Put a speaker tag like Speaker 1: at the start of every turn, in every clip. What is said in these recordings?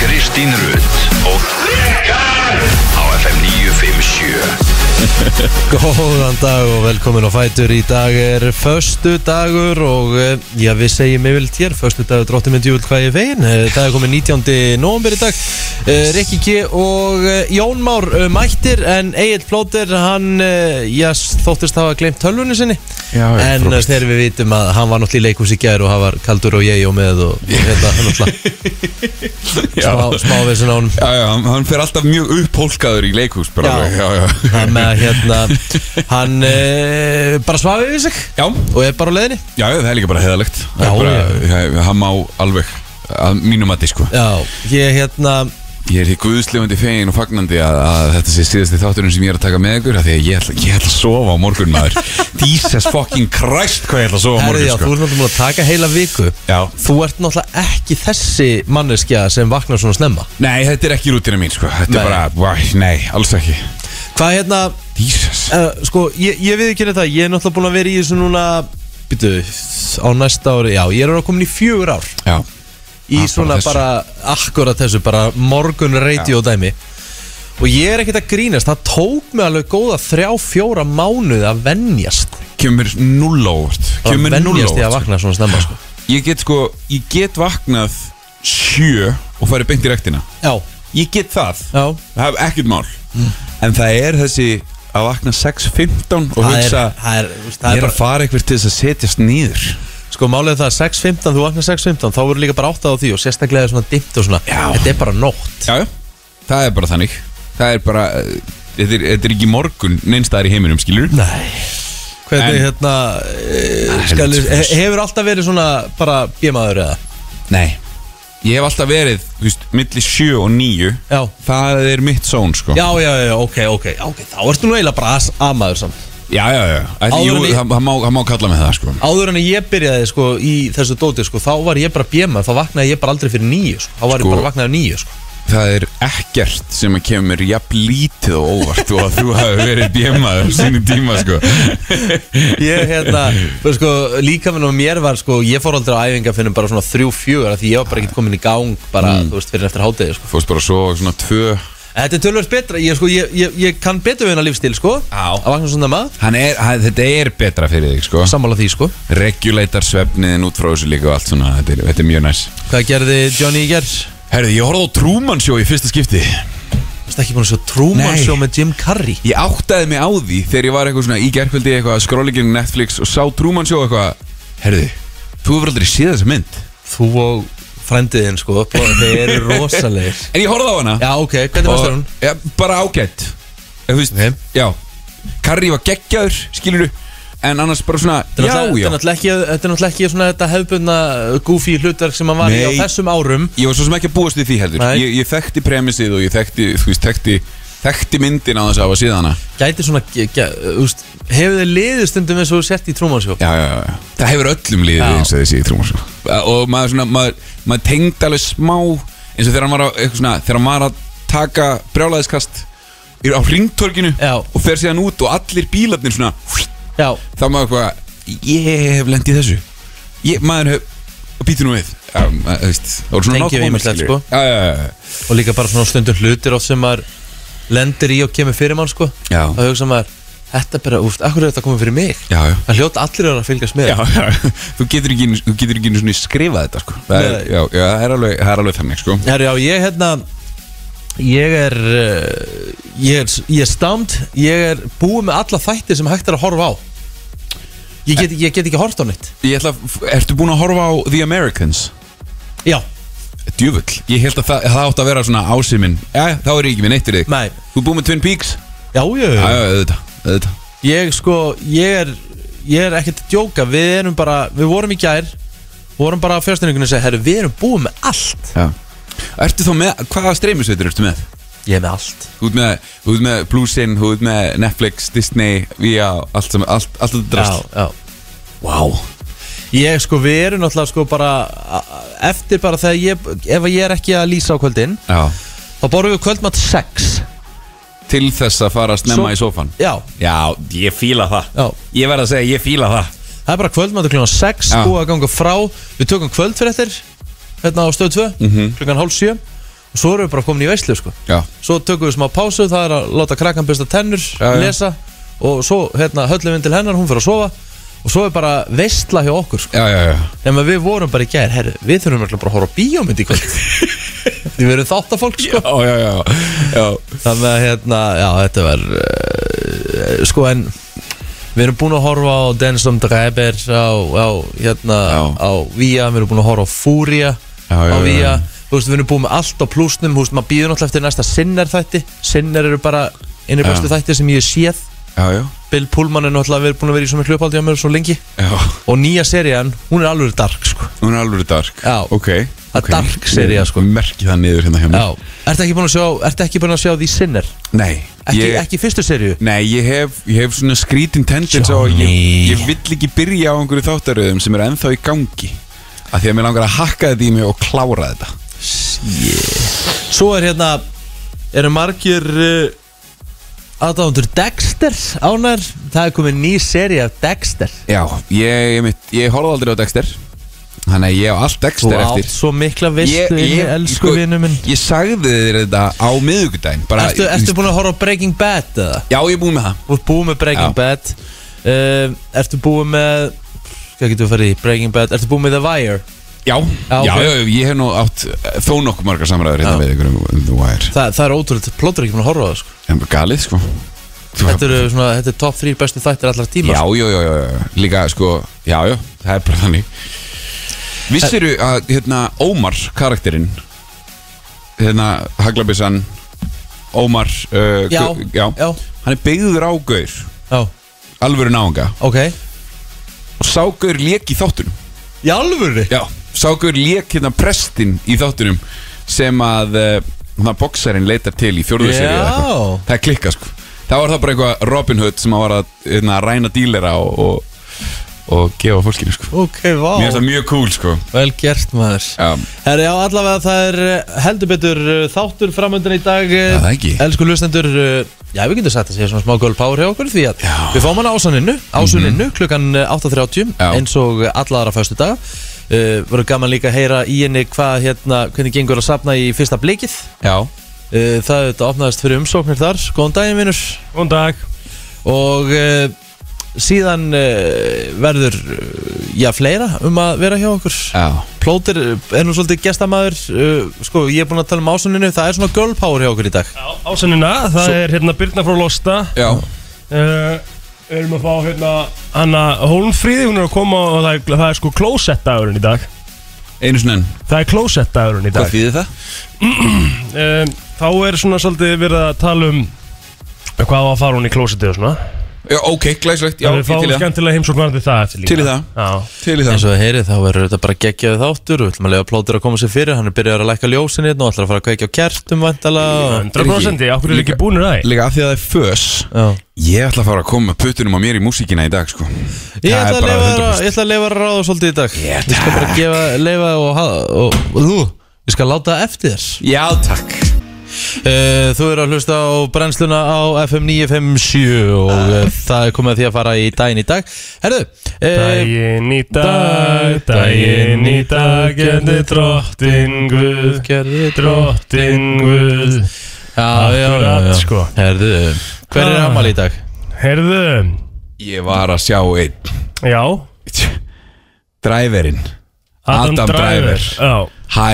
Speaker 1: Kristín Rutt og Rikar á FM 957
Speaker 2: Góðan dag og velkomin á Fætur Í dag er föstu dagur og eh, já, við segjum yfirlt hér föstu dagur dróttum en djúl hvað ég fegin Eh, Það er komið 19. november í dag eh, Rikki G og eh, Jón Már eh, mættir en Egil Plóter hann, eh, já, þóttist hafa glemt tölvunni sinni
Speaker 3: Já, já,
Speaker 2: En eh, uh,
Speaker 3: frábært.
Speaker 2: þegar við vitum að hann var náttúrulega í leikhús í gær og hann var kaldur og ég og með og, og hérna hann náttúrulega smá, smá vissin á honum
Speaker 3: Já, já, hann- hann fer alltaf mjög upphólkaður í leikhús bara
Speaker 2: Já.
Speaker 3: alveg, já, já
Speaker 2: Það með að hérna hann e, bara svafi yfir sig
Speaker 3: Já,
Speaker 2: og er bara á leiðinni
Speaker 3: já, já, það er líka bara heðalegt Það
Speaker 2: Já,
Speaker 3: er bara, já, hann má alveg að mínum að sko
Speaker 2: Já, ég hérna
Speaker 3: Ég er því guðslefandi fegin og fagnandi að, að þetta sé síðasti þátturinn sem ég er að taka með ykkur af Því að ég ætla, ég ætla að sofa á morgun maður Jesus fucking Christ hvað ég ætla að sofa á
Speaker 2: Herði,
Speaker 3: morgun sko
Speaker 2: já, þú ert náttúrulega búin að taka heila viku
Speaker 3: Já.
Speaker 2: Þú ert náttúrulega ekki þessi manneskja sem vaknar svona snemma
Speaker 3: Nei, þetta er ekki rútina mín sko Þetta
Speaker 2: Nei.
Speaker 3: er bara, væ, nei, alls ekki
Speaker 2: Hvað hérna,
Speaker 3: Jesus
Speaker 2: uh, sko, ég, ég við ekki það Ég er náttúrulega búin að vera í þessu núna Býtu, á næsta ári Já, ég er að komin í fjögur ár
Speaker 3: Já,
Speaker 2: Í
Speaker 3: Ah, bara
Speaker 2: svona
Speaker 3: þessu.
Speaker 2: bara, akkurat þessu Bara morgun radio dæmi Og ég er ekkert að grínast Það tók mig alveg góða þrjá, fjóra mánuði að venjast
Speaker 3: kemur mér null á óvart
Speaker 2: Að
Speaker 3: Kemur mér null á
Speaker 2: venjast ég að
Speaker 3: óvart
Speaker 2: vakna svona snemma sko.
Speaker 3: Ég get sko, ég get vaknað sjö og farið beint í rektina
Speaker 2: Já,
Speaker 3: Ég get það,
Speaker 2: já
Speaker 3: það hef ekkert mál
Speaker 2: Mm.
Speaker 3: En það er þessi að vakna 6.15 og
Speaker 2: Það er-
Speaker 3: hugsa
Speaker 2: það er, þú veist,
Speaker 3: Ég
Speaker 2: það er
Speaker 3: er
Speaker 2: bara
Speaker 3: að fara eitthvað til þess að setjast nýður
Speaker 2: Sko málið er það að 6.15, þú vaknar 6.15 þá voru líka bara áttað á því og sérstaklega er svona dimmt og svona,
Speaker 3: Já.
Speaker 2: þetta er bara nótt
Speaker 3: Já, já, það er bara þannig Það er bara, eh, þetta er, þetta er ekki morgun neinstæðar í heiminum, skilur
Speaker 2: Nei Hvernig
Speaker 3: En-
Speaker 2: hérna e,
Speaker 3: helvítið
Speaker 2: skal,
Speaker 3: fyrir þessu.
Speaker 2: hefur alltaf verið svona bara bjömaður eða?
Speaker 3: Nei Ég hef alltaf verið, þú veist, milli 7 og 9
Speaker 2: Já.
Speaker 3: Það er mitt són, sko
Speaker 2: Já, já, já, ok, ok, ok, þá ertu nú eiginlega bara as- amaður samt
Speaker 3: já, já, já. Ætli,
Speaker 2: Áður
Speaker 3: jú,
Speaker 2: en ég-
Speaker 3: það, það, má, það má kalla með það, sko
Speaker 2: Áður en ég byrjaði sko í þessu dóti sko, þá var ég bara bjömaður, þá vaknaði ég bara aldrei fyrir nýju sko, þá var
Speaker 3: Sko-
Speaker 2: ég bara vaknaði nýju sko
Speaker 3: Það er ekkert sem að kemur jafn lítið og óvart og að þú hafi verið bjemaður sínu tíma sko
Speaker 2: Ég, hérna, þú veist, sko, líka minn og mér var sko, ég fór aldrei á æfinga finnum bara svona þrjú, fjögur, af því ég var bara ekki komin í gang bara, þú veist, fyrir en eftir hádegi sko.
Speaker 3: Fórst bara svo svona tvö
Speaker 2: Þetta er tölvöld betra, ég, sko, ég, ég, ég kann betur við hennar lífstíl sko
Speaker 3: Já.
Speaker 2: Að vakna svona maður,
Speaker 3: Hann er, hann, Þetta er betra fyrir þig sko
Speaker 2: sammála því sko
Speaker 3: Regulator svefniðin út frá þessu líka og allt svona Þetta er, þetta er mjög næs
Speaker 2: Hvað gerði Johnny í gerð?
Speaker 3: Herði, ég horfði á Truman Show í fyrsta skipti
Speaker 2: Vist ekki búin að sjá Truman
Speaker 3: Nei.
Speaker 2: Show með Jim Carrey
Speaker 3: Ég áttaði mig á því þegar ég var eitthvað svona í gerkvöldi eitthvað að skróla í gegnum Netflix og sá Truman Show eitthvað Herði, þú hefur aldrei séð þessa mynd
Speaker 2: Þú og frendiðinn sko, blá- þeir eru rosalegir
Speaker 3: En ég horfði á hana
Speaker 2: Já, ok, hvernig fannst þér hún?
Speaker 3: ja, bara ágætt Ef þú veist,
Speaker 2: Ok.
Speaker 3: já Karri var geggjaður, skilur en annars bara svona,
Speaker 2: Þetta er
Speaker 3: já,
Speaker 2: náttúrulega-
Speaker 3: já
Speaker 2: þetta er náttúrulega ekki- þetta er náttúrulega ekki svona þetta hefbundna goofy hlutverk sem hann var í á
Speaker 3: Nei.
Speaker 2: þessum árum
Speaker 3: ég var svo sem ekki að búast við því heldur
Speaker 2: Nei.
Speaker 3: ég, ég þekkti premissið og ég þekkti, þú veist, þekkti þekkti myndin á þess að hafa síðana já,
Speaker 2: Gæti svona, ge- ge- þú veist, hefur þið liðið stundum eins og þú sett í Truman Show?
Speaker 3: já, já, já. það hefur öllum liðið
Speaker 2: Já.
Speaker 3: eins og þessi í trúmarsjó og maður svona, maður, maður tengd alveg smá eins og þegar hann var að, eitthvað svona, þegar hann var að taka brjálæðiskast á ringtorkinu
Speaker 2: Já.
Speaker 3: og fer síðan út og allir bílarnir svona
Speaker 2: Já,
Speaker 3: þá maður eitthvað ég hef lendið þessu ég, maður hef, býtu nú við Já, maður, þú veist, það voru svona
Speaker 2: Tengjum
Speaker 3: nákvæmlega
Speaker 2: ýmislegt, sko.
Speaker 3: skilur. já, já, já, já.
Speaker 2: og líka bara svona stundum hlutir oft sem maður lendir í og kemur fyrir mann sko
Speaker 3: Já.
Speaker 2: og hugsa maður, þetta er bara, úst, akkur er þetta komið fyrir mig
Speaker 3: Já, já.
Speaker 2: það hljóta allir að vera að fylgjast með
Speaker 3: Já, já, þú getur ekki, einu- þú getur ekki einu sinni skrifað þetta sko. það, er,
Speaker 2: Nei.
Speaker 3: já, já, það, er alveg, það er alveg þannig sko.
Speaker 2: Herri, já, ég hérna ég er uh, ég er, ég er stammt ég er búið með alla þætti sem hægt er að horfa á ég get, ég get ekki horft á neitt
Speaker 3: Ég ætla, að f- Ertu búin að horfa á The Americans?
Speaker 2: já,
Speaker 3: Djöfull, ég held að það, það átt að vera svona ásimin Já, þá er ég ekki með neittir þig
Speaker 2: Nei.
Speaker 3: Þú er búin með Twin Peaks?
Speaker 2: já, já,
Speaker 3: Já, já, auðvitað, auðvitað
Speaker 2: ég sko, ég er ég er ekkert að djóka, við erum bara við vorum í gær, vorum bara á fjárstæningunni og segja, herru, við erum búið með allt
Speaker 3: já. Ertu þá með, hvaða streymisveitur ertu með?
Speaker 2: ég er með allt
Speaker 3: Þú ert með, þú ert með Bluesin, þú ert með Netflix, Disney, VIA, allt sem, allt, allt þetta drast.
Speaker 2: já, já. Wow. Ég sko, við erum náttúrulega sko bara a- a- eftir bara þegar ég, ef ég er ekki að lýsa á kvöldin
Speaker 3: Já.
Speaker 2: þá borðum við kvöldmatt 6
Speaker 3: Til þess að fara snemma
Speaker 2: Svo-
Speaker 3: í sófan.
Speaker 2: Já,
Speaker 3: Já, ég fíla það.
Speaker 2: Já.
Speaker 3: Ég verð að segja, ég fíla það.
Speaker 2: það er bara kvöldmatt klukkan 6
Speaker 3: Já.
Speaker 2: Mhm. búið að ganga frá, við tökum kvöldfréttir hérna á stöð 2 klukkan hálf 7 og svo erum við bara komin í veislu sko.
Speaker 3: Já,
Speaker 2: svo tökum við smá pásu, það er að láta krakkan besta tennur,
Speaker 3: já.
Speaker 2: lesa og svo hérna, höllum við til hennar, hún fyrir að sofa og svo er bara veistla hjá okkur sko.
Speaker 3: já, já, já.
Speaker 2: nema við vorum bara í gær, herri, við þurfum örugglega bara að horfa á bíómynd í kvöld því við erum þáttafólk sko.
Speaker 3: Já, já, já, já.
Speaker 2: þannig að hérna, já, þetta var uh, sko en við erum búin að horfa á Dennis on Driver á, á hérna,
Speaker 3: Já.
Speaker 2: á VIA, við erum búin að horfa á Fúria
Speaker 3: Já, já,
Speaker 2: á
Speaker 3: já,
Speaker 2: VIA,
Speaker 3: já.
Speaker 2: þú veist, við erum búin með allt á plusnum, þú veist, maður býður náttúrulega eftir næsta sinner þætti, sinner eru bara einir
Speaker 3: Já.
Speaker 2: bestu þætti sem ég hef séð
Speaker 3: Já, já,
Speaker 2: Bill Pullman er náttúrulega verið búin að vera í svona hljópaldi á mér svo lengi
Speaker 3: já.
Speaker 2: og nýja serían, hún er alveg dark, sko
Speaker 3: Hún er alveg dark
Speaker 2: Já.
Speaker 3: Ok
Speaker 2: Það er
Speaker 3: ok.
Speaker 2: dark sería, sko.
Speaker 3: Ég Merki það niður hérna hjá mér
Speaker 2: Já, ertu ekki búin að sjá, ertu ekki búin að sjá því sinner?
Speaker 3: Nei
Speaker 2: Ekki,
Speaker 3: ég,
Speaker 2: ekki fyrstu seríu?
Speaker 3: Nei, ég hef, ég hef svona skrítin tendens á að ég,
Speaker 2: Johnny.
Speaker 3: ég vill ekki byrja á einhverju þáttaröðum sem eru ennþá í gangi Af því að mér langar að hakka þetta í mig og klára þetta
Speaker 2: Svo er hérna Eru margir uh, Aðdándur Dexter ánær Það er komin ný seri af Dexter
Speaker 3: Já, ég, ég, mitt, ég horfði aldrei á Dexter Þannig að ég hef allt
Speaker 2: Þú
Speaker 3: Dexter
Speaker 2: átt
Speaker 3: eftir
Speaker 2: svo mikla vistu inni, elsku
Speaker 3: sko,
Speaker 2: vinnu minn
Speaker 3: Ég sagði þér þetta á miðvikudaginn bara-
Speaker 2: Ertu, ertu búin að horfa á Breaking Bad eða?
Speaker 3: Já, ég er búin með það
Speaker 2: Þú ert búin með Breaking
Speaker 3: Já.
Speaker 2: Bad uh, Ertu búin með Hvað getur við farið í Breaking Bad Ertu búin með The Wire
Speaker 3: Já,
Speaker 2: Já,
Speaker 3: já,
Speaker 2: ok.
Speaker 3: já, ég hef nú átt eh, þó nokkuð margar samræður hérna
Speaker 2: Já.
Speaker 3: við ykkur um um The Wire
Speaker 2: Þa, Það er ótrúlega, plótur ekki búin að horfa á það sko.
Speaker 3: En bara galið, sko
Speaker 2: Þetta eru svona, þetta er sko. top 3 bestu þættir allar tíma
Speaker 3: Já, já, já, já, já, líka, sko, já, já, það er bara þannig Vissiru að, hérna, Ómar, karakterinn Hérna, Haglabissan, Ómar uh,
Speaker 2: Já,
Speaker 3: gu- já,
Speaker 2: já.
Speaker 3: Hann er byggður á Gaur,
Speaker 2: Já,
Speaker 3: alvöru náunga
Speaker 2: ok
Speaker 3: Og sá Gaur lék í þáttunum
Speaker 2: Í alvöru?
Speaker 3: Já, sá Gaur lék hérna prestin í þáttunum Sem að, uh, hann boxarinn leitar til í fjórðu
Speaker 2: Já.
Speaker 3: serið eða eitthvað. Það er klikkað, sko Það var það bara eitthvað Robin Hood sem að var að, hérna, ræna dílera og, og, og gefa fólkinu, sko
Speaker 2: Ok, vá
Speaker 3: Mér finnst það mjög cool sko
Speaker 2: Vel gert maður
Speaker 3: Já.
Speaker 2: Herri, já, allavega það er eh, heldur betur eh, þáttur framöndan í dag eh,
Speaker 3: Já, það ekki.
Speaker 2: Elsku lustendur, eh, já við getum sagt að segja svona smá girl power hjá okkur Því að
Speaker 3: Já. Mhm.
Speaker 2: við fáum hana ásaninu, ásuninu klukkan eh, 8.30
Speaker 3: Já.
Speaker 2: Eins og allara föstu dag uh, Verður gaman líka að heyra í henni hvað hérna, hvernig gengur að safna í fyrsta blikið
Speaker 3: Já
Speaker 2: uh, Það þetta opnaðist fyrir umsóknir þar, góðan daginn vinnur
Speaker 4: Góðan dag
Speaker 2: Og uh, síðan uh, verður, uh, já fleira um að vera hjá okkur
Speaker 3: Já
Speaker 2: Plóter eh, er nú svolítið gestamæður uh, Sko, ég er búinn að tala um ásuninu Það er svona girl power hjá okkur í dag
Speaker 4: Ásennina, það
Speaker 2: Svo-
Speaker 4: er hérna Birna frá Losta
Speaker 3: Já
Speaker 4: uh, Við erum að fá hérna Hanna Hólmfríði, hún er að koma og það er, það er sko klósett dagurinn í dag
Speaker 3: Einu svona enn
Speaker 4: Það er klósett dagurinn í dag
Speaker 3: þýðir það?
Speaker 4: um, Þá er svona svolítið verið að tala um hvað á að fara hún í klósettið og svona
Speaker 3: Já, ok, glæslegt Já, ég
Speaker 4: Þannig Við fáum
Speaker 3: til í það
Speaker 4: skemmtilega heimsókn varandi það eftir líka
Speaker 3: Til í það.
Speaker 4: Já,
Speaker 3: Til í
Speaker 2: Eins
Speaker 3: það
Speaker 2: og það heyri þá verður þetta bara geggjaði þáttur Við ætlum að lega plóter að koma sér fyrir Hann er byrjar að lækka ljósin hérna og ætlar að fara að kveikja á kertum Væntala
Speaker 4: 100%
Speaker 3: Riki,
Speaker 4: af hverju er
Speaker 3: líka-
Speaker 4: ekki búinur að því
Speaker 3: Líka af því að það er fös Ég ætla að fara að koma með puttunum á mér í músíkina í dag sko
Speaker 2: Ég
Speaker 3: Það er
Speaker 2: ætla að
Speaker 3: bara
Speaker 2: leyfa
Speaker 3: 100%.
Speaker 2: þér að- ég ætla að leifa að ráða svolítið í dag Ég skal bara gefa, leifa og, hafa- og, og þú Ég skal láta það eftir þér
Speaker 3: Já, takk
Speaker 2: Eh, Þú eru að hlusta á brennsluna á FM 957 og uh. það er komið að því að fara í daginn í dag Herðu uh,
Speaker 4: Dægin í dag, dægin í dag, gerði drottin Guð,
Speaker 2: Gerði
Speaker 4: drottin Guð
Speaker 2: Já, já, já,
Speaker 4: Akkurat,
Speaker 2: já.
Speaker 4: sko.
Speaker 2: Herðu, hver er
Speaker 4: Ah.
Speaker 2: amal í dag?
Speaker 4: Herðu,
Speaker 3: Ég var að sjá einn
Speaker 4: já
Speaker 3: Driverinn
Speaker 4: Adam,
Speaker 3: Adam
Speaker 4: Driver,
Speaker 3: Driver.
Speaker 4: Já,
Speaker 3: Hæ,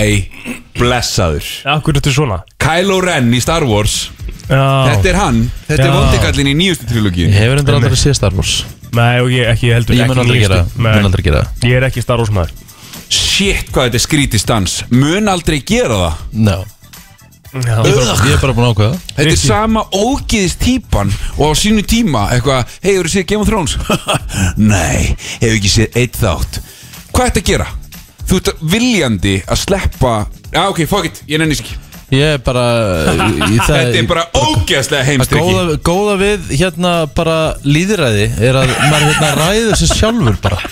Speaker 3: blessaður
Speaker 4: akkur þetta svona
Speaker 3: Kylo Ren í Star Wars
Speaker 4: Já,
Speaker 3: Þetta er hann Þetta er
Speaker 4: Já.
Speaker 3: vondikallin í nýjustu trilógíu
Speaker 2: Ég hefur endur aldrei séð Star Wars
Speaker 4: nei, og ég ekki, ég heldur
Speaker 2: Ég
Speaker 4: ekki
Speaker 2: mun aldrei
Speaker 4: nýjustu.
Speaker 2: gera það,
Speaker 4: Nei,
Speaker 2: mun aldrei gera það
Speaker 4: Ég er ekki Star Wars maður
Speaker 3: Shit, hvað þetta er skrítið stans Mun aldrei gera það
Speaker 2: no. ég, er bara, ég er bara búin að ákveða
Speaker 3: Þetta er
Speaker 4: Rikki.
Speaker 3: sama ógiðist típan og á sínu tíma eitthvað Hei, hefur þið séð Game of Thrones? Nei, hefur ekki séð eitt þátt Hvað ert að gera? Þú ert viljandi að sleppa Já, ok, fuck it, ég nenni þess ekki
Speaker 2: Ég er bara ég, það,
Speaker 3: Þetta er bara ógeðslega
Speaker 2: Það
Speaker 3: heimstriki
Speaker 2: góða, góða við hérna bara líðræði er að maður hérna ræður sér sjálfur bara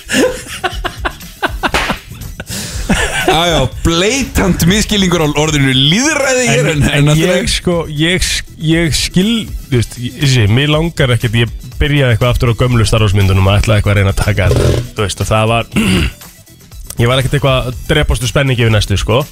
Speaker 3: Já, já, bleitant miskilingur á orðinu líðræði hér En, en, en
Speaker 4: ég sko, ég, ég skil, þú veist, ég- þessi, mér langar ekkert, ég byrjaði eitthvað aftur á gömlu Star Wars myndunum að ætlaði eitthvað að reyna að taka þetta, þú veist, og það var, ég var ekkert eitthvað að drepastu spenningi við næstu, sko,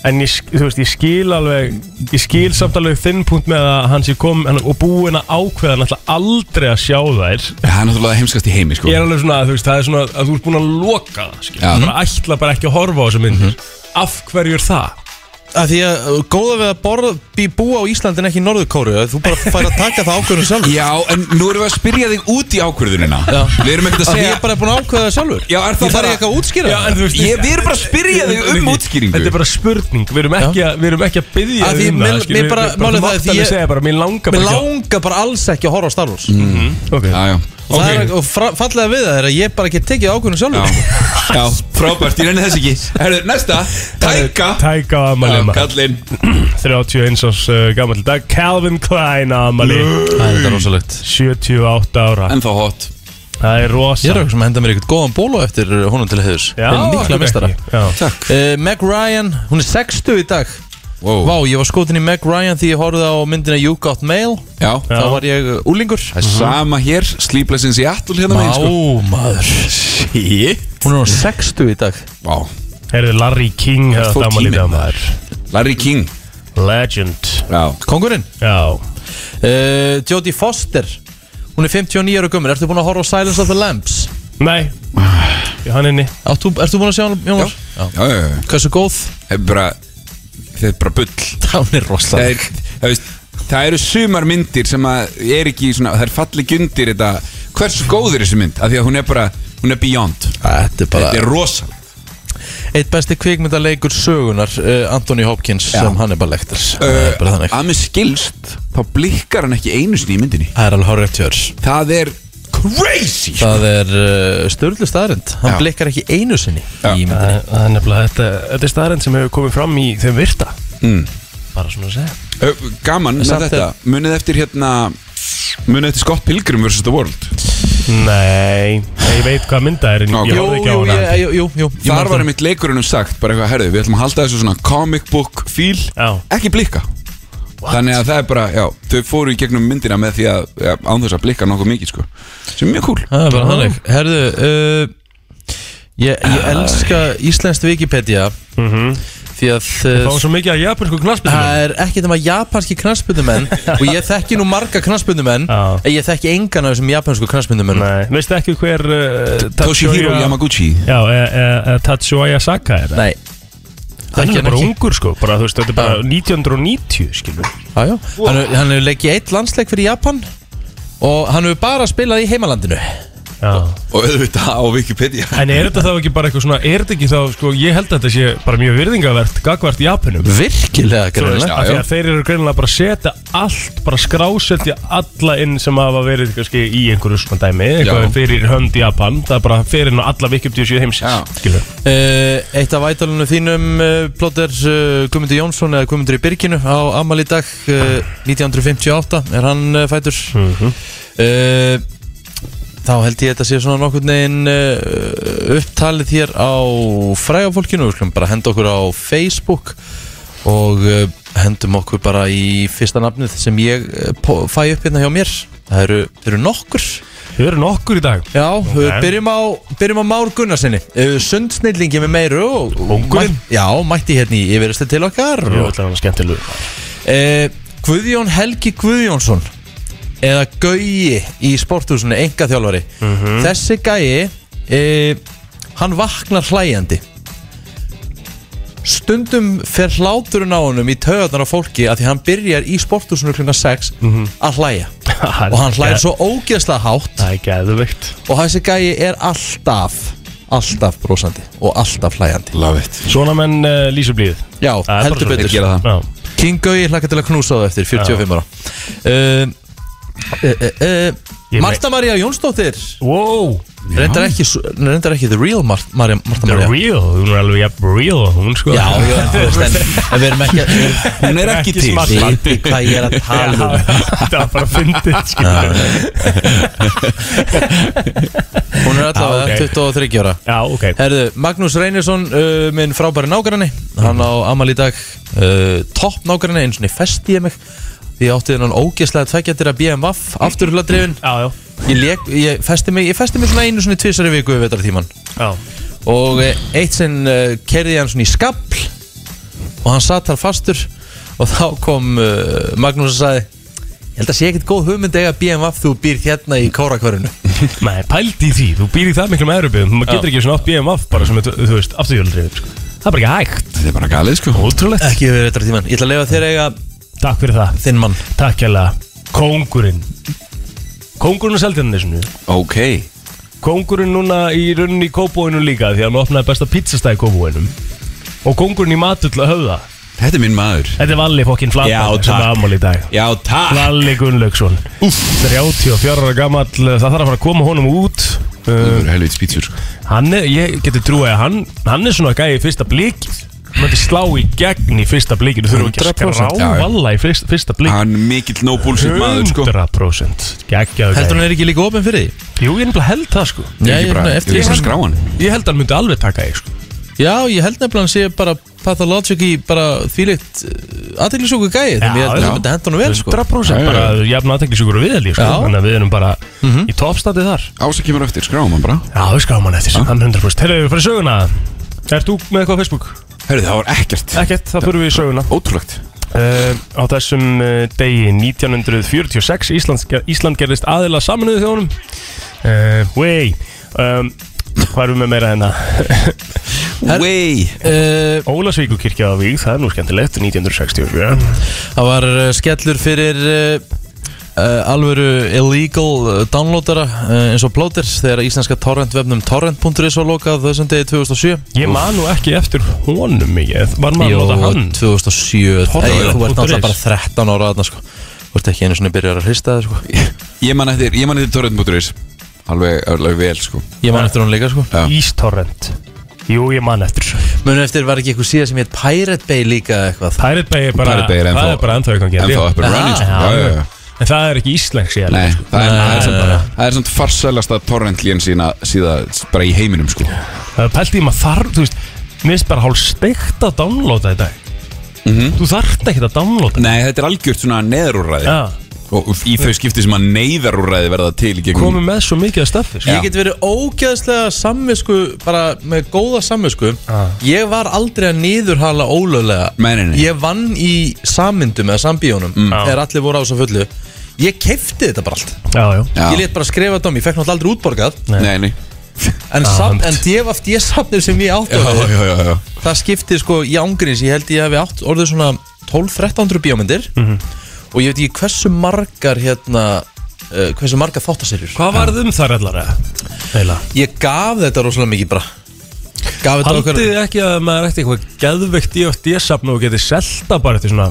Speaker 4: En ég, sk- þú veist, ég skil alveg Ég skil samt alveg þinn punkt með að hann sé kom hann, Og búin að ákveða náttúrulega aldrei að sjá þær
Speaker 3: Það er náttúrulega heimskast í heimi sko
Speaker 4: Ég er alveg svona, þú veist, það er svona Að þú ert búin að loka það, skil
Speaker 3: Já.
Speaker 4: Þú bara ætla bara ekki að horfa á þessu myndir Af hverju er það?
Speaker 2: að því að uh, góða við að borð, bí, búa á Íslandin ekki í Norðurkóru að þú bara fær að taka það ákvörðum sjálfur
Speaker 3: Já, en nú erum við að spyrja þig út í ákvörðunina
Speaker 2: Já.
Speaker 3: Við erum ekkert að
Speaker 2: að því
Speaker 3: segja
Speaker 2: ég er bara búin að ákvöða það sjálfur
Speaker 3: Já, er það
Speaker 2: ég þarf
Speaker 3: bara-
Speaker 2: ekki að útskýra það
Speaker 4: þú
Speaker 3: Ég, við erum bara að spyrja þig um
Speaker 4: Riki,
Speaker 3: útskýringu.
Speaker 4: Þetta er bara spurning, við erum ekki, að, við erum ekki að byggja
Speaker 2: Að því
Speaker 4: um
Speaker 2: mér-
Speaker 4: það skilur
Speaker 2: mér
Speaker 4: við.
Speaker 2: bara-
Speaker 4: Við bara
Speaker 2: málið það
Speaker 4: þú
Speaker 2: er því
Speaker 4: mátt alveg
Speaker 2: ég-
Speaker 4: segja bara, mér langar
Speaker 2: Mér
Speaker 4: bara ekki
Speaker 2: langar bara alls ekki að horfa á Star Wars mm.
Speaker 4: að- Ok.
Speaker 3: Já, já
Speaker 2: og það
Speaker 3: Ok.
Speaker 2: er og fra- fallega við það er að ég bara get tekið
Speaker 3: Já,
Speaker 2: ákvörðum sjálfur
Speaker 3: já, frábært, ég reyni þess ekki Herru, næsta, Tæka
Speaker 4: Tæka á
Speaker 3: Já,
Speaker 4: ammali maður.
Speaker 3: Kallinn
Speaker 4: 31 árs uh, gammal dag Calvin Klein á ammali
Speaker 2: það er þetta rosalegt
Speaker 4: 78 ára
Speaker 3: Ennþá hot
Speaker 4: Það er
Speaker 2: ég
Speaker 4: rosa
Speaker 2: er okkur sem að henda mér eitthvað góðan bólu eftir uh, honum til heiðurs
Speaker 4: Já,
Speaker 2: Hinn
Speaker 4: af hverju
Speaker 2: mikla mistara
Speaker 4: ekki? Já.
Speaker 3: Takk
Speaker 2: uh, Meg Ryan, hún er 60 í dag
Speaker 3: wow.
Speaker 2: Vá, ég var skotin í Meg Ryan því ég horfði á myndina You Got Mail
Speaker 3: Já,
Speaker 2: þá var ég uh, úlingur
Speaker 3: það er sama hér Sleepless in Seattle hérna megin sko
Speaker 2: Má, maður
Speaker 3: Shit
Speaker 2: Hún er á 60 í dag
Speaker 3: Vá,
Speaker 4: Herðu Larry King hefði
Speaker 3: fór
Speaker 4: átt ammali í
Speaker 3: tíminn,
Speaker 4: dag maður
Speaker 3: Larry King
Speaker 4: Legend
Speaker 3: Já,
Speaker 2: Kongurinn
Speaker 4: Já
Speaker 2: uh, Jodie Foster Hún er 59 ára gömur Ertu búin að horfa á Silence of the Lambs?
Speaker 4: Nei Ég hann inni
Speaker 2: Ertu, ertu búin að sjá hann, Jónas? Já.
Speaker 3: já, já, já
Speaker 2: Hversu góð?
Speaker 3: Það er bara Það er bara bull
Speaker 2: Hún er
Speaker 3: Það
Speaker 2: rosaleg
Speaker 3: er, það veist Það eru sumar myndir sem að er ekki svona, það er falli gundir þetta Hversu góð er þessi mynd? Af því að hún er bara, hún er beyond
Speaker 2: Þetta er bara
Speaker 3: Þetta er rosalega
Speaker 2: Eitt besti kvikmyndaleikur sögunar uh, Anthony Hopkins
Speaker 3: Já.
Speaker 2: sem hann er bara lektur Það er bara þannig
Speaker 3: Að mér skilst, þá blikkar hann ekki einu sinni í myndinni
Speaker 2: Það er alveg hárið tjörs
Speaker 3: Það er crazy sko.
Speaker 2: Það er uh, störlu staðrind Hann
Speaker 3: Já.
Speaker 2: blikkar ekki einu sinni
Speaker 3: Já.
Speaker 2: í myndinni
Speaker 4: Það er- það er nefnilega þetta Þetta er staðarinn sem hefur komið fram í þeim virta
Speaker 2: Mm.
Speaker 4: Bara svona að segja
Speaker 3: Ö, Gaman með
Speaker 2: Samt er-
Speaker 3: þetta, munið eftir hérna Munið eftir Scott Pilgrim vs. The World
Speaker 4: Nei Ég veit hvað mynda er en
Speaker 3: Ok.
Speaker 4: ég
Speaker 2: Jú,
Speaker 4: horfði ekki á
Speaker 2: jú,
Speaker 4: hana
Speaker 2: ég- jú, jú, jú Ég man
Speaker 3: Þar var
Speaker 2: það.
Speaker 3: einmitt leikurinn um sagt Bara eitthvað, herðu, við ætlum að halda þessu svona comic book feel
Speaker 4: Já.
Speaker 3: Ekki blikka Þannig að það er bara, já, þau fóru í gegnum myndina með því að ja, án þess að blikka nokkuð mikið sko Sem er mjög cool
Speaker 2: Það er bara þannig Herðu uh, ég, ég elska Íslenskt Wikipedia Því að
Speaker 4: Það
Speaker 2: uh,
Speaker 4: var Mhm. svo mikið að japansku knarsbyttum
Speaker 2: Það er ekkert um að japanski knarspindumenn Og ég þekki nú marga knarspindumenn
Speaker 4: Já.
Speaker 2: En ég þekki engan af þessum japansku knarspindumenn
Speaker 4: Nei, veistu ekki hver uh,
Speaker 3: Toshihiro
Speaker 4: Tatsuya-
Speaker 3: Yamaguchi
Speaker 4: Já, e, e, e, Tatsuya Saka er það
Speaker 2: Nei
Speaker 4: Hann
Speaker 2: Þekki
Speaker 4: er
Speaker 2: hann
Speaker 4: bara
Speaker 2: ekki.
Speaker 4: ungur sko, bara þú veist, þetta er bara
Speaker 2: Já.
Speaker 4: 1990 skilur
Speaker 2: Já, já. Hann hefur- Hann hefur leggið eitt landsleik fyrir Japan Og hann hefur bara spilað í heimalandinu
Speaker 4: Já.
Speaker 3: Og auðvitað á Wikipedia
Speaker 4: En er þetta þá ekki bara eitthvað svona, er þetta ekki þá sko, ég held að þetta sé bara mjög virðingavert gagvart Japanum
Speaker 2: Virkilega
Speaker 4: Þú veist,
Speaker 2: greinlega
Speaker 4: af því
Speaker 3: já.
Speaker 4: að þeir eru greinilega bara að setja allt, bara skrásetja alla inn sem hafa verið kannski, í einhverju svona dæmi, eitthvað
Speaker 3: Já.
Speaker 4: fyrir hönd Japan, það er bara fyrir inn á alla Wikipedia síðu
Speaker 3: Já.
Speaker 4: heimsins, skilur
Speaker 2: uh, Eitt af ætalunum þínum uh, Plotter uh, Guðmundur Jónsson eða Guðmundur í Birkinu á Amal í dag uh, 1958 er hann uh, fætur mm Þá held ég þetta sé svona nokkurn veginn uh, upptalið hér á fræga fólkinu, við skulum bara henda okkur á Facebook og uh, hendum okkur bara í fyrsta nafnið sem ég uh, po- fæ upp hérna hjá mér Það eru, eru nokkur
Speaker 4: Þau eru nokkur í dag
Speaker 2: Já, okay. byrjum, á, byrjum á Már Gunnarsinni uh, Sundsnillingi með meiru og,
Speaker 4: Kóngurinn.
Speaker 2: mætt- Já, mætti hérna í yfirristu til okkar
Speaker 4: Jú,
Speaker 2: og,
Speaker 4: ætla hann skemmtilegur
Speaker 2: uh, Guðjón Helgi Guðjónsson eða Gauji í sporthúsinu, enga þjálfari Þessi Gauji uh, hann vaknar hlæjandi Stundum fer hláturinn á honum í taugarnar á fólki að því hann byrjar í sporthúsinu klukkan 6 að hlæja og hann hlæjar svo ógeðslega hátt
Speaker 4: Það er geðveikt
Speaker 2: og þessi gæi er alltaf alltaf brosandi og alltaf hlæjandi
Speaker 3: Love it
Speaker 4: Svona menn uh, lýsur blíð
Speaker 2: já,
Speaker 4: Það er bara
Speaker 2: heldur
Speaker 4: svo,
Speaker 3: Þeir
Speaker 2: betur
Speaker 3: gera það
Speaker 4: Já,
Speaker 2: King Gaui hlakka til að knúsa það eftir 45 ára uh, uh, uh,
Speaker 4: Ég
Speaker 2: uh, Marta Maria Jónsdóttir
Speaker 4: wow,
Speaker 2: reyndar ekki, s- reyndar ekki The Real Mar Maria, Marta
Speaker 4: the
Speaker 2: Maria
Speaker 4: real, hún er alveg jafn real hún sko
Speaker 2: já, já, þú veist en en við erum ekki að
Speaker 3: Hún er ekki
Speaker 4: Ekki
Speaker 3: til
Speaker 4: smart.
Speaker 2: veitu hvað ég er að tala um
Speaker 4: Það var bara fyndið skilur
Speaker 2: hún er allavega
Speaker 4: Ah, ok.
Speaker 2: 23 ára
Speaker 4: Já, ok
Speaker 2: Herðu, Magnús Reynisson, uh, minn frábæri nágræni Hann á amal í dag uh, Topp nágræni, eins og niður festi ég mig Því ég átti þennan ógeðslega tveggjættir að BMWF Afturhulladrifin
Speaker 4: Já, já,
Speaker 2: ég, lék- ég festi mig, ég festi mig svona einu svona tvisari viku Við vetar tíman
Speaker 4: já
Speaker 2: eh, Og uh, eitt sinn uh, kerði ég hann svona í skabl og hann satt þar fastur og þá kom uh, Magnús og sagði Ég held að sé ekkert góð hugmynd eiga BMW þú býr hérna í kórakvörinu
Speaker 4: Nei, pældi í því, þú býr í það miklum erubið Maður getur ekki svona átt BMF bara sem, er, þú þú veist, afturhjólrið sko. Það er bara ekki hægt
Speaker 3: Þetta er bara galið sko
Speaker 4: Ótrúlegt
Speaker 2: Ekki verið réttar tíman Ég ætla að leifa þér að eiga
Speaker 4: Takk fyrir það
Speaker 2: þinn mann
Speaker 4: Takk hérlega Kóngurinn Kóngurinn og seldiðan
Speaker 3: Ok
Speaker 4: Kóngurinn núna í rauninni í kóbóinu líka Því að hann opnaði besta pizzastæði í kóbóinum Og kóngurinn í matull að höfða
Speaker 3: Þetta er minn maður
Speaker 4: Þetta er Valli fokkin
Speaker 3: Já,
Speaker 4: flatbæði sem
Speaker 3: takk.
Speaker 4: er ammál í dag
Speaker 3: Já, takk
Speaker 4: Lalli Gunnlaugsson 34 ára gammal, það þarf að fara að koma honum út
Speaker 3: Þú
Speaker 4: uh,
Speaker 3: eru helvit spýtsur sko
Speaker 4: Hann er, ég getur trúið að hann Hann er svona gæði í fyrsta blík Hann myndi slá í gegn í fyrsta blíkinu Þurfum ekki að
Speaker 2: 100%,
Speaker 4: skrá valla í fyrsta, fyrsta blík
Speaker 3: Hann er mikill no bullshit maður sko
Speaker 4: 100%
Speaker 2: Heldur
Speaker 4: Geggjaðu gæði
Speaker 2: hann er ekki líka opinn fyrir því?
Speaker 4: Jú, ég nefnilega held það sko
Speaker 2: Já,
Speaker 3: Ég
Speaker 2: ég,
Speaker 3: bara,
Speaker 2: bara,
Speaker 3: ég
Speaker 2: eftir,
Speaker 3: vil
Speaker 2: ég,
Speaker 3: bara skrá hann
Speaker 4: Ég held hann myndi alveg taka ég sko
Speaker 2: já, ég held nefnilega hann sé bara pathologic í bara þvílitt aðteglisjóku gæði Þannig ég
Speaker 4: Já,
Speaker 2: held að
Speaker 4: já.
Speaker 2: það myndi henda hann vel sko
Speaker 3: Já,
Speaker 4: 100%
Speaker 3: já, Mhm.
Speaker 4: bara jafn aðteklisjúkur og viðalí sko
Speaker 2: Já.
Speaker 4: Þannig að við erum bara í toppstatið þar
Speaker 3: Ása kemur eftir, skráum hann bara
Speaker 4: Já, við skráum hann eftir, hann 100% Herru, fyrir söguna Ert þú með eitthvað á Facebook?
Speaker 3: Herðu, það var ekkert
Speaker 4: Ekkert, það fyrir við í söguna
Speaker 3: Ótrúlegt
Speaker 4: uh, Á þessum uh, degi 1946 Ísland, Ísland gerðist aðila saminuðu þjónum uh, Wey um, Hvað erum við með meira hérna?
Speaker 3: Way
Speaker 2: Eh,
Speaker 4: Ólasvíkukirkja á Víg, það er nú skemmtilegt 1967
Speaker 2: Það var eh, skellur fyrir uh, uh, alvöru illegal eh, downloadara uh, eins og plóter þegar íslenska torrentvefnum torrent.is var lokað þessum degi 2007
Speaker 4: Ég man nú ekki eftir honum mikið Var maður að nota hann?
Speaker 2: 2007
Speaker 4: Torrent
Speaker 2: Nei, Þú
Speaker 4: punktur is.
Speaker 2: ert náttúrulega bara 13 ára þarna sko Þú ert ekki einu svona byrjar að hrista það sko
Speaker 3: Ég man eftir, ég man eftir Torrent.is Alveg, alveg vel sko
Speaker 2: Ég man eftir hún líka sko
Speaker 3: Já.
Speaker 4: Ístorrent Jú, ég man eftir þessu.
Speaker 2: Munu eftir var ekki eitthvað síðan sem hétt Pirate Bay líka eitthvað
Speaker 4: Pirate Bay er bara
Speaker 3: Pirate Bay er ennþá-
Speaker 4: Það er bara ennþá eitthvað
Speaker 3: En
Speaker 4: að
Speaker 3: þá
Speaker 4: gera
Speaker 3: upp and running sko Já, já, já
Speaker 4: En það er ekki íslensk síðan
Speaker 3: Nei,
Speaker 4: sko.
Speaker 3: það er, það er,
Speaker 4: Nei,
Speaker 3: samt,
Speaker 4: bara-
Speaker 3: það er samt farsælasta torrentlíðan sína síða bara í heiminum sko
Speaker 4: Það er pælt í maður þarf, þú veist Mér finnst bara hálf steikt að downloada þetta
Speaker 3: Mhm.
Speaker 4: Þú þarft ekkert að downloada
Speaker 3: Nei, þetta er algjört svona neðarúræði
Speaker 4: Já,
Speaker 3: og og í þau skipti sem að neyðarúræði verða til í gegnum
Speaker 4: komið með svo mikið að staffi sko.
Speaker 2: Ég get verið ógeðslega samvisku, bara með góða samvisku
Speaker 4: Ah.
Speaker 2: Ég var aldrei að niðurhala ólöglega
Speaker 3: Nei, nei, Mm. nei.
Speaker 2: Ég vann í sammyndum eða sambíónum
Speaker 4: Ah.
Speaker 2: Þegar allir voru á þessu fullu Ég kefti þetta bara allt
Speaker 4: Já, já
Speaker 3: Já.
Speaker 2: Ég let bara skrifa þetta á mig, ég fekk náttúrulega aldrei útborgað
Speaker 3: Nei, nei
Speaker 2: En,
Speaker 4: Ah,
Speaker 2: safn,
Speaker 4: einmitt.
Speaker 2: en DFD safnir sem ég átti
Speaker 3: Já, já,
Speaker 2: á því,
Speaker 3: já, já, já.
Speaker 2: Það skipti sko í ángriðis Ég held ég hefði átt orðið svona 12-1300 bíómyndir
Speaker 3: Mhm.
Speaker 2: Og ég veit ekki hversu margar hérna uh, Hversu margar þáttaserjur
Speaker 4: Hvað varð um þar allar eða? Eila
Speaker 2: Ég gaf þetta rosalega mikið bara Gaf þetta
Speaker 4: Haldið
Speaker 2: okkur
Speaker 4: þið ekki að maður eftir eitthvað geðveikt í öll DSafn og getið selta bara eftir svona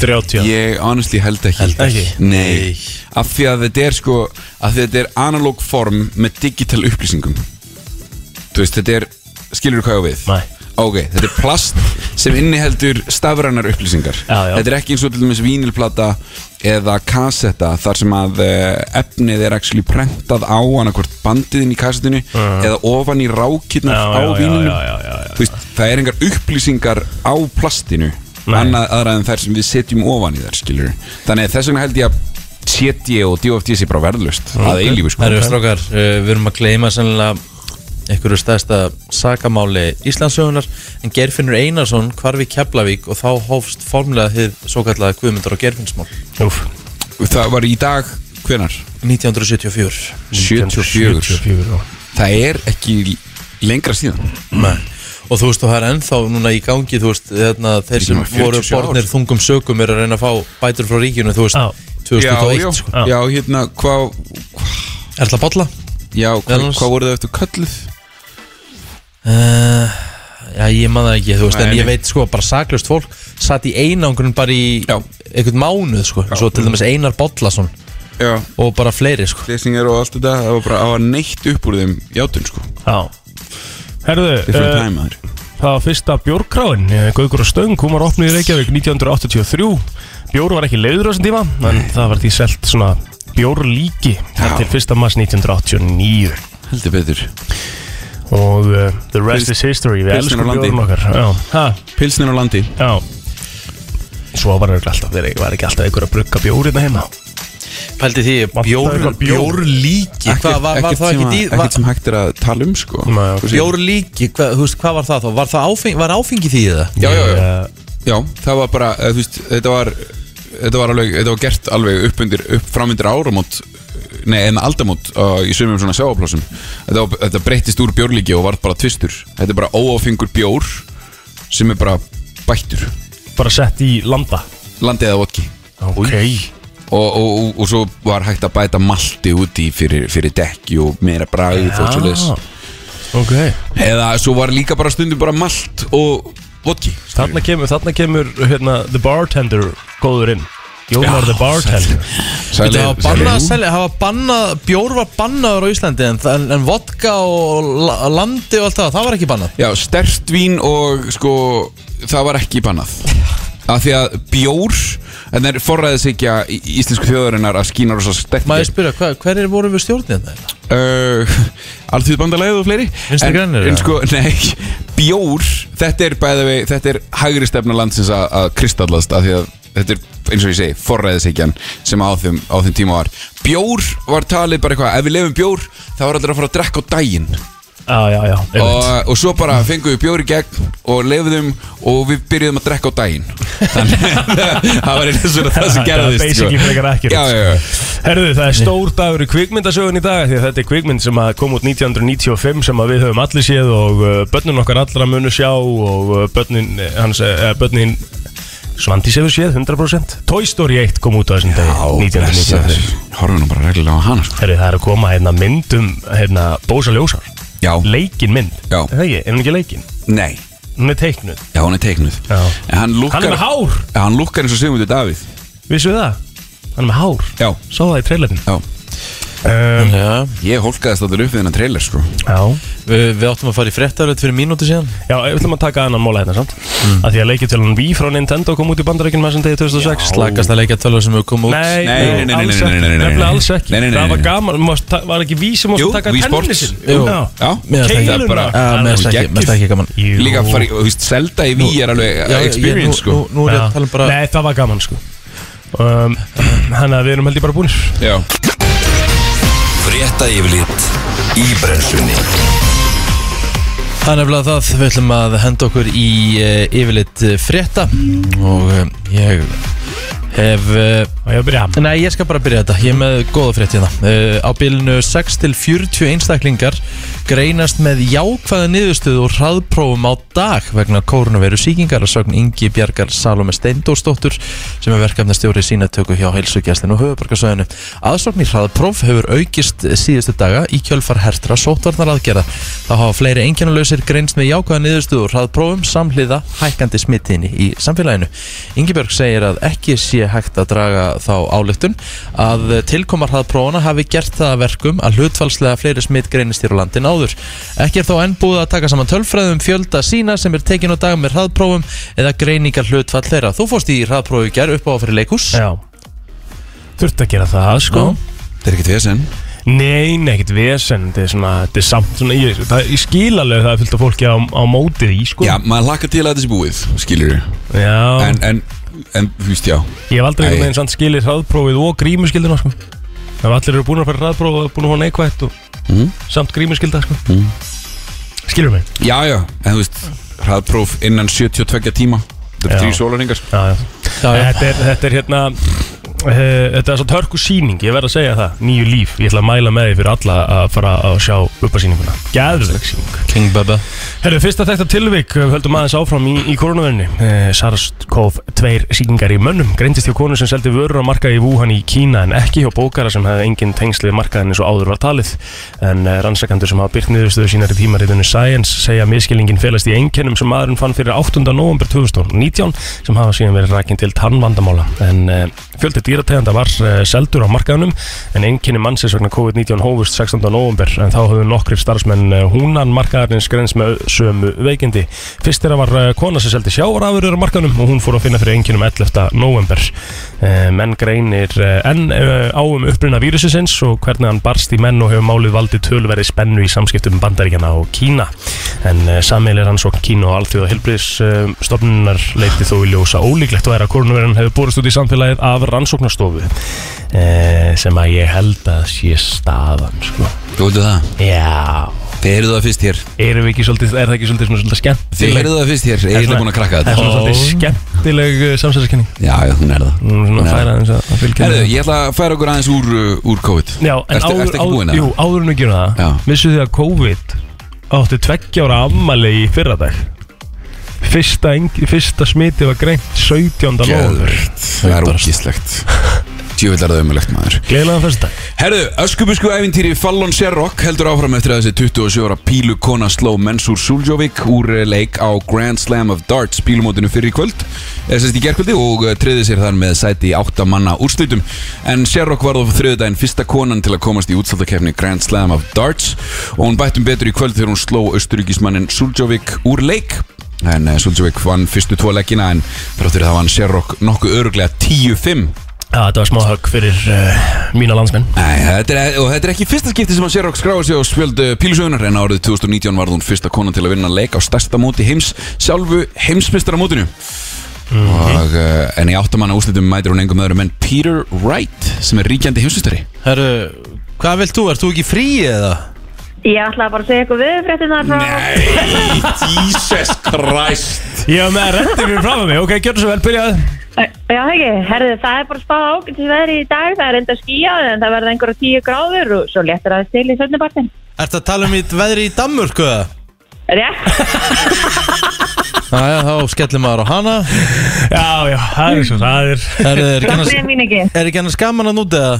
Speaker 4: 30 ára?
Speaker 3: Ég honestly held ekki
Speaker 4: Held ekki.
Speaker 3: Nei Af því að þetta er sko Af því að þetta er analóg form með digital upplýsingum Þú veist, þetta er Skilur þú hvað ég á við?
Speaker 4: Nei.
Speaker 3: Ok, þetta er plast sem inniheldur stafrænar upplýsingar
Speaker 4: Já, já.
Speaker 3: Þetta er ekki eins og til dæmis vínilplata eða kasetta þar sem að eh, efnið er actually prentað á annarkvort bandiðin í kassettinu eða ofan í rákirnar
Speaker 4: Mhm. Já,
Speaker 3: á
Speaker 4: já, já,
Speaker 3: vínilnum
Speaker 4: já, já, já, já.
Speaker 3: Þú veist, það er engar upplýsingar á plastinu
Speaker 4: Nei.
Speaker 3: annað aðra en þær sem við setjum ofan í þær skilur þannig að þess vegna held ég að CT og DOFT sé bara verðlust að eilífu sko
Speaker 2: Það eru strákar, uh, við erum að gleyma sennilega einhverju stæðsta sakamáli Íslandsögunar en Gerfinnur Einarsson hvarf í Keflavík og þá hófst formulega þið svo kallaða Guðmundar og Gerfinnsmál
Speaker 4: Úf,
Speaker 3: það var í dag, hvenar?
Speaker 2: 1974
Speaker 3: 74 það er ekki lengra síðan
Speaker 2: Nei. og þú veist og það er ennþá núna í gangi þú veist þarna þeir
Speaker 3: Líka
Speaker 2: sem
Speaker 3: með 47
Speaker 2: voru borðnir
Speaker 3: ár.
Speaker 2: þungum sökum eru að reyna að fá bætur frá ríkinu þú
Speaker 4: Já.
Speaker 2: veist 2001 sko.
Speaker 3: já, já, hérna, hvað
Speaker 2: Erla Bolla
Speaker 3: já, hva,
Speaker 2: Meðal annars-
Speaker 3: hvað voru þau eftir kölluð?
Speaker 2: Uh, já, ég man það ekki, þú veist,
Speaker 3: Nei,
Speaker 2: en ég
Speaker 3: nei.
Speaker 2: veit sko bara saklaust fólk satt í einangrun bara í
Speaker 3: Já.
Speaker 2: einhvern mánuð, sko, svo til dæmis Einar Bollason
Speaker 3: já,
Speaker 2: og bara fleiri, sko
Speaker 3: lesingar og allt þetta það var bara að hafa neitt upp úr þeim játun sko,
Speaker 4: Já Herðu,
Speaker 3: different
Speaker 4: eh,
Speaker 3: time aður
Speaker 4: Það var fyrsta bjórkráin, Gaugur og Stöng, hún var opnuð í Reykjavík 1983. Bjór var ekki leiður á þessum tíma, en það var því selt svona bjórlíki þar
Speaker 3: Já.
Speaker 4: til fyrsta mass 1989.
Speaker 3: heldur betur,
Speaker 4: Og uh, the rest
Speaker 3: Pils-
Speaker 4: is history, við
Speaker 3: pilsin
Speaker 4: elskum
Speaker 3: á landi.
Speaker 4: bjórn okkar. Já, ha,
Speaker 3: pilsnin á landi
Speaker 4: já. Svo var ekki alltaf, þeir var ekki alltaf einhver að brugga bjór hérna heima.
Speaker 2: Pældi því, bjór,
Speaker 4: eitthvað bjór?
Speaker 2: bjór líki Hvað var, var það
Speaker 3: sem
Speaker 2: ekki
Speaker 3: að-
Speaker 2: dýr?
Speaker 3: ekkert
Speaker 2: Var,
Speaker 3: sem hægt er að tala um sko
Speaker 4: Nei, ok.
Speaker 3: Þú segir-
Speaker 2: bjór líki, hvað, þú veist, hvað var það þá? Var það áfeng, var áfengi því það?
Speaker 3: já, já, já,
Speaker 4: Ég, eh,
Speaker 3: Já, það var bara, eða, þú veist, þetta var Þetta var alveg, þetta var gert alveg upp undir upp framundir áramót Nei, en aldamót uh, í sumum svona sjáaplossum þetta, var- þetta breyttist úr bjórlíki og var bara tvistur Þetta er bara óáfengur bjór sem er bara bættur
Speaker 4: Bara sett í landa
Speaker 3: Landið eða vodki
Speaker 4: Ok
Speaker 3: og, og, og, og svo var hægt að bæta malti úti fyrir, fyrir dekki og meira bragð og svo leis
Speaker 4: Ok
Speaker 3: Eða svo var líka bara stundum bara malt og vodki
Speaker 4: Þarna kemur, þarna kemur hérna, The Bartender góður inn Jónar The Bartender
Speaker 3: Sælir-
Speaker 2: Það var bannað að
Speaker 3: sælir-
Speaker 2: selja, það var bannað, bjór var bannaður á Íslandi en, en, en vodka og la- landi og allt það, það var ekki bannað
Speaker 3: Já, stert vín og sko það var ekki bannað af því að bjór en þeir forræðis ekki að íslensku þjóðarinnar að skína rosa stert
Speaker 2: Má ég spyrja, hva, hverjir voru við stjórnið þetta?
Speaker 3: uh, Alþjóð bandalæðið og fleiri
Speaker 2: Vinstri
Speaker 3: En-
Speaker 2: grænir,
Speaker 3: En
Speaker 2: eða?
Speaker 3: sko, nei, bjór Þetta er bæði við, þetta er hægri stefna landsins að, að kristallast af því að þetta er, eins og ég segi, forræðishyggjan sem á þeim, á þeim tíma var Bjór var talið bara eitthvað, ef við lefum bjór þá var allir að fara að drekka á daginn
Speaker 4: Já, já, já einmitt.
Speaker 3: og, og svo bara fengum við bjór í gegn og lefðum og við byrjuðum að drekka á daginn þannig að það var eins og það sem
Speaker 4: Það er
Speaker 3: gerðist sko.
Speaker 4: basically frekar ekkert.
Speaker 3: já, já, já.
Speaker 4: Herðu, það er stór dagur í kvikmyndasögun í dag Því að þetta er kvikmynd sem að kom út 1995 Sem að við höfum allir séð Og uh, börnun okkar allra munu sjá Og uh, börnin, eh, hans, uh, börnin Svandís hefur séð 100% Toy Story 1 kom út á þessum dag
Speaker 3: blessaður.
Speaker 4: 1995
Speaker 3: horfum nú bara reglulega á hana sko.
Speaker 4: Herðu, það er að koma hérna myndum Hérna, Bósa Ljósar
Speaker 3: já,
Speaker 4: Leikin mynd
Speaker 3: Já.
Speaker 4: Er það ekki, er hún ekki leikin?
Speaker 3: nei,
Speaker 4: Hún er teiknuð
Speaker 3: já hún er teiknuð
Speaker 4: Já.
Speaker 3: en hann
Speaker 4: Hann er
Speaker 3: lukkar
Speaker 4: með hár,
Speaker 3: hann lukkar eins og Sigmundur Davíð
Speaker 4: vissu það? Hann er með hár
Speaker 3: já,
Speaker 4: Sá það í trailerinn
Speaker 3: já
Speaker 4: um,
Speaker 2: Já,
Speaker 3: ég hólkaðist alltaf upp við þennan trailer sko.
Speaker 4: Já
Speaker 2: við, við áttum að fara í fréttaröð fyrir mínúti síðan
Speaker 4: Já, við ætlum að taka annan móla hérna samt mm. Því að leikjartölan Wii frá Nintendo kom út í bandarækjunum þessum degi 2006
Speaker 2: Slagast að leikja tölva sem hefur komið út
Speaker 4: Nei,
Speaker 3: Nei, nei, nei, nei,
Speaker 4: alls
Speaker 3: nei,
Speaker 4: ekki,
Speaker 3: nei, nei, nei, nei.
Speaker 4: nefnilega alls ekki
Speaker 3: Nei, nei, nei,
Speaker 4: Það var
Speaker 3: nei.
Speaker 4: gaman, mást, ta- var ekki Wii sem mást
Speaker 3: Jú,
Speaker 4: taka
Speaker 3: Wii Sports.
Speaker 4: tennisin
Speaker 2: Jú.
Speaker 3: já,
Speaker 2: Mér finnst
Speaker 4: Keiluna.
Speaker 2: ekki- Já, mér finnst ekki- mér finnst ekki gaman
Speaker 4: Jú.
Speaker 3: líka að fara í, þú veist, selda í ví er alveg
Speaker 2: Já, ég-
Speaker 3: experience
Speaker 2: nú-
Speaker 3: sko
Speaker 2: Nú, nú er ég
Speaker 4: Já.
Speaker 2: að tala um bara
Speaker 4: Nei, það var gaman sko um, Þannig að við erum held ég bara búinir
Speaker 3: já
Speaker 1: Frétta yfirlit í brennslunni
Speaker 2: Það er nefnilega það, við ætlum að henda okkur í uh, yfirleitt uh, frétta og uh, ég hef, uh,
Speaker 4: Og ég að byrja
Speaker 2: nei ég skal bara byrja þetta, ég er með góða frétt hérna uh, Á bilinu 6 til 40 einstaklingar greinast með jákvæða niðurstöðu og hraðprófum á dag vegna kórnveru síkingar að sögn Ingi Bjargar Salome Steindórsdóttur sem er verkefnastjóri sínatöku hjá heilsugjastinu og höfubarkasöðinu. Aðsókn í hraðpróf hefur aukist síðustu daga í kjölfar hertra sótvarnar aðgerða. Þá hafa fleiri engjannulösir greinst með jákvæða niðurstöður hraðprófum samhliða hækkandi smittinni í samfélaginu. Ingibjörg segir að ekki sé hægt að draga þá ályktun að tilkomar hraðprófana hafi gert það að verkum að hlutfalslega fleiri smitt greinist hér á landin áður. Ekki er þó enn búið að taka saman tölfræðum fjölda sína sem er tekin á dag með hraðprófum eða greiningar hlutfall þeirra. Þú fórst í hraðprófi í gerð upp á að fyrir leikus.
Speaker 4: Já Þurft að gera það sko
Speaker 2: Já.
Speaker 3: þetta er ekkert vesen
Speaker 4: Nei, nei, ekkert vesen Þetta er svona, þetta er samt svona Ég, það, ég skil alveg að það er fullt af fólki á, á mótið í sko
Speaker 3: já, maður hlakka til að þetta sé búið skilur
Speaker 4: Já.
Speaker 3: en, en, en, þú veist, já
Speaker 4: Ég hef
Speaker 3: Æ.
Speaker 4: aldrei einhvern veginn samt skilir hraðprófið og grímuskildina sko. Ef allir eru búin að fara hraðprófið og búin að fá neikvætt og
Speaker 2: Mm.
Speaker 3: Mhm.
Speaker 4: samt grímuskilda sko. Skilur mig?
Speaker 3: Já, já, en þú veist Hraðpróf innan 72 tíma Þetta
Speaker 4: Já.
Speaker 3: er þrjú sólaringar
Speaker 4: Já, já.
Speaker 2: Já, já.
Speaker 4: Þetta, er, þetta er hérna uh, Þetta er svo törku síning, ég verð að segja það Nýju líf, ég ætla að mæla með því fyrir alla að fara að sjá uppasýninguna Gæðurleg síning
Speaker 2: King Bubba.
Speaker 4: Herru, fyrsta þetta tilvik, við höldum aðeins áfram í, í koronavirni. Eh, SARS-CoV-2 síkingar í mönnum greindist hjá konu sem seldi vörur á markaði í Wuhan í Kína en ekki hjá bókara sem hefði engin tengslið markaðin eins og áður var talið. En eh, rannsakandur sem hafa byrt niðurstöðu sínar í tímaritinu Science segja að miskilningin felast í einkennum sem maðurinn fann fyrir 8. november 2019 sem hafa síðan verið rækinn til tannvandamála. En eh, fjöldi dýrateganda var eh, seldur á markaðunum en einkenni mannsins vegna COVID-19 hófust 16. november en þá höfðu nokkrir starfsmenn eh, húnan markaðarins grens með sömu veikindi. Fyrst þeirra var eh, kona sem seldi sjávarafurur á markaðunum og hún fór að finna fyrir einkennum 11. november. Eh, Menn greinir eh, enn eh, á um uppruna vírusins og hvernig hann barst í menn og hefur málið valdið tölverði spennu í samskiptum bandaríkjana og Kína. En samilir hans og Kína og alþjóða helbriðsstofnunar leiti þó í ljósa ólíklegt og er að koronavirðan hefur borist út í samfélagið af rannsóknastofu eh, sem að ég held að sé staðan sko.
Speaker 3: Þú heldur það?
Speaker 4: Já,
Speaker 3: Þetta Þið heyrðu það fyrst hér
Speaker 4: Erum við ekki svolítið, er það ekki svolítið svona
Speaker 3: Þið
Speaker 4: svolítið skemmtileg
Speaker 3: heyrðu það fyrst hér Ég er búin að krakka
Speaker 4: Það er
Speaker 3: þetta
Speaker 4: svona svolítið skemmtileg samsæðiskenning
Speaker 3: Já, já, hún er það
Speaker 4: Hún er svona
Speaker 3: Já.
Speaker 4: að færa eins að fylgja
Speaker 3: Herðu, ég ætla að færa okkur aðeins úr, uh, úr COVID
Speaker 4: Já, en
Speaker 3: ertu,
Speaker 4: áður,
Speaker 3: ertu ekki búin
Speaker 4: áður,
Speaker 3: að?
Speaker 4: jú, áður en við gerum það
Speaker 3: Já.
Speaker 4: Vissu þið að COVID átti tveggja ára ammali í fyrradag Fyrsta, engi, fyrsta smiti var greint 17. november
Speaker 3: Geðveikt. Það er ógíslegt Tjövill er það umulegt maður
Speaker 4: Gleðilegan fyrstadag
Speaker 3: Herðu, öskubusku æfintýri Fallon Sherrock heldur áfram eftir að þessi 27 ára pílu kona sló Mensur Suljovic úr eh, leik á Grand Slam of Darts pílumótinu fyrir kvöld eða sérst í gerkvöldi og eh, tryði sér þar með sæti í 8 manna úrslutum en Sherrock var á þriðudaginn fyrsta konan til að komast í útsaldakefni Grand Slam of Darts og hún bættum betur í kvöld þegar hún sló austuríkismannin Suljovic úr leik en uh, Suljovic vann fyrstu tvo leikina en þráttur það vann Sherrock nokkuð öruglega 10-5
Speaker 4: Já, þetta var smá högg fyrir uh, mína landsmenn
Speaker 3: Nei, þetta er, og þetta er ekki fyrsta skipti sem að Sherrock skráði sig á spjöld uh, pílusögunar en árið 2019 varð hún fyrsta konan til að vinna leik á stærsta móti heims sjálfu heimsmyndstaramótinu og,
Speaker 4: Mhm.
Speaker 3: uh, en í áttamanna úrslitum mætir hún engum öðrum en Peter Wright sem er ríkjandi heimsmyndstari
Speaker 2: Herru, hvað vilt þú? Ert þú ekki frí eða?
Speaker 5: Ég ætlaði bara að segja eitthvað viðfréttinar frá
Speaker 3: Jesus Christ
Speaker 4: Ég var með rettið fyrir fram að mig, ok, gjörðu svo vel, byrjaði
Speaker 5: Já, ekki, herðu, það er bara spáð ágætis veðri í dag, það er enda skíjað en það verða einhverja tíu gráður og svo léttir aðeins til í sönnibartin.
Speaker 2: Ert að tala um í veðri í Danmörku eða?
Speaker 5: Rétt,
Speaker 2: Jæja, þá skellum maður á hana
Speaker 4: Já, já, það er svo, það er
Speaker 2: Herru, er ekki
Speaker 5: það
Speaker 2: annars,
Speaker 5: er mín ekki.
Speaker 2: er ekki annars gaman að núti eða?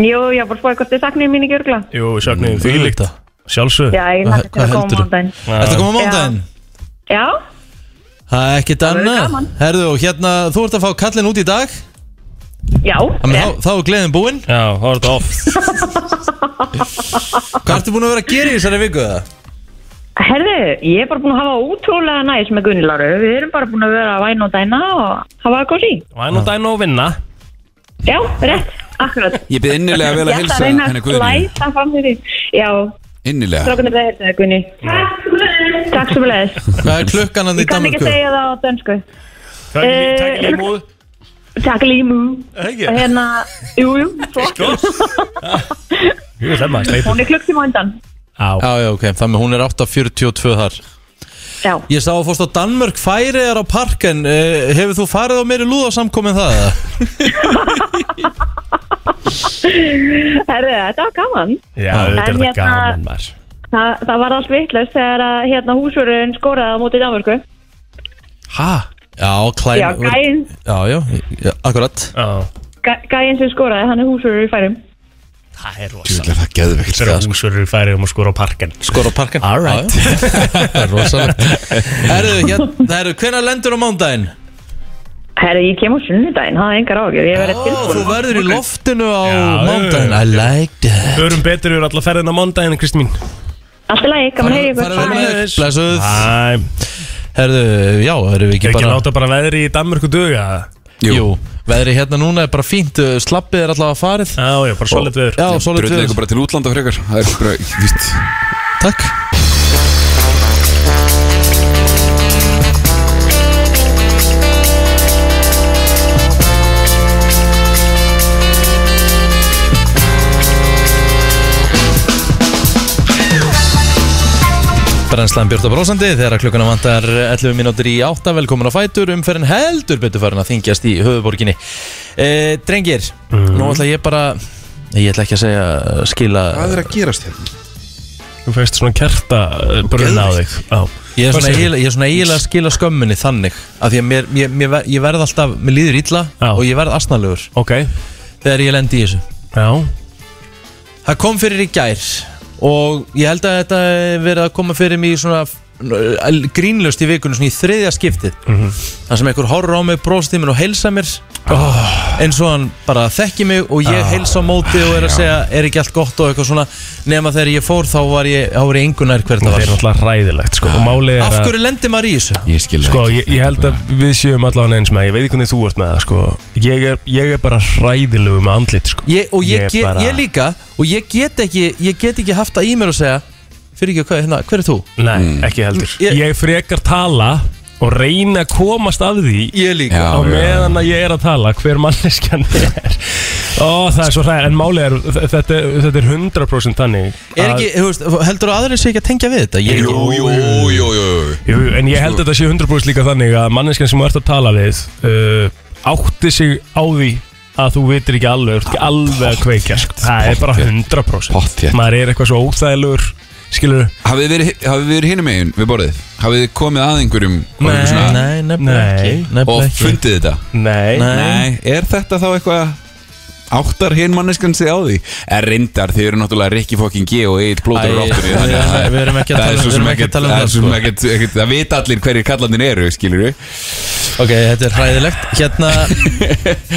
Speaker 5: Jú, ég var bara spáð hvort þið saknið mín ekki örgla.
Speaker 4: Jú, sögnuðum því líkt
Speaker 2: Auðvitað.
Speaker 4: Sjálfsög
Speaker 5: Já, ég
Speaker 2: Hvað-
Speaker 5: lakka til
Speaker 2: hvað heldurðu?
Speaker 5: að koma á þann.
Speaker 2: Ertu að koma á mándaginn?
Speaker 5: Já,
Speaker 2: Það er ekkert
Speaker 5: verður
Speaker 2: annað
Speaker 5: gaman.
Speaker 2: Herðu, og hérna, þú ert að fá kallin út í dag
Speaker 5: já,
Speaker 2: Þannig,
Speaker 5: rétt.
Speaker 2: þá, þá er gleðin búinn
Speaker 4: Já, þá er þetta off
Speaker 2: Hvað ertu búin að vera að gera í þessari viku það?
Speaker 5: Eh, Herðu, ég er bara búin að hafa ótrúlega næs með Gunni Láru. Við erum bara búin að vera að væna og dæna og hafa það góð sí.
Speaker 4: Og enn og dæn og vinna
Speaker 5: Já, rétt, akkurat.
Speaker 3: Ég byrði innilega vel
Speaker 5: Ég
Speaker 3: að
Speaker 5: ætla
Speaker 3: hilsa
Speaker 5: að reyna
Speaker 3: henni
Speaker 5: að
Speaker 3: Guðni
Speaker 5: slæta fram fyrir. Já,
Speaker 3: Innilega
Speaker 5: strákunni bæði hérna, Gunni. Takk svo fyrir þess.
Speaker 2: Hvað er klukkan hann í
Speaker 5: Ég kann ekki
Speaker 2: Danmörku?
Speaker 5: segja það á dönsku.
Speaker 4: Takk
Speaker 5: Eh,
Speaker 4: í límúð
Speaker 5: Takk límu. Og hérna, jú, jú, flott.
Speaker 4: sko. Jú, það er maður sleitur
Speaker 5: Hún er klukk til mándan.
Speaker 4: Já,
Speaker 2: Já, já, ok, þannig að hún er 8.42 þar
Speaker 5: Já.
Speaker 2: Ég sá að fórst á Danmörk færiðar á parken uh, Hefur þú farið á meiri lúðarsamkomin það? eða?
Speaker 5: Herðu, þetta var gaman.
Speaker 4: já þetta er
Speaker 5: En
Speaker 4: þetta
Speaker 5: hérna-
Speaker 4: gaman maður
Speaker 5: Þa, það var allt vittlust þegar að hérna húsvörun skoraði á móti Danmarku.
Speaker 4: Hæ?
Speaker 2: Já, klæn
Speaker 5: Já, gæinn
Speaker 2: Já, já, já, akkurat
Speaker 4: Já
Speaker 5: gæ- gæinn sem skoraði, hann er húsvörur í færum.
Speaker 4: Það er rosa
Speaker 3: Tjövill er það geðveikt
Speaker 4: Þegar húsverður færi um að skora á parken
Speaker 2: Skor á parken
Speaker 4: All right.
Speaker 2: Já, já. Það er rosalegt Herru, hérna, herru, hvenær lendur á mándaginn?
Speaker 5: Herðu, ég kem á sunnudaginn, það er engar ágjör. Ég verði
Speaker 2: Ó,
Speaker 5: tilbúin.
Speaker 2: þú verður í loftinu á
Speaker 4: Já,
Speaker 2: mándaginn I like that
Speaker 4: Örum betur yfir alla ferðina á mándaginn, Kristín mín
Speaker 5: Allt í lagi, gaman heyri
Speaker 2: Farðu-
Speaker 5: ykkur.
Speaker 2: farðu
Speaker 5: Bye.
Speaker 2: vel,
Speaker 4: Bye.
Speaker 2: Blessuð
Speaker 4: Æ,
Speaker 2: Herru, já, erum við
Speaker 4: ég
Speaker 2: ekki
Speaker 4: ekki
Speaker 2: bara
Speaker 4: láta bara veðri í Danmörku duga
Speaker 2: Jú, veðri hérna núna er bara fínt uh, Slappið er allavega farið
Speaker 4: Já, já, bara solid veður
Speaker 2: Já, svolítið
Speaker 3: Dröðlega ykkur bara til útlanda frekar Það er bara, víst
Speaker 2: Takk Brennslan Björta Brósandi þegar að klukkuna vantar 11 mínútur í 8 velkomin á Fætur umferðin heldur betur farin að þingjast í höfuborginni e, Drengir, nú ætla ég bara ég ætla ekki að segja uh, skila
Speaker 3: er að gerast hérna?
Speaker 4: Þú feist svona kerta uh, brunna á þig Já
Speaker 2: Ég er
Speaker 4: Hvað
Speaker 2: svona
Speaker 4: segirðu?
Speaker 2: eiginlega- ég er svona eiginlega að skila skömminni þannig af því að mér, mér, mér, ver- ég verð alltaf mér líður illa
Speaker 4: Já.
Speaker 2: og ég verð asnalegur
Speaker 4: Ok,
Speaker 2: þegar ég lendi í þessu
Speaker 4: já
Speaker 2: Það kom fyrir í gær og ég held að þetta hafi verið að koma fyrir mig í svona uh, grínlaust í vikunum svona í þriðja skiptið
Speaker 4: Mhm.
Speaker 2: þar sem einhver horfir á mig brosið mér og heilsa mér
Speaker 4: Ah.
Speaker 2: eins og hann bara þekki mig og ég heilsa á móti og er að segja er ekki allt gott og eitthvað svona nema þegar ég fór þá var ég, þá var ég engunar hvernig
Speaker 4: Það
Speaker 2: það
Speaker 4: er
Speaker 2: var
Speaker 4: náttúrulega ræðilegt, sko Og málið
Speaker 2: Af
Speaker 4: er að
Speaker 2: hverju lendi maður í þessu?
Speaker 3: Ég skil það
Speaker 4: Sko,
Speaker 3: ekki.
Speaker 4: ég, ég held að við séum allavega eins með það. Ég veit ekki hvernig þú ert með það, sko Ég er, ég er bara hræðilegu með andlit, sko
Speaker 2: ég, og ég,
Speaker 4: Ég
Speaker 2: get,
Speaker 4: bara-
Speaker 2: ég líka og ég get ekki, ég get ekki haft það í mér og segja fyrir ekki, hvað, hérna, hver er þú?
Speaker 4: Nei,
Speaker 3: Mm.
Speaker 4: ekki heldur
Speaker 2: Ég-
Speaker 4: ég, frekar tala og reyna að komast að því
Speaker 2: Ég líka
Speaker 3: Já.
Speaker 4: á meðan að ég er að tala hver manneskjan er Ó, það er svo hræðar, en málið er þetta, þetta er 100% þannig
Speaker 2: Er
Speaker 4: að-
Speaker 2: ekki, þú veist, heldur þú aðrið sé ekki að tengja við þetta? Ég er
Speaker 3: Jú,
Speaker 2: ekki-
Speaker 3: jú, jú, jú, jú.
Speaker 4: Jú, jú, en ég held að þetta sé 100% líka þannig að manneskjan sem þú ert að tala við uh, átti sig á því að þú vitir ekki alveg, þú ert ekki alveg að kveikja sko. það er bara 100%
Speaker 3: Pottþétt.
Speaker 4: maður er eitthvað svo óþægilegur skilur,
Speaker 3: Hafið þið verið, hafið þið verið hinum megin við borðið? Hafið þið komið að einhverjum og
Speaker 4: Nei.
Speaker 3: einhverjum svona-
Speaker 2: Nei, nefnilega
Speaker 4: Nei.
Speaker 2: ekki nefnilega
Speaker 3: og
Speaker 2: ekki.
Speaker 3: fundið þetta?
Speaker 4: nei,
Speaker 2: Nei.
Speaker 3: Nei, er þetta þá eitthvað áttar hinn manneskan sig á því? Er reyndar, þið eru náttúrulega Rikki fokkin G og Egil
Speaker 2: Æ,
Speaker 3: Plótur og Ráttur
Speaker 2: við erum- við erum ekki að tala- við erum ekki að tala um
Speaker 3: það
Speaker 2: það,
Speaker 3: er svo sem
Speaker 2: sko. Mm.
Speaker 3: ekkert- ekkert- Það vita allir hverjir kallandin eru, skilur við
Speaker 2: Ok, þetta er hræðilegt Hérna,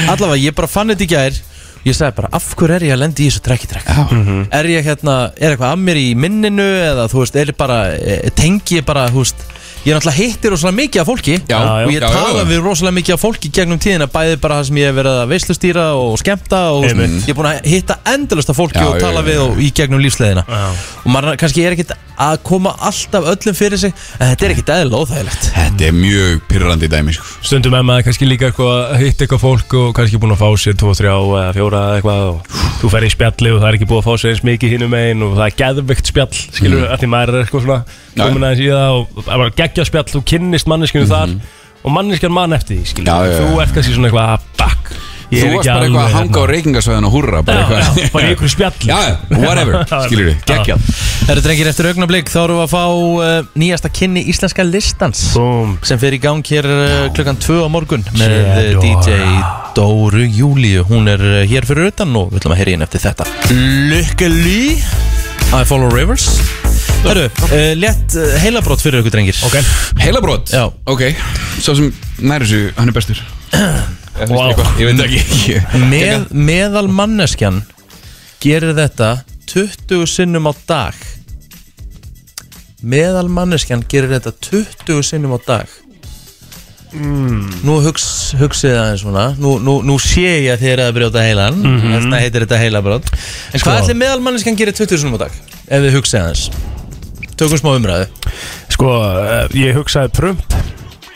Speaker 2: allavega, ég bara fann þetta í gær Ég sagði bara, af hverju er ég að lendi í þessu trekki-trekk?
Speaker 3: Mhm.
Speaker 2: Er ég hérna, er eitthvað að mér í minninu Eða, þú veist, er ég bara, eh, tengi ég bara, þú veist Ég náttúrulega hittir rosalega mikið af fólki
Speaker 3: Já,
Speaker 2: Og ég
Speaker 3: já, já,
Speaker 2: tala
Speaker 3: já.
Speaker 2: við rosalega mikið af fólki gegnum tíðina Bæði bara það sem ég hef verið að veislustýra og skemmta Og þú veist,
Speaker 4: Einmitt.
Speaker 2: ég er búin að hitta endalust af fólki
Speaker 3: Já,
Speaker 2: og
Speaker 3: já,
Speaker 2: tala
Speaker 3: já,
Speaker 2: við
Speaker 3: já.
Speaker 2: og í gegnum lífsleðina
Speaker 4: Já.
Speaker 2: Og maður kannski er ekkit að koma alltaf öllum fyrir sig En þetta er ekkit eðlilega óþægilegt
Speaker 3: Þetta er mjög pyrrandi dæmi, sko
Speaker 4: stundum er maður kannski líka eitthvað að hitta eitthvað fólk og kannski búin að fá sér 2, 3 eða 4 eða eitthvað og þú fer í spjalli og það er ekki búið að fá sér eins mikið hinum megin og það er geðveikt spjall skilur mm. því maður er eitthvað svona
Speaker 3: Já.
Speaker 4: komin aðeins í það og það er bara geggja spjall þú kynnist manneskinu þar og manneskjan mann eftir því skilur
Speaker 3: Mhm. Já, já, já.
Speaker 4: þú ert kannski svona eitthvað "Ah, að bakk
Speaker 3: Þú varst bara eitthvað að
Speaker 2: hérna.
Speaker 3: hanga á reykingasvæðan og hurra bara
Speaker 4: hérna." Já,
Speaker 3: eitthvað-
Speaker 4: já, bara í einhverju spjalli.
Speaker 3: Já, já, whatever, skilur við, geggjað
Speaker 2: Herru drengir, eftir augnablík þá erum við að fá uh, nýjasta kynni íslenska listans
Speaker 4: Búm.
Speaker 2: sem fer í gang hér uh, klukkan 2 á morgun með
Speaker 4: Yeah,
Speaker 2: uh, DJ
Speaker 4: Dóra.
Speaker 2: Dóru Júlíu hún er uh, hér fyrir utan og við ætlum að heyra inn eftir þetta Luckily I Follow Rivers Herru, uh, létt uh, heilabrótt fyrir ykkur drengir
Speaker 4: Ok,
Speaker 3: Heilabrót?
Speaker 2: Já.
Speaker 3: Ok, sá sem nærið þessu, hann er bestur Eða,
Speaker 4: Vá.
Speaker 3: veistu eitthvað? Ég veit ekki ég-
Speaker 2: með, meðal manneskjan gerir þetta 20 sinnum á dag meðal manneskjan gerir þetta 20 sinnum á dag nú hugs, hugsið aðeins svona nú, nú, nú sé ég að þið er að brjóta heilan mm þetta heitir þetta heilabrót en hvað ætli meðal manneskjan gerir 20 sinnum á dag ef þið hugsið aðeins tökum smá umræðu
Speaker 4: sko, eh, ég hugsaði prump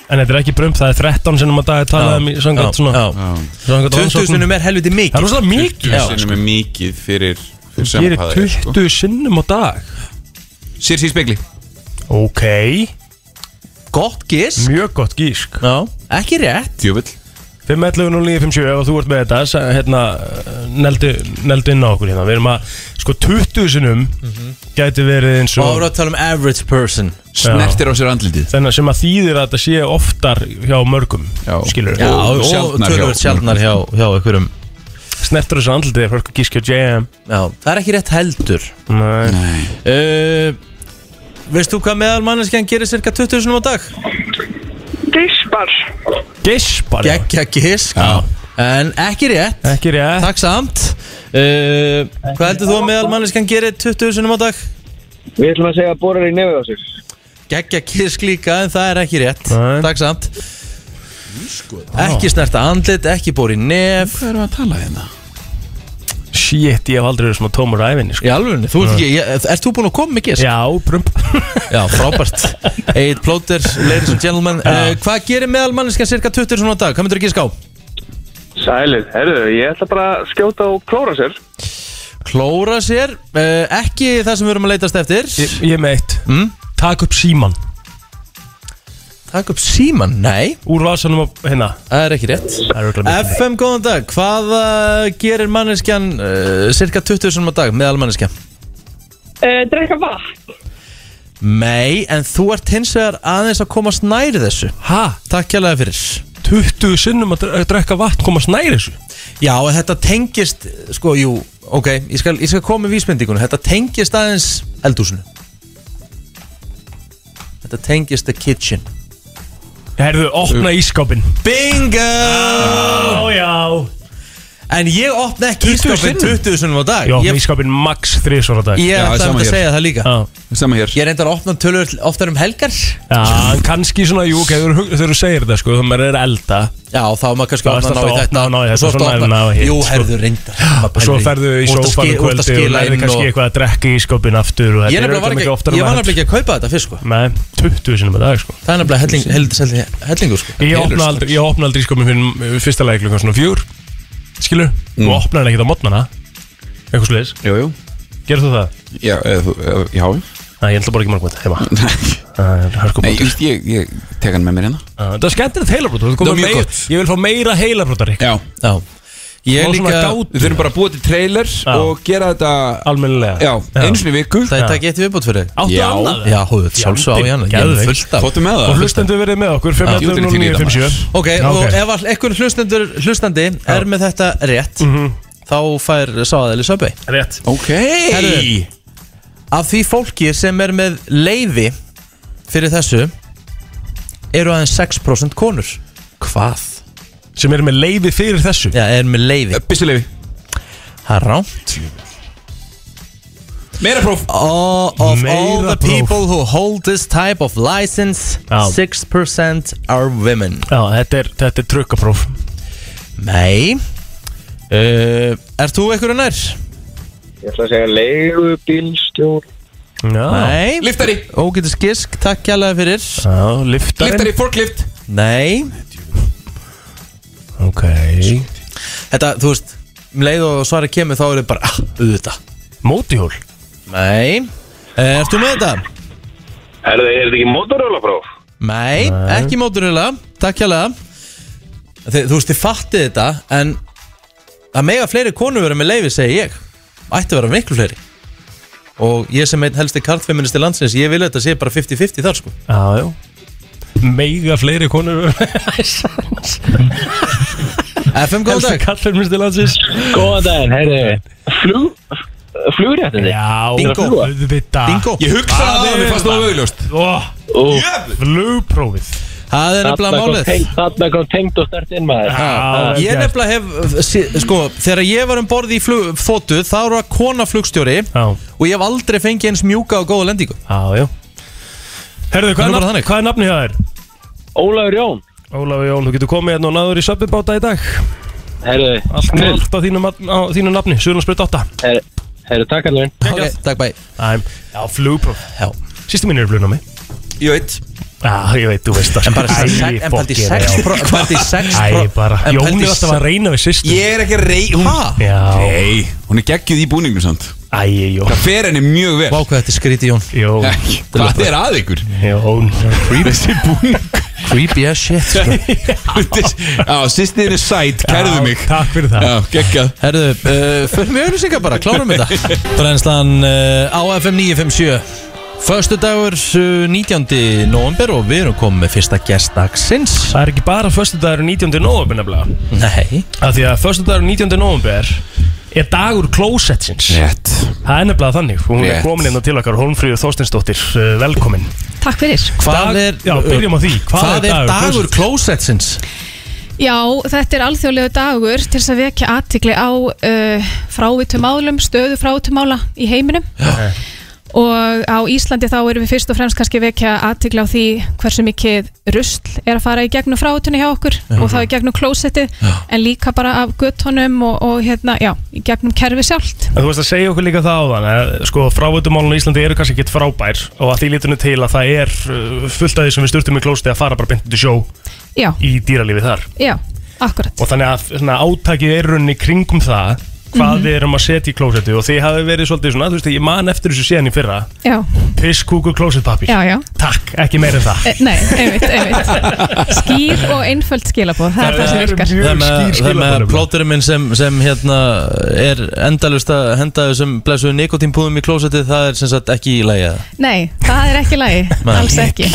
Speaker 4: En þetta er ekki prump, það er 13 sinnum að dagi
Speaker 2: Já,
Speaker 4: talað um í
Speaker 2: já,
Speaker 4: samkvæmt svona
Speaker 2: já.
Speaker 4: samkvæmt
Speaker 2: 20
Speaker 4: rannsóknum.
Speaker 2: sinnum er helviti
Speaker 4: Það er
Speaker 2: mikið
Speaker 4: rosalega mikið
Speaker 3: 20 sinnum er mikið fyrir fyrir
Speaker 4: Ég
Speaker 3: sama
Speaker 4: er
Speaker 3: hvað það er, sko.
Speaker 4: 20 sinnum á dag
Speaker 3: Sér sér í spegli
Speaker 4: Ok,
Speaker 2: gott gís
Speaker 4: mjög gott gísk
Speaker 2: Já, ekki rétt
Speaker 3: Djöfull
Speaker 4: 5.11.09.57 ef þú ert með þetta sa- hérna, neldu, neldu inn á okkur hérna Við erum að, sko 20 sinnum gæti verið eins
Speaker 2: og við erum
Speaker 4: og
Speaker 2: að tala um average person
Speaker 3: Snertir á sér andlitið
Speaker 4: Þannig sem að þýðir að þetta sé oftar hjá mörgum
Speaker 3: Já.
Speaker 4: Skilur
Speaker 2: Já,
Speaker 3: Og
Speaker 2: og
Speaker 3: sjaldnar
Speaker 2: tölvöld
Speaker 3: hjá-
Speaker 2: sjaldnar hjá, hjá einhverjum
Speaker 4: Snertur þessu andlitið fyrir okkur gískja JM
Speaker 2: Já, það er ekki rétt heldur
Speaker 4: Nei.
Speaker 2: uh, Veist þú hvað meðal manneskjan gerir cirka 20 sinum á dag?
Speaker 6: Geispar.
Speaker 4: Geispar já.
Speaker 2: Gekkja gisk En ekki rétt,
Speaker 4: Ekki rétt
Speaker 2: takk samt uh, Hvað heldur þú að meðal manneskjan gerir 20 sinum á dag?
Speaker 6: Við ætlum að segja að borar í nefið á sér.
Speaker 2: Gekkja gisk líka en það er ekki rétt
Speaker 4: Nei.
Speaker 2: Takk samt Ekki snerta andlit, ekki bóri nef
Speaker 3: Hvað erum við að tala hérna?
Speaker 4: Shit, ég hef aldrei verið svona tómur á æfinni sko.
Speaker 2: Í alvörunni, þú ert ekki, ég- ert þú búin að koma með gisk?
Speaker 4: Já, prump
Speaker 2: Já, frábært Eitt plóter, ladies and gentlemen uh, Hvað gerir meðal manneskja cirka 20 svona á dag? Hvað myndur þú gíska á?
Speaker 6: Sælir, herru, ég ætla bara að skjóta og klóra sér.
Speaker 2: Klóra sér, uh, ekki það sem við erum að leitast eftir
Speaker 4: Ég, ég er með eitt
Speaker 2: Mm?
Speaker 4: Takk upp síman
Speaker 2: Takk upp síman, nei,
Speaker 4: Úr vasanum og hérna
Speaker 2: það er ekki rétt
Speaker 4: Það er örugglega mikið.
Speaker 2: FM, góðan dag, hvað uh, gerir manneskjan uh, cirka 20 svona á dag meðal manneskja?
Speaker 5: Uh, drekka vatn.
Speaker 2: Nei, en þú ert hins vegar aðeins að komast nær þessu
Speaker 4: Ha?
Speaker 2: Takk kjærlega fyrir
Speaker 4: 20 sinnum að dre- að drekka vatn komast nær þessu
Speaker 2: Já, en þetta tengist, sko, jú, ok, ég skal, ég skal koma með vísmyndingunum Þetta tengist aðeins eldúsinu Þetta tengist the kitchen
Speaker 4: Herðu, opna ískápin
Speaker 2: Bingo!
Speaker 4: Ó já
Speaker 2: En ég opna ekki
Speaker 4: 20
Speaker 2: ískapin
Speaker 4: sinnum?
Speaker 2: 20 sinnum á dag
Speaker 4: Ég opna
Speaker 2: Ég,
Speaker 4: ískápin max 3 svona dag
Speaker 2: ég
Speaker 3: Já,
Speaker 2: ætla
Speaker 3: sama
Speaker 2: að
Speaker 3: hér.
Speaker 2: segja það líka
Speaker 4: Já,
Speaker 3: Sama hér
Speaker 2: Ég reyndar að opna tölur oftar um helgar Já,
Speaker 4: Já, en kannski svona, jú, ok, þegar þú- þegar þú segir þetta sko, þegar maður er að elda
Speaker 2: þá er maður kannski
Speaker 4: Þá
Speaker 2: að
Speaker 4: ertu
Speaker 2: opna
Speaker 4: alltaf
Speaker 2: ná í
Speaker 4: að opna
Speaker 2: þetta
Speaker 4: og ná í
Speaker 2: og svo ertu að opna Jú,
Speaker 4: þetta, svona er ná í hitt, sko.
Speaker 2: herðu reyndar
Speaker 4: og svo ferðu í sófann um kvöldi og lærið kannski
Speaker 2: eitthvað
Speaker 4: eitthvað að drekka í ískápin aftur og
Speaker 2: Ég
Speaker 4: þetta
Speaker 2: nefnilega var
Speaker 4: örugglega
Speaker 2: ekki,
Speaker 4: oftar en
Speaker 2: ég var
Speaker 4: maður
Speaker 2: nefnilega ekki að kaupa þetta fyrst sko
Speaker 4: heldur. Nei, 20 sinnum að dag sko
Speaker 2: Það er nefnilega helling- heldur- heldur- hellingur sko
Speaker 4: sko, eh, Ég opna aldrei, ég opna aldrei ískápin fyrir fyrsta leik klukkan svona fjör skilur Þú
Speaker 2: Mm.
Speaker 4: opnar hann ekkert á modnana Eitthvað sliðis,
Speaker 3: Jú, jú
Speaker 4: gerðu þú það?
Speaker 3: Já, eða þú, eða- já
Speaker 4: Nei, ég ætla bara ekki margmönd heima Það er
Speaker 3: Nei,
Speaker 4: hörkubótt
Speaker 3: ég, ég, ég tek hann með mér hérna
Speaker 4: Það er skemmtilegt heilabrót þú ert
Speaker 3: Það
Speaker 4: komin
Speaker 3: er mjög
Speaker 4: meira-
Speaker 3: gott.
Speaker 4: Ég vil fá meira heilabrótar
Speaker 3: Já
Speaker 2: Já Ég
Speaker 4: Má svona
Speaker 2: líka
Speaker 4: gát-
Speaker 3: Við þurfum bara að búa til trailer og gera þetta
Speaker 4: Almennilega
Speaker 3: Já, einu sinni í viku
Speaker 2: Það er takk eitt viðbútt fyrir þig.
Speaker 4: Áttu
Speaker 3: Já.
Speaker 4: annað?
Speaker 2: Já, hóðu, sjálfsög á hérna, ég hann Ég er með fullt af
Speaker 3: Fóttu með
Speaker 4: Og
Speaker 3: það
Speaker 4: hlustendur verið með okkur 5.09.57
Speaker 2: Ok,
Speaker 4: Já,
Speaker 2: og
Speaker 4: ok.
Speaker 2: ef all- einhver hlustendur hlustandi er með þetta rétt
Speaker 4: Mhm.
Speaker 2: þá fær sáðaðili söpvei
Speaker 4: Rétt
Speaker 3: Ok
Speaker 2: Herðu. Af því fólki sem er með leiði fyrir þessu eru aðeins 6% konur Hvað?
Speaker 4: Sem eru með leiði fyrir þessu
Speaker 2: Já, er með leiði
Speaker 3: Bissulefi
Speaker 2: Það er rá
Speaker 3: Meira próf
Speaker 2: All of all
Speaker 4: Meira
Speaker 2: the
Speaker 4: próf.
Speaker 2: people who hold this type of license
Speaker 4: Já.
Speaker 2: 6% are women
Speaker 4: Já, þetta er, þetta er trukkapróf
Speaker 2: Nei uh, Er þú einhverju nær?
Speaker 6: Ég ætla að segja leigubílstjór
Speaker 4: Já,
Speaker 2: Nei
Speaker 3: Liftari
Speaker 2: Ógetis gisk, takk kjærlega fyrir
Speaker 4: já liftarinn
Speaker 3: Liftari, forklift
Speaker 2: Nei
Speaker 4: Ok
Speaker 2: Þetta, þú veist um leið og svarið kemur þá er þið bara ah, auðvitað
Speaker 4: Mótihjól
Speaker 2: Nei uh, Ertu með þetta?
Speaker 6: Herðu, er þetta ekki motorölapróf?
Speaker 2: Nei, ekki móturhjóla Takk hjálega Þi, Þú veist, þið fattið þetta En að mega fleiri konur vera með leifi, segi ég Ætti að vera miklu fleiri Og ég sem einn helsti karlfeministi landsins Ég vil að þetta sé bara 50-50 þar sko
Speaker 4: Já, já Mega fleiri konur
Speaker 2: FM, góðan
Speaker 4: Helstu
Speaker 2: dag
Speaker 4: kallar minnst til landsins
Speaker 7: Góðan daginn, heyrðu Flug, flugréttindi
Speaker 4: Já,
Speaker 2: Bingo.
Speaker 4: auðvitað
Speaker 2: Bingo
Speaker 3: Ég hugsaði að
Speaker 4: Það
Speaker 3: það
Speaker 4: er
Speaker 3: Mér fannst það
Speaker 4: það.
Speaker 3: auðljóst
Speaker 4: Ó, Flugprófið
Speaker 2: Það er nefnilega málið
Speaker 7: Þarna kom tengd og stert inn maður
Speaker 4: Já,
Speaker 2: Ég
Speaker 4: vel gert.
Speaker 2: nefnilega hef, uh, sé- sko, þegar ég var um borði í flug, þóttu, þá var það kona flugstjóri
Speaker 4: Já,
Speaker 2: og ég hef aldrei fengið eins mjúka og góða lendingu.
Speaker 4: já, já Herðu,
Speaker 2: Það er bara
Speaker 4: hvað er, nafn,
Speaker 2: þannig.
Speaker 4: hvað er nafni hjá þér?
Speaker 7: Ólafur Jón,
Speaker 4: Ólafi Jón, þú getur komið hérna og náður í söpibáta í dag
Speaker 7: heyrðu
Speaker 4: Allt,
Speaker 7: Snill,
Speaker 4: allt á, þínu, mat- á þínu nafni, Sjöðurlandsbreyt 8
Speaker 7: heyrðu, heyrðu, takk alveg
Speaker 2: Ok, takk bæ.
Speaker 4: Æ, Já, flugpróf
Speaker 2: Já.
Speaker 4: Sýstu mín eru flugnámi
Speaker 3: Ég veit
Speaker 4: Já, ég veit, þú veist það
Speaker 2: En bara
Speaker 4: Æ,
Speaker 2: sex- en pældi í
Speaker 4: fokkin,
Speaker 2: sex
Speaker 4: já.
Speaker 2: pro- en pældi í sex pro-
Speaker 4: Æ, bara
Speaker 2: en
Speaker 4: Jón
Speaker 2: pældi í
Speaker 4: er alltaf
Speaker 2: sex-
Speaker 4: að reyna við sýstu
Speaker 3: Ég er ekki að rey hún...
Speaker 2: Ha?
Speaker 4: Já,
Speaker 3: Nei, hún er geggjuð í búningum samt
Speaker 4: æ, Jón
Speaker 3: Það fer henni mjög vel
Speaker 2: Vá hvað þetta er skrítið Jón
Speaker 4: Jón,
Speaker 3: Ekki, Hvað er að ykkur?
Speaker 4: Jón
Speaker 3: Þessi búning
Speaker 2: Creepy as shit sko.
Speaker 3: Já, sýstiðin er sæt, kærðu
Speaker 4: Já,
Speaker 3: mig
Speaker 4: Takk fyrir það
Speaker 3: Já, geggjað
Speaker 2: Herðu, uh, fyrir mig auðvisingar bara, klárum þetta Brennslan uh, á FM 957 Föstu dagur uh, 19. november og við erum komið með fyrsta gestdagsins
Speaker 4: Það er ekki bara föstudagur 19. november nefnilega
Speaker 2: Nei
Speaker 4: Af því að föstudagur 19. november er dagur klósetsins
Speaker 3: Rétt
Speaker 4: Það er nefnilega þannig Hún
Speaker 3: Rétt.
Speaker 4: er komin inn til okkar Holmfríður Þorstinsdóttir uh, Velkomin
Speaker 8: Takk fyrir.
Speaker 2: Hvað er,
Speaker 4: Já, byrjum á því
Speaker 2: hvað er dagur
Speaker 4: klósetsins?
Speaker 2: klósetsins?
Speaker 8: Já, þetta er alþjóðlegu dagur til þess að vekja aðtikli á uh, frávítumálam, stöðu frávitumála í heiminum.
Speaker 4: Já.
Speaker 8: Og á Íslandi þá erum við fyrst og fremst kannski að vekja aðtikli á því hversu mikið rusl er að fara í gegnum frávítunni hjá okkur og þá í gegnum klósettið, en líka bara af göttunum og, og hérna, já, í gegnum kerfi sjálft.
Speaker 4: En þú veist að segja okkur líka það áðan að sko frávöldumálun í Íslandi eru kannski ekkit frábær og að því lítunum til að það er uh, fullt af því sem við styrtum í klósti að fara bara beint til sjó
Speaker 8: Já,
Speaker 4: í dýralífi þar
Speaker 8: já, akkurat.
Speaker 4: og þannig að svona, átakið er runni kringum það hvað
Speaker 8: Mhm.
Speaker 4: við erum að setja í klósetu og þið hafi verið svolítið svona, þú veist, ég man eftir þessu síðan í fyrra
Speaker 8: Já,
Speaker 4: pisskúkur klósetpapir
Speaker 8: já, já.
Speaker 4: Takk, ekki meira en það
Speaker 8: E, nei, einmitt, einmitt. Skýr og einföld skilabóð, það er það sem virkar.
Speaker 4: mjög
Speaker 2: Það er með,
Speaker 4: skýr
Speaker 2: það er með
Speaker 4: skilaboð.
Speaker 2: plóturinn minn sem, sem hérna er endalust að henda þessum blessuðu nikotínpúðum í klósetið það er sem sagt ekki í lægja
Speaker 8: Nei, það er ekki lægi,
Speaker 2: Nei.
Speaker 8: alls ekki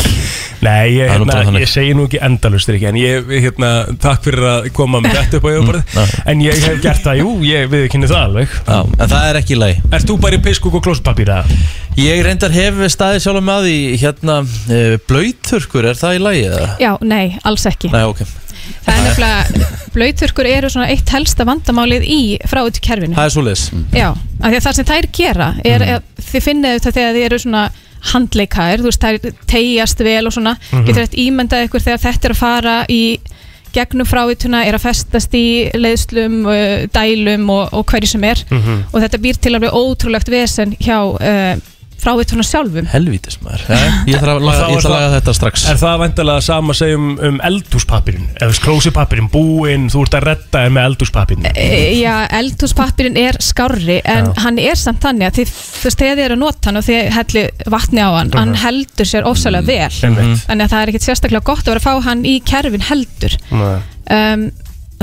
Speaker 4: Nei, ég,
Speaker 2: Það er nú bara
Speaker 4: hérna,
Speaker 2: þannig.
Speaker 4: ég segi nú ekki endalust ekki, en ég, hérna, takk fyrir að koma með þetta upp á yfirborðið
Speaker 2: Mm,
Speaker 4: en ég hef gert það, jú, ég viðkynni það alveg
Speaker 2: Já, en það er ekki í lægi
Speaker 4: Ert þú bara í pisskúk og klósetpapir að?
Speaker 2: Ég reyndar hef staðið sjálf með því hérna uh, blöyturkur, er það í lægi eða?
Speaker 8: Já, nei, alls ekki
Speaker 2: Nei, ok.
Speaker 8: Það er nefnilega, blöyturkur eru svona eitt helsta vandamálið í fráveitu kerfinu
Speaker 2: Það er Mhm. svoleiðis.
Speaker 8: Já, af því að það sem þær gera er að þið finnið þetta þegar þið eru svona handleikaðir, þú veist, þær tegjast vel og svona,
Speaker 2: Mhm.
Speaker 8: getur þetta ímyndað ykkur þegar þetta er að fara í gegnum frávituna, er að festast í leiðslum, uh,
Speaker 2: Mhm.
Speaker 8: dælum og, og hverju sem er og þetta býr til alveg ótrúlegt vesen hjá uh, frávituna sjálfum
Speaker 2: Helvítis maður ja, Ég þarf að laga,
Speaker 4: þá
Speaker 2: ég
Speaker 4: er
Speaker 2: ætla að laga
Speaker 4: það-
Speaker 2: þetta strax
Speaker 4: Er það vantilega sama að segja um, um eldúspapirinn? Ef sklósipapirinn, búinn, þú ert að redda þér með eldúspapirinn
Speaker 8: E, Já, eldhúspappirinn er skárri en hann er samt þannig að þið, þú veist, þegar þið eru að nota hann og þið helli vatni á hann, hann heldur sér ofsalega vel
Speaker 4: Mhm.
Speaker 2: Mm.
Speaker 4: Einmitt.
Speaker 8: þannig að það er ekkit sérstaklega gott að vera að fá hann í kerfin heldur
Speaker 4: Nei.
Speaker 8: um,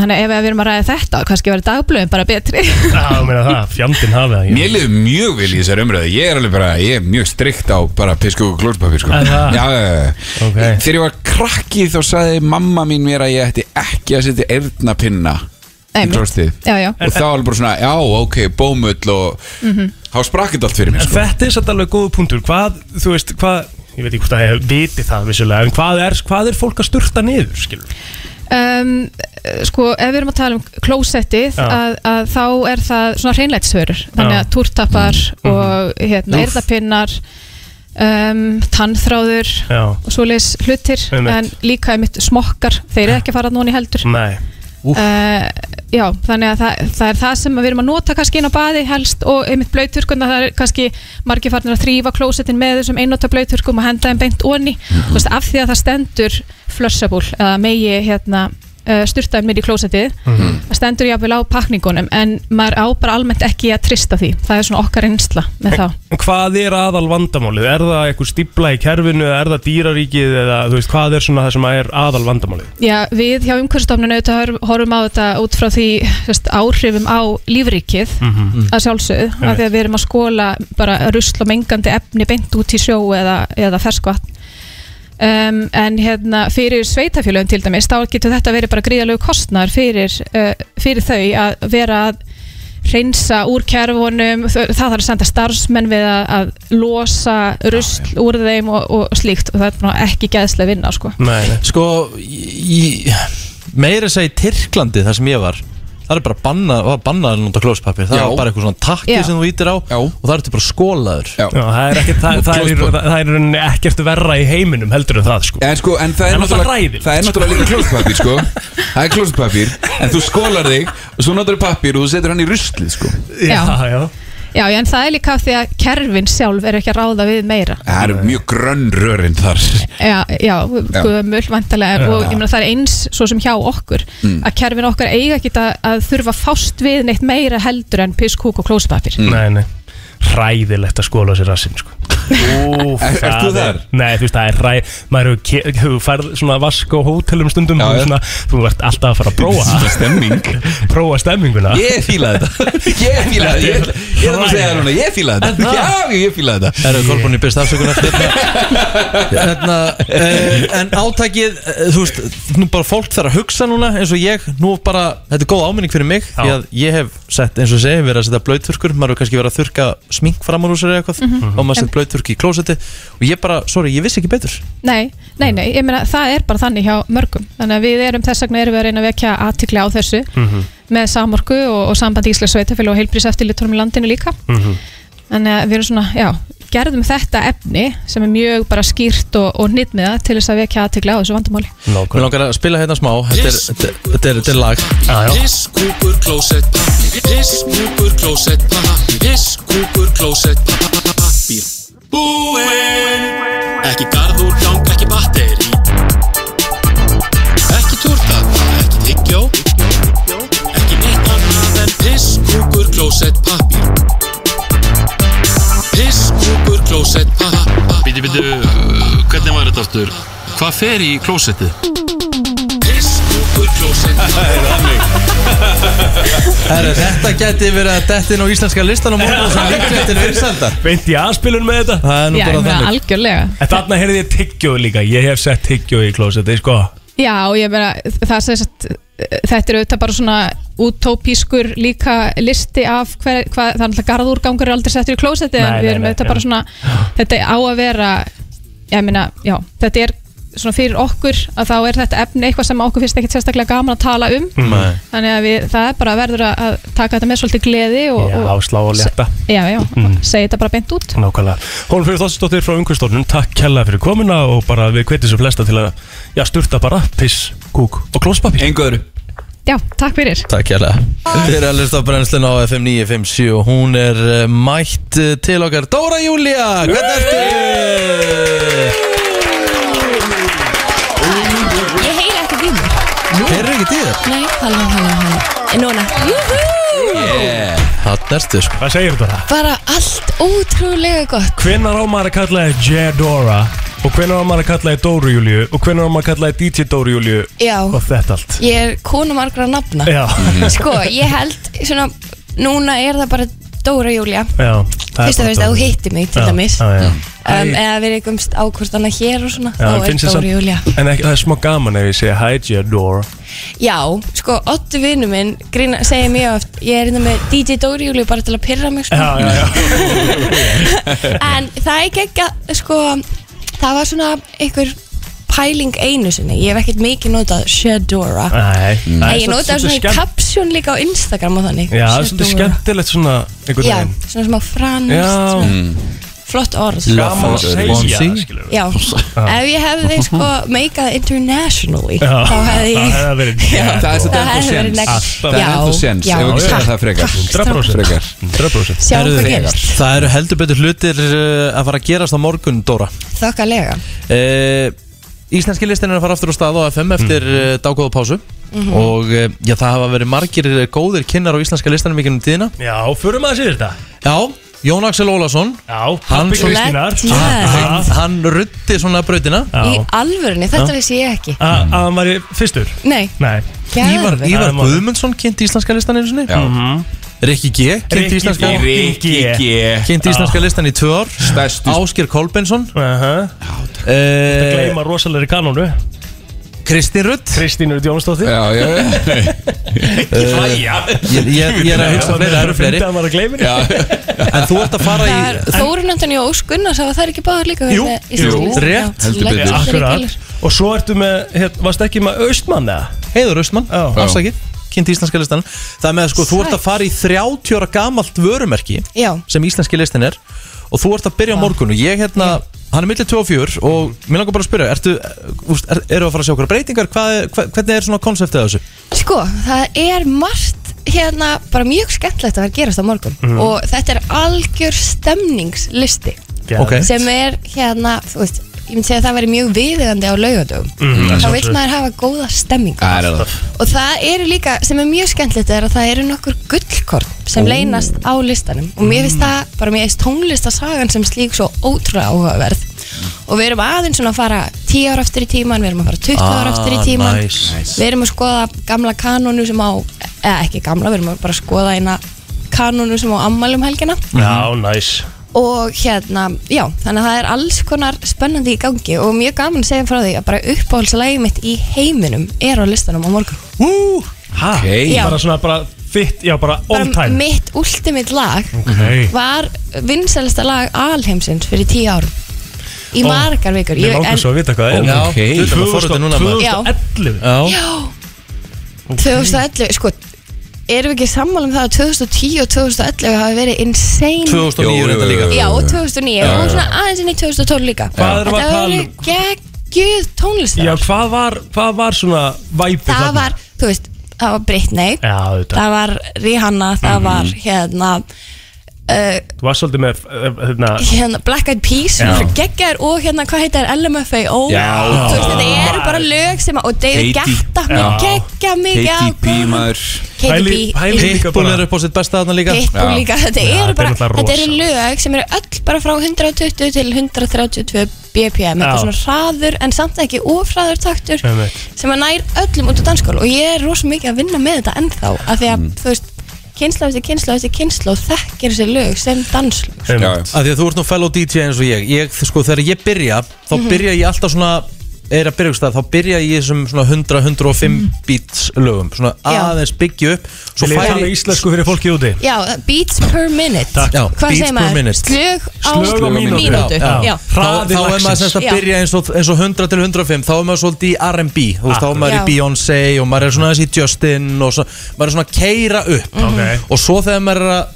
Speaker 8: Þannig að ef við erum að ræða þetta kannski verður dagblöðin bara betri
Speaker 4: Já, þú meina það, fjandinn hafið það
Speaker 3: Mér liður mjög vel í þessari umræðu Ég er alveg bara, ég er mjög strikt á bara pisku og klórspapir sko.
Speaker 4: Er
Speaker 3: Já,
Speaker 4: það?
Speaker 3: já, já
Speaker 4: Ok.
Speaker 3: Þegar ég var krakki þá sagði mamma mín mér að ég ætti ekki að setja eyrnapinna í
Speaker 8: Einmitt.
Speaker 3: klórstið
Speaker 8: Já, já,
Speaker 3: Og þá var alveg bara svona, já, ok, bómull og
Speaker 8: Mhm.
Speaker 3: þá sprakkið allt fyrir mér
Speaker 4: En
Speaker 3: sko.
Speaker 4: þetta er satt alveg góðu punktur Hvað, þú veist, hvað Ég veit ekki hvort að ég viti það vissulega En hvað er, hvað er fólk að sturta niður, skilur?
Speaker 8: um, Sko, ef við erum að tala um klósettið
Speaker 4: Já.
Speaker 8: að, að þá er það svona hreinlætshörur þannig
Speaker 4: Já. Mhm.
Speaker 8: að túrtapar og hérna,
Speaker 4: Úff.
Speaker 8: erðapinnar um, tannþráður
Speaker 4: Já,
Speaker 8: og svoleiðis hlutir
Speaker 4: Einmitt.
Speaker 8: en líka einmitt smokkar, þeir eru ekki að fara núna í heldur uh,
Speaker 4: nei
Speaker 8: já, þannig að það, það er það sem við erum að nota kannski inn á baði helst og einmitt blöyturkun það er kannski margir farnir að þrýfa klósetin með þessum einnota blöyturkum og henda þeim beint onni Þú veist, af því að það stendur flushable eða megi hérna uh, styrtaðum mér í klósetið það stendur jáfnvel á pakningunum en maður á bara almennt ekki að trista því það er svona okkar einsla með þá
Speaker 4: En hvað er aðal vandamálið? Er það eitthvað stípla í kerfinu eða er það dýraríkið eða þú veist, hvað er svona það sem er aðal vandamálið?
Speaker 8: Já, við hjá umhverfstofnun auðvitað hor- horfum á þetta út frá því sest, áhrifum á lífrikið að sjálfsögðu, af því að við erum að skóla bara rusl og mengandi efni beint út í sjó eða, eða ferskvatn um, en hérna fyrir sveitafjölöfum til dæmis, þá getur þetta verið bara gríðalegu kostnar fyrir, uh, fyrir þau að vera að reynsa úr kerfunum, þau- það þarf að senda starfsmenn við að, að losa rusl úr þeim og, og slíkt og það er bara ekki gæðslega vinna sko.
Speaker 4: Nei, nei.
Speaker 2: Sko, í, meira að segja í Tyrklandi þar sem ég var Það er bara bannað var bannað að nota klóspapir Það
Speaker 3: Já.
Speaker 2: var bara eitthvað svona takki
Speaker 8: Já.
Speaker 2: sem þú ítir á
Speaker 3: Já.
Speaker 2: Og það ertu bara skólaður
Speaker 3: Já.
Speaker 4: Já, það er ekki, það, það, er, í-
Speaker 3: Klóspapír.
Speaker 4: það er í rauninni ekkert verra í heiminum heldur en það, sko
Speaker 3: En sko, en það er
Speaker 4: En náttúrulega
Speaker 3: náttúrulega
Speaker 4: hræðilegt,
Speaker 3: Það er náttúrulega líka klóspapir, sko Það er klóspapir, en þú skólar þig og svo notar þú papir og þú setur hann í ruslið, sko
Speaker 4: Já,
Speaker 8: Já.
Speaker 4: já,
Speaker 8: Já, já, en það er líka af því að kerfin sjálf er ekki að ráða við meira.
Speaker 3: Það eru mjög grönn rörin þar
Speaker 8: Já, já,
Speaker 3: Já.
Speaker 8: gömul vantarlega og ég meina það er eins svo sem hjá okkur að kerfin okkar eiga ekki að, að þurfa að fást við neitt meira heldur en piss, kúk og klóspapir.
Speaker 3: Mm.
Speaker 4: nei, nei Ræðilegt að skóla sér rassin, sko Úf,
Speaker 3: Er- ert
Speaker 4: það
Speaker 3: þú þar?
Speaker 4: Nei, þú veist, það er ræ Maður hefur ke- hefur færð svona vask á hótelum stundum
Speaker 3: Já,
Speaker 4: og
Speaker 3: já.
Speaker 4: svona, Þú ert alltaf að fara að prófa
Speaker 3: Stemming
Speaker 4: Prófa stemminguna
Speaker 3: Ég fíla þetta Ég fíla þetta Ég, ég er að fara að segja það núna Ég fíla þetta Já, ég fíla þetta
Speaker 2: Erðu Kolbrunni byrst afsökunar hérna, hérna, eh, En átakið eh, Þú veist, nú bara fólk þarf að hugsa núna eins og ég, nú bara, þetta er góð áminning fyrir mig því að ég hef sett, eins og ég segi, verið að setja blöytþurkur, maður hefur kannski verið að þurka smink framan úr sér eða eitthvað og maður sett blöytþurki í klósetti og ég bara, sorry, ég vissi ekki betur
Speaker 8: Nei, nei, nei, ég meina það er bara þannig hjá mörgum. Þannig að við erum þess vegna erum við að reyna að vekja aðtikli á þessu með samorku og, og sambandi Íslands sveitafélag og heilbríseftiliturum í landinu líka. Þannig að við erum svona, já, gerðum þetta efni sem er mjög bara skýrt og, og nýtmiða til þess að vekja aðtikli á þessu vandamáli.
Speaker 2: Mér langar að spila hérna smá, þetta er, þetta er, þetta er, þetta er lag
Speaker 9: Piss, kúkur, klósett pappír Piss, kúkur, klósett pappír Piss, kúkur, klósett pappír Búinn Ekki garður, lang, ekki batteri Ekki turtata, ekki tyggjó Ekki neitt annað en Piss, kúkur, klósett pappír Piss, kúkur, klósett pappír Bíti, bíti, uh, hvernig var þetta aftur? Hvað fer í klósettið? Piss, kúkur, klósett pappír
Speaker 2: Herru, Þetta geti verið að detti inn á íslenska listan og morgun sem líklegt er vinsælda
Speaker 4: Veint ég aðspilun með þetta?
Speaker 2: Það er nú
Speaker 8: Já, ég
Speaker 2: bara
Speaker 8: meina
Speaker 2: þannig
Speaker 8: algjörlega.
Speaker 4: En þarna heyrði ég tyggjóð líka, ég hef sett tyggjóð í klósetti, sko
Speaker 8: Já, ég meina, það sem sagt, þetta er auðvitað bara svona utópískur líka listi af hver, hvað, það er alltaf garðúrgangur er aldrei settur í klósetti en
Speaker 4: Nei,
Speaker 8: við
Speaker 4: nei,
Speaker 8: erum
Speaker 4: nei,
Speaker 8: auðvitað
Speaker 4: já.
Speaker 8: bara svona, þetta á að vera, ég meina, já, þetta er svona fyrir okkur að þá er þetta efni eitthvað sem okkur finnst ekkit sérstaklega gaman að tala um
Speaker 4: Mm.
Speaker 3: Mm.
Speaker 2: Nei.
Speaker 8: þannig að við, það er bara verður að- að taka þetta með svolítið gleði og,
Speaker 4: Já, Mm.
Speaker 8: og
Speaker 4: slá og létta
Speaker 8: já, já, segja þetta bara beint út
Speaker 4: Nákvæmlega. Hólum fyrir Þossisdóttir frá Ungvistórnum, takk kella fyrir komuna og bara við hvetjum sem flesta til að, já, sturta bara piss, kúk og klóspapir.
Speaker 3: Engu öðru
Speaker 10: já, takk fyrir
Speaker 2: Takk hérlega Þið er að hlusta á brennslun á FM 957 og hún er eh, mætt eh, til okkar Dóra Júlia, hvernig ertu?
Speaker 8: Ég heyri ekkert í mér
Speaker 2: Heyrðu ekki til þér?
Speaker 8: Nei, halló, halló, halló En Núna, júhú
Speaker 2: Þannig ertu sko
Speaker 4: Hvað segir þetta?
Speaker 8: Bara allt ótrúlega gott
Speaker 4: Hvenar á maður að kalla þið Jedora og hvenar á maður að kalla þið Dóru Júliu og hvenar á maður að kalla þið DJ Dóru Júliu
Speaker 8: Já,
Speaker 4: og þetta allt
Speaker 8: ég er konu margra nafna
Speaker 4: Já,
Speaker 8: Sko, ég held svona Núna er það bara Dóra Júlia
Speaker 4: já
Speaker 8: Fyrst og fyrst að þú hittir mig til
Speaker 4: Já,
Speaker 8: dæmis
Speaker 4: já, já.
Speaker 8: um, Eða við erum ákvort annað hér og svona
Speaker 4: Já, en
Speaker 8: Þá er
Speaker 4: finnst þér
Speaker 8: Dóra
Speaker 4: samt-
Speaker 8: Júlia
Speaker 4: En ekki, það er smá gaman ef ég segja Hi Jedora
Speaker 8: Já, sko, Ottu vinnu minn grína, segir mjög oft, ég er innan með DJ Dóri Júli bara til að pyrra mig sko.
Speaker 4: Já, já, já
Speaker 8: en það er ekki sko, það var svona einhver pæling einu sinni ég hef ekkert mikið notað Shadora
Speaker 4: Nei,
Speaker 8: en
Speaker 4: það er
Speaker 8: ég notaði
Speaker 4: svolítið
Speaker 8: svona í
Speaker 4: skemmt-
Speaker 8: kapsjón líka á Instagram og þannig
Speaker 4: Já, það er svolítið
Speaker 8: Shadora.
Speaker 4: skemmtilegt svona einhvern
Speaker 8: já,
Speaker 4: veginn
Speaker 8: svona smá franst
Speaker 4: Já.
Speaker 3: Mm.
Speaker 8: svona, flott orð
Speaker 4: Gaman að segja
Speaker 2: Bonsi.
Speaker 4: skilur við.
Speaker 8: já, ef ég hefði sko make það internationally þá hefði
Speaker 4: Það
Speaker 8: ég
Speaker 4: hefði verið
Speaker 3: Það er
Speaker 4: Jedora.
Speaker 3: þetta
Speaker 8: það
Speaker 3: ennþá
Speaker 8: hefði verið
Speaker 3: sens
Speaker 8: next.
Speaker 3: Það er
Speaker 8: Já,
Speaker 3: ennþá sens
Speaker 8: já,
Speaker 3: Ef við ekki segja
Speaker 8: takk,
Speaker 3: það frekar
Speaker 8: takk, strákar.
Speaker 4: 100%
Speaker 3: Frekar
Speaker 4: 100%
Speaker 8: sjá hvað
Speaker 2: Herðu,
Speaker 8: gerist
Speaker 2: Það eru heldur betur hlutir eh, að fara að gerast á morgun, Dóra
Speaker 8: þokkalega
Speaker 2: Eh, Íslenski listin er að fara aftur á stað á FM eftir mm. dágóðu pásu og eh, já, það hafa verið margir eh, góðir kynnar á íslenska listanum í gennum tíðina
Speaker 4: Já, förum að sér þetta
Speaker 2: Já, Jón Axel Ólason
Speaker 4: Já,
Speaker 2: Hann
Speaker 4: pabbi
Speaker 2: svo-
Speaker 4: Kristínar
Speaker 8: Legend.
Speaker 4: Já.
Speaker 2: hann, hann ruddi svona brautina
Speaker 8: í
Speaker 4: Já.
Speaker 8: alvörunni, þetta vissi ég ekki
Speaker 4: Að að hann var fyrstur
Speaker 8: nei,
Speaker 4: Nei
Speaker 2: Ívar,
Speaker 8: geðveikt.
Speaker 2: Ívar
Speaker 4: Það er málið.
Speaker 2: Guðmundsson kynnt íslenska listan einu sinni Mhm.
Speaker 3: Já.
Speaker 2: Rikki G kynnt
Speaker 4: Rikki
Speaker 2: íslenska,
Speaker 4: G.
Speaker 3: Rikki G
Speaker 2: kynnt íslenska listan í tvö ár
Speaker 3: Stærstu
Speaker 2: Ásker Kolbensson
Speaker 4: Uh-huh.
Speaker 2: eh,
Speaker 4: Gleima rosalegri kanónu
Speaker 2: Kristín Rudd
Speaker 4: Kristínur Jónsdóttir
Speaker 3: Já, já, já
Speaker 4: Hlæja
Speaker 2: ég, ég, ég er að hugsa fleiri, það eru fleiri
Speaker 4: Það var að gleyma henni
Speaker 2: En þú ert að fara í
Speaker 8: Það er Þórun Antoni og Ósk Gunnars hafa það ekki báðar líka
Speaker 4: Jú,
Speaker 8: hérna, í
Speaker 4: jú,
Speaker 8: Íslandslistanum?
Speaker 2: rétt.
Speaker 8: Já,
Speaker 3: Heldur
Speaker 8: leggja
Speaker 3: betur.
Speaker 8: allir í
Speaker 4: Akkurat
Speaker 8: keilur.
Speaker 4: Og svo ertu með hér, Varst ekki með Austmann eða?
Speaker 2: Heiður Austmann,
Speaker 4: Já.
Speaker 2: afsakið kynnt íslenska listan Það með að sko, þú ert að
Speaker 8: Sæt.
Speaker 2: fara í 30 ára gamalt vörumerki
Speaker 8: Já.
Speaker 2: sem íslenski listin er og þú ert að byrja á morgun og ég hérna hann er millir 2 og 4 og mér langar bara að spyrja ertu, úst, er, eru að fara að sjá okkur breytingar hvað, er- hva, hvernig er svona konseptið af þessu
Speaker 8: Sko, það er margt hérna bara mjög skemmtlegt að vera að gerast á morgun og þetta er algjör stemningslisti
Speaker 2: Ok.
Speaker 4: Geðveikt.
Speaker 8: sem er hérna, þú veist ég myndi segja að það væri mjög viðegandi á laugadögum þá vill
Speaker 4: Mhm. Mm, sjálfsögðu.
Speaker 8: maður hafa góða stemming
Speaker 3: Það er það
Speaker 8: og það eru líka, sem er mjög skemmtilegt er að það eru nokkur gullkorn sem leynast á listanum og mér finnst það bara mér finnst tónlistasagan sem slík svo ótrúlega áhugaverð og við erum aðeins svona að fara 10 ára aftur í tíman, við erum að fara 20 ára aftur í tíman
Speaker 2: nice.
Speaker 8: Við erum að skoða gamla kanónu sem á, eða ekki gamla, við erum að bara skoða eina kanónu sem á ammælum helgina
Speaker 4: Já, næs
Speaker 8: og hérna, já, þannig að það er alls konar spennandi í gangi og mjög gaman að segja frá því að bara uppáhaldslægi mitt í heiminum er á listanum á morgun.
Speaker 4: Wú Ha?
Speaker 3: Ok.
Speaker 8: Já.
Speaker 4: Bara svona bara Fitt, já bara all
Speaker 8: Bara
Speaker 4: time
Speaker 8: mitt ultimate lag
Speaker 4: Ok
Speaker 8: var vinsælsta lag alheimsins fyrir tíu árum í
Speaker 4: Ó,
Speaker 8: margar vikur.
Speaker 4: Mér
Speaker 8: Ég-
Speaker 4: langar
Speaker 8: en-
Speaker 4: svo að vita hvað það er
Speaker 2: Já,
Speaker 3: Ok.
Speaker 2: þetta var forvitið núna maður.
Speaker 4: 2011
Speaker 2: Já,
Speaker 8: Já, 2011, sko, erum við ekki sammála um það að 2010 og 2011 hafi verið insane
Speaker 2: 2009
Speaker 3: Jú,
Speaker 2: er
Speaker 3: jú,
Speaker 2: þetta
Speaker 3: jú,
Speaker 2: líka
Speaker 3: jú.
Speaker 8: Já, og 2009 og svona aðeins inn í 2012 líka
Speaker 4: Hvað erum við að
Speaker 8: Þetta
Speaker 4: tala
Speaker 8: voru
Speaker 4: um?
Speaker 8: geggjuð tónlistar
Speaker 4: Já, hvað var, hvað var svona væpið
Speaker 8: Það var, þú veist, það var Britney
Speaker 4: Já, Mhm. þetta
Speaker 8: Það var Rihanna, það var hérna uh,
Speaker 4: Þú var svolítið með eh, hérna
Speaker 8: hérna Black Eyed Peas
Speaker 4: Já.
Speaker 8: sem geggar og hérna, hvað heitir LMFAO
Speaker 3: Já.
Speaker 8: Þú veist, þetta eru bara lög sem að, og David
Speaker 3: Katy-
Speaker 8: Guetta,
Speaker 4: Já.
Speaker 8: mér geggja mikið á
Speaker 3: KTP maður
Speaker 8: Katy
Speaker 4: Pæli-
Speaker 8: B,
Speaker 4: pæli- líka
Speaker 2: Pitbull
Speaker 4: bara-
Speaker 2: er upp á sitt besta þarna líka
Speaker 8: Pitbull
Speaker 3: Já.
Speaker 8: líka Þetta
Speaker 4: Já,
Speaker 8: eru
Speaker 4: þetta er
Speaker 8: bara,
Speaker 4: náttúrulega
Speaker 8: þetta eru
Speaker 4: rosa.
Speaker 8: lög sem eru öll bara frá 120 til 132 BPM Þetta
Speaker 4: Já.
Speaker 8: er svona hraður en samt ekki ofraður taktur
Speaker 4: Einmitt.
Speaker 8: sem að nær öllum út á danskól og ég er rosa mikið að vinna með þetta ennþá af því að, þú veist, kynsla eftir kynsla eftir kynsla og þekkir þessi lög sem danslög
Speaker 4: um,
Speaker 3: Já, já.
Speaker 2: Af því að þú ert nú fellow DJ eins og ég, ég sko, Þegar ég byrja, þá byrja ég alltaf svona er að byrja ykkur stað, þá byrja ég í þessum svona 100-105 beats lögum svona
Speaker 8: Já.
Speaker 2: aðeins byggja upp svo
Speaker 4: Vil ég
Speaker 2: færi
Speaker 4: tala íslensku fyrir fólki úti?
Speaker 8: Já, beats per minute
Speaker 4: Takk.
Speaker 2: Já,
Speaker 8: Hvað
Speaker 2: beats per
Speaker 8: segir maður?
Speaker 2: minute.
Speaker 8: Slög á
Speaker 4: Slög á mínútu.
Speaker 8: mínútu.
Speaker 2: Já,
Speaker 8: Já.
Speaker 2: þá,
Speaker 4: Hraði
Speaker 2: þá er maður
Speaker 4: lagsins.
Speaker 2: semst að
Speaker 8: Já.
Speaker 2: byrja eins og, eins og 100 til 105 þá er maður svolítið í R&B þú veist, þá er maður í
Speaker 8: Já.
Speaker 2: Beyoncé og maður er svona þessi Justin og svo, maður er svona að keira upp
Speaker 4: Ok.
Speaker 2: og svo þegar maður er að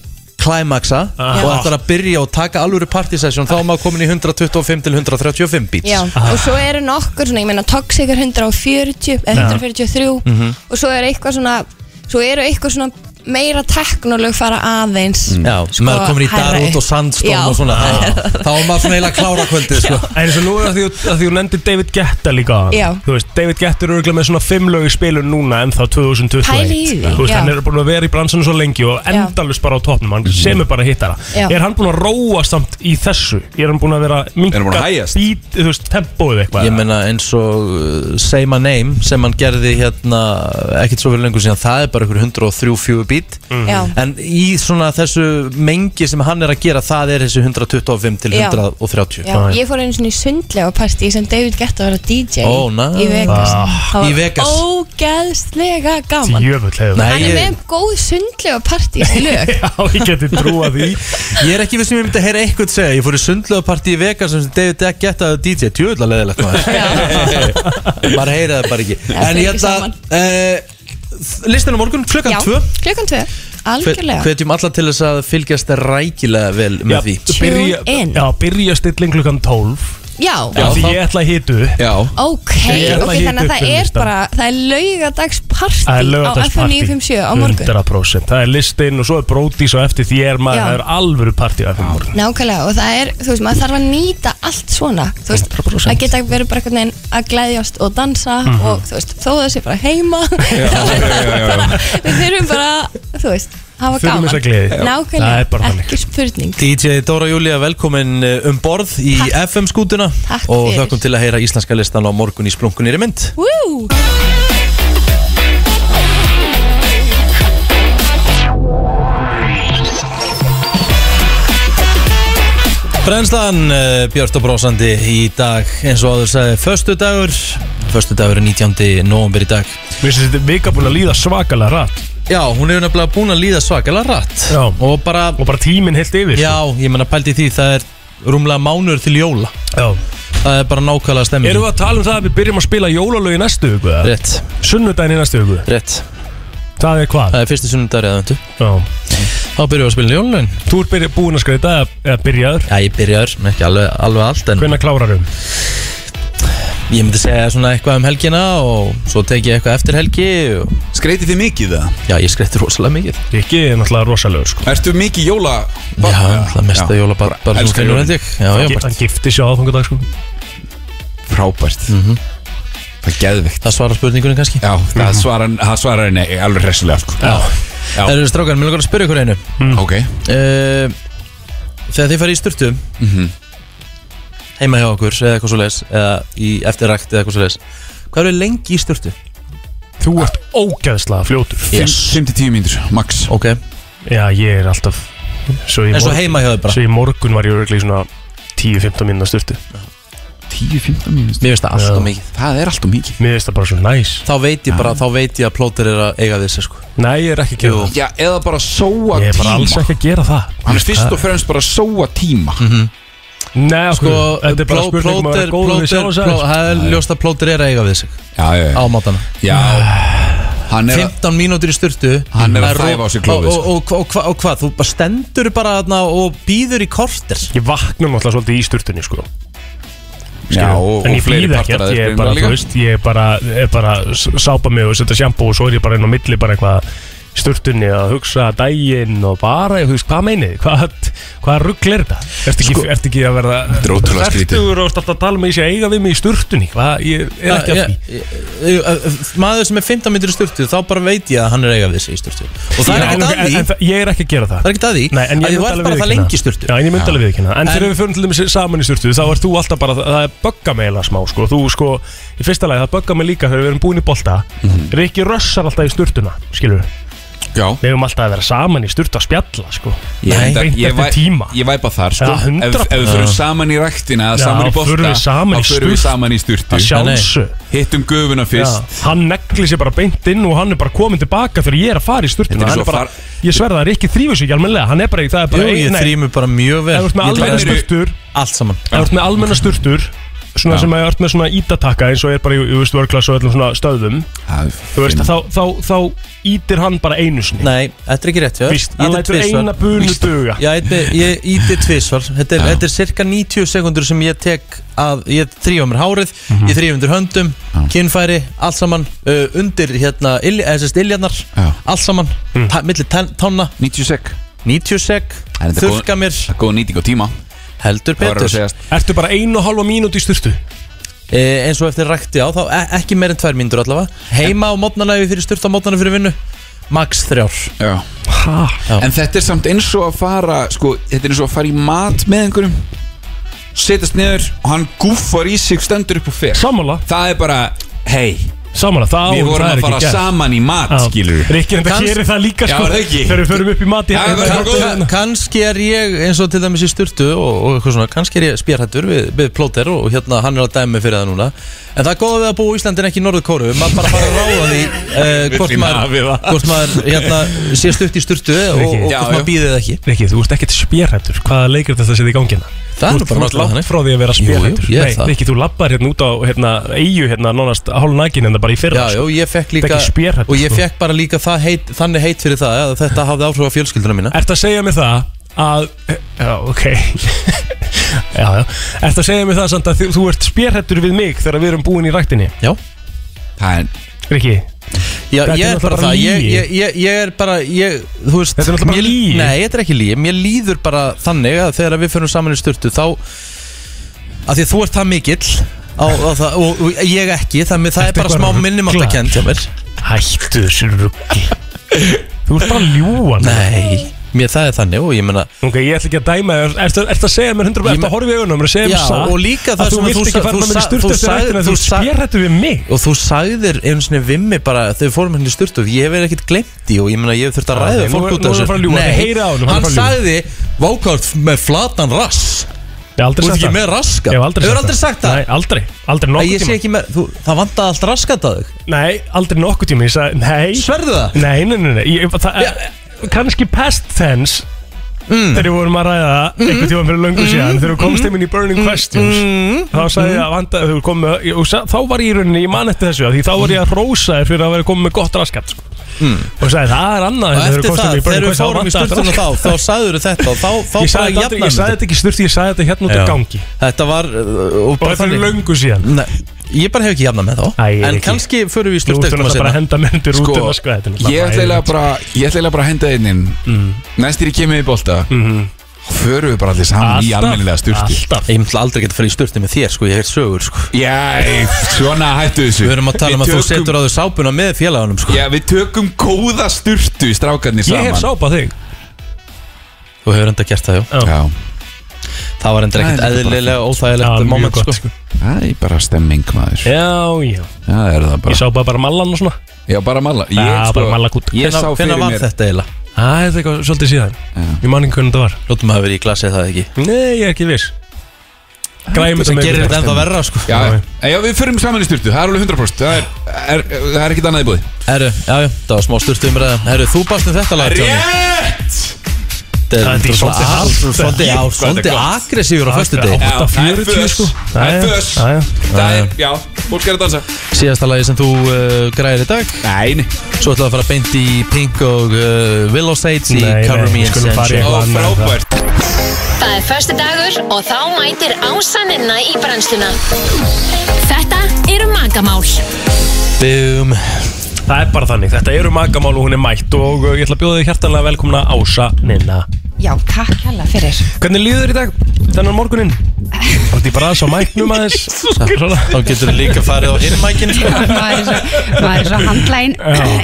Speaker 2: klæmaksa og ætlar að byrja og taka alvöru partysession þá er maður komin í 125 til 135 beats
Speaker 11: Já, og svo eru nokkur svona, ég meina Toxic er 140 eða
Speaker 2: Já.
Speaker 11: 143
Speaker 2: Mhm.
Speaker 11: og svo eru eitthvað svona svo eru eitthvað svona meira teknolög fara aðeins
Speaker 2: Mm.
Speaker 11: sko,
Speaker 2: Já, maður komin í
Speaker 11: hærra
Speaker 2: Darút
Speaker 11: upp.
Speaker 2: og Sandstorm
Speaker 11: Já.
Speaker 2: og svona þá- Þá er maður svona eiginlega að klára kvöldið sko.
Speaker 4: En eins og nú er að því að því hún nefndi David Guetta líka á hann.
Speaker 11: Já.
Speaker 4: Þú veist, David Guetta er örgulega með svona fimm lög í spilun núna en þá 2021
Speaker 11: Pæli í því,
Speaker 4: Þú veist,
Speaker 11: já.
Speaker 4: hann er búin að vera í bransanum svo lengi og endalus bara á topnum Hann semur bara hittara
Speaker 11: Já.
Speaker 4: Er hann búin að róa samt í þessu? Er hann búin að vera minka
Speaker 2: hann búinn að
Speaker 4: hægjast? Bít, þú veist, tempóið eitthvað
Speaker 2: Ég meina eins og uh, Say My Name sem hann gerði hérna ekkert svo verið lengur síðan það er bara ykkur 103-4 beat
Speaker 8: Mm.
Speaker 11: Já.
Speaker 2: en í svona þessu mengi sem hann er að gera það er þessi 125 til
Speaker 11: Já.
Speaker 2: 130
Speaker 4: Mm.
Speaker 11: Já, ég fór einu svona í sundlega partí sem David Guetta var að DJ
Speaker 2: Ó, næs.
Speaker 11: í Vegas
Speaker 2: Ah,
Speaker 11: Það var
Speaker 2: Oh, í Vegas.
Speaker 11: Ógeðslega gaman
Speaker 4: Jöfull hefur
Speaker 11: Hann er með góð sundlega partí í lög
Speaker 4: Já, ég geti trúa því
Speaker 2: Ég er ekki við sem ég myndi að heyra eitthvað segja Ég fór í sundlöðapartí í Vegas sem David Deck getaði DJ Tjóðla leðilegt maður Maður heyra það bara ekki En
Speaker 11: fer
Speaker 2: ég
Speaker 11: ekki
Speaker 2: ætla
Speaker 11: saman.
Speaker 2: uh, Listin á morgun klukkan 2
Speaker 11: klukkan 2 Algjörlega
Speaker 2: Hvetjum alla til þess að fylgjast rækilega vel með því
Speaker 4: byrja, Já, byrja stilling klukkan 12
Speaker 11: Já,
Speaker 4: Já, því ég ætla að hitu Já
Speaker 11: Ok,
Speaker 4: Ég ætla
Speaker 11: ok,
Speaker 4: að hita
Speaker 11: þannig að
Speaker 4: upp
Speaker 11: það
Speaker 4: fyrir
Speaker 11: er
Speaker 4: listan.
Speaker 11: bara það er laugadagspartí
Speaker 4: Það
Speaker 11: á
Speaker 4: er
Speaker 11: FM
Speaker 4: lögadagspartí
Speaker 11: 957 á morgun
Speaker 4: 100% Það er listinn og svo er brótis og eftir því er maður
Speaker 11: Já.
Speaker 4: Það er alvöru partí á FM morgun
Speaker 11: Nákvæmlega og það er, þú veist, maður þarf að nýta allt svona, þú veist, að geta verið bara einhvern veginn að glæðjast og dansa
Speaker 4: Mhm.
Speaker 11: og þú veist, þó það sé bara heima
Speaker 4: Já,
Speaker 11: þá er
Speaker 4: já, já,
Speaker 11: það
Speaker 4: já.
Speaker 11: bara, við þurfum bara þú veist, hafa
Speaker 2: Þurfum
Speaker 11: gaman
Speaker 2: þessa gleði. Það er bara
Speaker 11: Nákvæmlega,
Speaker 2: þannig.
Speaker 11: ekki spurning
Speaker 2: DJ Dóra Júlia, velkomin eh, um borð í FM skútuna og
Speaker 11: fyrir.
Speaker 2: þökkum til að heyra íslenska listan á morgun í splunkunir í mynd
Speaker 11: Woo!
Speaker 2: Brennslan uh, Björn og brósandi í dag eins og áður sagði Föstu dagur Föstu dagur er 19. november í dag
Speaker 4: Mér finnst þetta vika búin að líða svakalega rætt
Speaker 2: Já, hún hefur nefnilega búin að líða svakalega rætt
Speaker 4: Já.
Speaker 2: Og bara
Speaker 4: Og bara tíminn heilt yfir
Speaker 2: Já, ég menna pældi því það er rúmlega mánuður til jóla
Speaker 4: Já
Speaker 2: Það er bara nákvæmlega stemming
Speaker 4: Erum við að tala um það að við byrjum að spila jólalög í næstu viku? eða?
Speaker 2: Rétt
Speaker 4: Sunnudaginn í næstu viku?
Speaker 2: Rétt
Speaker 4: Það er hvað?
Speaker 2: Það er fyrsti sunnudagur eða vöndu
Speaker 4: Já
Speaker 2: Þá byrjum við að spila jólalögin
Speaker 4: Þú ert byrja, búin að skreita eða- eða byrjaður?
Speaker 2: Já, ég byrjaður, ekki alveg, alveg allt en
Speaker 4: Hvenær klárarum?
Speaker 2: Ég myndi segja svona eitthvað um helgina og svo tek ég eitthvað eftir helgi og...
Speaker 3: Skreiti þið mikið það?
Speaker 2: Já, ég skreiti rosalega mikið
Speaker 4: Rikki er náttúrulega rosalegur sko
Speaker 3: Ertu mikið jóla?
Speaker 2: Já, náttúrulega mesta jólabarn bara sem
Speaker 3: elska
Speaker 2: finnur
Speaker 3: jólin.
Speaker 2: held ég Já, já,
Speaker 4: Hann-
Speaker 2: bara
Speaker 4: Hann gifti sér á aðfangadag sko
Speaker 3: Frábært Það er geðvikt
Speaker 2: Það svarar spurningunum kannski
Speaker 3: Já, það svarar, það svarar henni alveg hressilega sko.
Speaker 2: Já. Það eru strákar, mér langar að spyrja ykkur einu
Speaker 3: Ok
Speaker 2: uh, Þegar þið farið í sturtu Mhm. Heima hjá okkur eða eitthvað svo leis Eða í eftirrækt eða eitthvað svo leis Hvað eru lengi í sturtu?
Speaker 4: Þú ert ógæðslega fljótur
Speaker 2: Yes.
Speaker 3: 5-10 mínútur, max
Speaker 2: Ok
Speaker 4: Já, ég er alltaf svo í
Speaker 2: En svo
Speaker 4: morgun-
Speaker 2: heima hjá þér bara?
Speaker 4: Svo í morgun var ég örglega í svona 10-15 mínúna styrtu
Speaker 3: 10-15 mínútur
Speaker 2: Mér finnst það allt
Speaker 4: Já.
Speaker 2: og mikið
Speaker 3: Það er allt og mikið
Speaker 4: Mér finnst það bara svo næs
Speaker 2: Þá veit ég bara, þá veit ég að plóter er að eiga við sér sko
Speaker 4: Nei, ég er ekki að gera
Speaker 2: Jú.
Speaker 4: það
Speaker 3: Já, eða bara sóa
Speaker 4: Ég er bara
Speaker 3: tíma
Speaker 4: alls ekki að gera það
Speaker 3: Hann er fyrst og fremst bara að sóa tíma
Speaker 4: Nei,
Speaker 2: Sko,
Speaker 4: sko, þetta er bara
Speaker 2: pló-
Speaker 4: spurning um að
Speaker 2: plóter,
Speaker 4: vera góður við
Speaker 2: plóter,
Speaker 4: sjálf og
Speaker 2: pló- það er ljóst að plóter er að eiga við sig
Speaker 3: Já, já,
Speaker 2: á
Speaker 3: já,
Speaker 2: mátana
Speaker 3: já. Hann er að
Speaker 2: 15 mínútur í sturtu
Speaker 3: Hann er að
Speaker 2: Það ro-
Speaker 3: þæfa á sig klófið,
Speaker 2: og, og, og, og, hva- og hvað, þú bara stendur bara þarna og býður í korter
Speaker 4: Ég vakna náttúrulega svolítið í sturtunni, sko
Speaker 3: Já, og,
Speaker 4: En
Speaker 3: og
Speaker 4: ég
Speaker 3: fleiri
Speaker 4: býð
Speaker 3: partar
Speaker 4: ekkert,
Speaker 3: að
Speaker 4: ég
Speaker 3: þeir
Speaker 4: er bara,
Speaker 3: líka
Speaker 4: þú veist Ég er bara, er bara s- sápa mig og setja sjampo og svo er ég bara inn á milli bara eitthvað í sturtunni að hugsa daginn og bara, þú veist, hvað meinið þið? Hvað, hvað ruggl er þetta? Ertu ekki, ertu ekki að verða
Speaker 3: Þetta er ótrúlega skrítið.
Speaker 4: fertugur og starta að tala með því að eiga við mig í sturtunni? Hvað, ég er ekki að því
Speaker 2: Maður sem er 15 mínútur í sturtu þá bara veit ég að hann er að eiga við sig í sturtu og það er
Speaker 4: Já,
Speaker 2: ekkert
Speaker 4: en-
Speaker 2: að því
Speaker 4: en það- Ég er ekki að gera það
Speaker 2: Það er ekkert að því
Speaker 4: Nei, en
Speaker 2: að
Speaker 4: ég
Speaker 2: þú
Speaker 4: myndi
Speaker 2: ert bara
Speaker 4: alveg
Speaker 2: það
Speaker 4: viðurkenna
Speaker 2: lengi í sturtu
Speaker 4: Já, en ég myndi alveg viðkynna En
Speaker 2: En-
Speaker 4: þegar við fyrir til dæmis saman í sturtu Þá ert þú alltaf bara, það er bögga mig eiginlega smá sko. Þú sko, í fyrsta lagi, það bögga mig líka Þegar við erum búin í bolta Rikki rössar alltaf í sturtuna, skilur við
Speaker 3: Já,
Speaker 4: Við erum alltaf að vera saman í sturtu að spjalla sko.
Speaker 3: ég,
Speaker 4: Nei,
Speaker 3: ég,
Speaker 4: beint
Speaker 3: ég,
Speaker 4: eftir tíma
Speaker 3: ég væpa þar sko.
Speaker 4: Já,
Speaker 3: Ef
Speaker 4: 100%.
Speaker 3: ef við förum saman í ræktina eða
Speaker 4: Já,
Speaker 3: saman í
Speaker 4: þá
Speaker 3: bolta
Speaker 4: förum við saman í
Speaker 3: Þá förum við
Speaker 4: sturtu.
Speaker 3: saman í sturtu
Speaker 4: Að sjálfsög
Speaker 3: Hittum gufuna
Speaker 4: Já,
Speaker 3: fyrst
Speaker 4: hann negli sér bara beint inn og hann er bara komin tilbaka þegar ég er að fara í
Speaker 3: Þetta
Speaker 4: sturtuna
Speaker 3: er
Speaker 4: Hann
Speaker 3: svo
Speaker 4: er bara,
Speaker 3: far-
Speaker 4: Ég sverða það er ekki þrýfus ekki almenlega Hann er bara, í- það er bara
Speaker 2: Jú, ég
Speaker 4: nei,
Speaker 2: þrýmur bara mjög vel
Speaker 4: Ef þú ert með
Speaker 2: Ég
Speaker 4: almenna
Speaker 2: gleðst
Speaker 4: sturtur
Speaker 2: allt saman
Speaker 4: Ef þú ert með almenna sturtur svona
Speaker 3: Já.
Speaker 4: sem að ég ört með svona ítatakka eins og er bara í, í veist, vörklass og öllum svona stöðum þú veist, þá, þá, þá ítir hann bara einu sinni
Speaker 2: Nei, þetta er ekki rétt hjá þér.
Speaker 4: Víst, hann
Speaker 2: Ýtir
Speaker 4: lætur
Speaker 2: tvisvar.
Speaker 4: eina bunu
Speaker 2: Víst.
Speaker 4: duga.
Speaker 2: Já, ég- ég íti tvisvar þetta er, þetta er cirka 90 sekundur sem ég tek að ég þrýfa mér hárið
Speaker 3: Mhm.
Speaker 2: ég þrýfa undir höndum, kynfæri allt saman, uh, undir hérna ilj, eða sérst iljarnar, allt saman mm. milli tán- tánna
Speaker 3: 90 sek
Speaker 2: 90 sek,
Speaker 3: En þetta er
Speaker 2: þurka mér
Speaker 3: Það er góð nýting á tíma
Speaker 2: heldur
Speaker 3: Það verður
Speaker 2: betur
Speaker 3: að segjast.
Speaker 4: Ertu bara einu og halva mínúti í styrtu?
Speaker 2: Eh, eins og eftir rækti á, þá e- ekki meir en tvær mínútur allavega heima á mótnana ef ég fyrir styrta á mótnana fyrir vinnu max þrjár
Speaker 3: Já.
Speaker 2: Já.
Speaker 3: En þetta er samt eins og að fara sko, Þetta er eins og að fara í mat með einhverjum Setjast niður Og hann gúffar í sig stendur upp og fer
Speaker 4: Samála,
Speaker 3: Það er bara, hei
Speaker 4: samála, það
Speaker 3: Við vorum
Speaker 4: það er
Speaker 3: að
Speaker 4: ekki
Speaker 3: fara
Speaker 4: gert.
Speaker 3: saman í mat
Speaker 4: Já.
Speaker 3: Skilur við
Speaker 4: Rikki enda
Speaker 2: Kannst-
Speaker 4: gerir það líka
Speaker 3: Já,
Speaker 4: sko
Speaker 3: er það ekki?
Speaker 4: Þegar við förum upp í mati
Speaker 3: Já, það er góð.
Speaker 2: Ka- Kannski er ég eins og til dæmis í styrtu og, og eitthvað svona, kannski er ég spjærhættur við, við plóter og hérna hann er að dæmi fyrir það núna en það er góða við að búa í Íslandin ekki í norður kóru maður bara fara að ráða því uh, hvort,
Speaker 3: Vill
Speaker 2: maður,
Speaker 3: hafa það.
Speaker 2: hvort maður hérna, sé stutt í styrtu og, og
Speaker 4: Ekki.
Speaker 2: hvort
Speaker 3: Já, já.
Speaker 2: maður býðið ekki
Speaker 4: Rikki, þú ert ekkert spjærhættur Hvaða leikir þetta séð í gangina?
Speaker 2: Það er nú bara
Speaker 4: Þú ert
Speaker 2: náttúrulega
Speaker 4: langt
Speaker 2: þannig.
Speaker 4: frá því að vera spjærhættur
Speaker 2: Jú, jú, ég er
Speaker 4: Nei,
Speaker 2: það.
Speaker 4: Rikki, þú lappar hérna út á hérna, eigu hérna nánast hálfnakin en það bara í
Speaker 2: Já,
Speaker 4: fyrra
Speaker 2: já,
Speaker 4: sko.
Speaker 2: ég fekk
Speaker 4: Þetta
Speaker 2: líka
Speaker 4: er ekki spérhættur,
Speaker 2: og ég
Speaker 4: sko.
Speaker 2: fekk bara líka það heit, þannig heit fyrir það að þetta hafði áhrif á fjölskylduna mína
Speaker 4: Ertu að segja mér það að Eh, Já, ok Já, já Ertu að segja mér það samt að þú, þú ert spjærhættur við mig þegar við erum búin í ræktinni
Speaker 2: Já,
Speaker 3: Það er
Speaker 4: Rikki,
Speaker 2: já
Speaker 4: Þetta er
Speaker 2: ég er
Speaker 4: náttúrulega
Speaker 2: bara
Speaker 4: bara
Speaker 2: það ég,
Speaker 4: lygi.
Speaker 2: ég, ég, ég er bara, ég, þú veist
Speaker 4: Þetta er náttúrulega bara
Speaker 2: mér-
Speaker 4: lygi.
Speaker 2: Nei, þetta er ekki líi, mér líður bara þannig að þegar við fyrir saman í styrtu þá að því að þú ert það mikill á, á það, og, og ég ekki þannig það
Speaker 4: Ertu
Speaker 2: er bara smá
Speaker 4: eitthvað
Speaker 2: minnumáttakend hjá mér
Speaker 4: hættu þessu ruggi Þú ert bara ljúan
Speaker 2: Nei, mér það er þannig og ég meina
Speaker 4: Ok, ég ætla ekki að dæma þér Ertu ertu að segja
Speaker 2: Ég
Speaker 4: mér 100% Ertu
Speaker 2: me-
Speaker 4: að horfa í augunum og segja mér
Speaker 2: Já,
Speaker 4: satt
Speaker 2: og líka það
Speaker 4: að þú
Speaker 2: sem að
Speaker 4: vilt
Speaker 2: þú
Speaker 4: ekki
Speaker 2: sa-
Speaker 4: fara
Speaker 2: þú
Speaker 4: með mér
Speaker 2: sa-
Speaker 4: sturt
Speaker 2: þú
Speaker 4: eftir
Speaker 2: sagði-
Speaker 4: rættina
Speaker 2: þú
Speaker 4: Þú
Speaker 2: sa-
Speaker 4: spjærrættu við mig
Speaker 2: og þú sagðir einu sinni vimmi bara þegar við fórum henni styrtu ég hef verið ekkert glemt í og ég meina ég hef þurft að
Speaker 4: Já,
Speaker 2: ræða
Speaker 4: ok, nú
Speaker 2: fólk
Speaker 4: er-
Speaker 2: út af
Speaker 4: nú er hann
Speaker 2: þessu
Speaker 4: farinn að ljúga. Ég heyri á honum, hann er
Speaker 2: hann
Speaker 4: farinn að
Speaker 2: sagði vákárt með flatan rass
Speaker 4: Ég hef aldrei
Speaker 2: Þú ert
Speaker 4: sagt
Speaker 2: ekki
Speaker 4: það
Speaker 2: með raskat?
Speaker 4: Ég hef aldrei
Speaker 2: Hefur aldrei sagt það?
Speaker 4: Nei, aldrei Aldrei
Speaker 2: Nei, ég
Speaker 4: nokkuð
Speaker 2: sé
Speaker 4: tíma
Speaker 2: ekki með, þú, það vandaði allt raskat að þig
Speaker 4: Nei, aldrei nokkuð tíma Ég sagði, nei
Speaker 2: Sverðu það?
Speaker 4: Nei, nei, nei, nei ég, það, Kanski past tense
Speaker 2: Mm.
Speaker 4: Þegar við vorum að ræða
Speaker 2: Mm-hmm.
Speaker 4: einhvern tíma fyrir löngu síðan Þegar við komst heiminn í Burning Questions
Speaker 2: Mm-hmm.
Speaker 4: Þá sagði ég að vanda þegar við komum með- ég- og sa- Þá var ég í rauninni, ég man eftir þessu af Því þá var
Speaker 2: Mm-hmm.
Speaker 4: ég að rósa þér fyrir að vera komið með gott raskat sko. Og sagði það er annað en
Speaker 2: Mm. Og
Speaker 4: þegar við
Speaker 2: eftir
Speaker 4: komst
Speaker 2: það,
Speaker 4: heim í Burning
Speaker 2: þegar við
Speaker 4: Questions, þá
Speaker 2: fórum í
Speaker 4: vantaði allt
Speaker 2: styrtuna þá
Speaker 4: raskat.
Speaker 2: þá sagður þetta og þá, þá
Speaker 4: Ég sagði, þetta aldrei, ég sagði þetta ekki sturt, ég sagði þetta hérna út á gangi
Speaker 2: Þetta var uh, og
Speaker 4: Bara
Speaker 2: bara
Speaker 4: fyrir
Speaker 2: þannig
Speaker 4: löngu síðan
Speaker 2: Nei, Ég bara hef ekki jafnað með þá
Speaker 4: Æ, ég er
Speaker 2: En
Speaker 4: ekki.
Speaker 2: kannski förum við í
Speaker 4: Þú
Speaker 2: styrtu
Speaker 4: ert
Speaker 2: eitthvað
Speaker 4: náttúrulega bara
Speaker 2: sinna
Speaker 4: að henda myndir út
Speaker 3: Sko,
Speaker 4: en það sko Mhm. þetta
Speaker 3: Ég
Speaker 4: er náttúrulega
Speaker 3: ætla eiginlega bara, ég ætla eiginlega bara að henda einn inn mm. Næstir ég kemur í bolta Förum við bara allir saman í
Speaker 4: Mhm. Alltaf,
Speaker 3: almennilega styrtu
Speaker 4: Alltaf
Speaker 2: Ég myndi aldrei geta að fara í styrtu með þér sko, ég hef sögur sko
Speaker 3: Jæ, svona hættu þessu
Speaker 2: Við erum að tala um að þú setur á þau sápuna með félagunum sko
Speaker 3: Já, við tökum góða styrtu strákarnir
Speaker 4: Ég
Speaker 3: saman
Speaker 4: hef sápað þig
Speaker 2: Þú hefur enda gert það, já
Speaker 3: Já,
Speaker 2: Það var enda
Speaker 3: Það er
Speaker 2: ekkert
Speaker 3: líka bara
Speaker 2: eðlilega
Speaker 4: Já,
Speaker 2: óþægilegt
Speaker 4: mjög
Speaker 2: moment
Speaker 4: gott,
Speaker 2: sko
Speaker 3: það er bara stemming maður
Speaker 4: Já, já
Speaker 3: Það er það
Speaker 4: Ég
Speaker 3: bara
Speaker 4: sápað bara mallan og svona
Speaker 3: Já, bara malla Ég,
Speaker 4: Já,
Speaker 3: sko,
Speaker 4: bara malla kút
Speaker 3: Ég sá fyrir
Speaker 2: Hvenær var
Speaker 3: mér
Speaker 2: þetta eiginlega?
Speaker 4: Æ, þetta er eitthvað svolítið síðan Ég man ekki hvernig það var
Speaker 2: Lótum að hafa verið í glasi það ekki
Speaker 4: Nei, ég er ekki viss Græmið
Speaker 2: Sem gerir þetta ennþá verra sko
Speaker 3: Já, en já, við förum saman í styrtu Það er alveg 100% Það er, er, það er ekkit annað í búði
Speaker 2: Herru, já, já, það var smá sturt umræða Herru, þú barst um þetta lag Tjóni
Speaker 3: Rétt!
Speaker 2: Þetta
Speaker 4: Það er
Speaker 2: er
Speaker 4: svolítið
Speaker 2: svona-
Speaker 4: hart.
Speaker 2: Svolítið á, svolítið agressífur á föstu deg
Speaker 3: Já, það er
Speaker 4: 8.40
Speaker 3: föss.
Speaker 4: sko
Speaker 3: Það er föss.
Speaker 4: Já, já.
Speaker 3: Það er, já, fólk er að dansa
Speaker 2: Síðasta lagi sem þú uh, græðir í dag
Speaker 3: Nei, nei.
Speaker 2: Svo ætlaðu að fara beint í Pink og uh, Willow Sage í
Speaker 4: Nei,
Speaker 2: Cover
Speaker 4: nei,
Speaker 2: Me
Speaker 4: við
Speaker 2: in
Speaker 4: skulum fara í
Speaker 3: Ó,
Speaker 2: Sunshine
Speaker 4: eitthvað annað en það.
Speaker 3: frábært
Speaker 12: Það er förstu dagur og þá mætir ásaninna í brennsluna. Þetta eru magamál.
Speaker 2: Bum
Speaker 4: Það er bara þannig, þetta eru magamál og hún er mætt og uh, ég ætla að bjóða þig hjertanlega velkomna Ása Ninna
Speaker 11: Já, takk hella fyrir
Speaker 4: Hvernig líður þér í dag? Þennan morguninn? Þú ert í bras á mæknum aðeins Svona.
Speaker 2: Þá getur þú líka farið á hinmækin
Speaker 13: maður er svo, maður er svo handlæn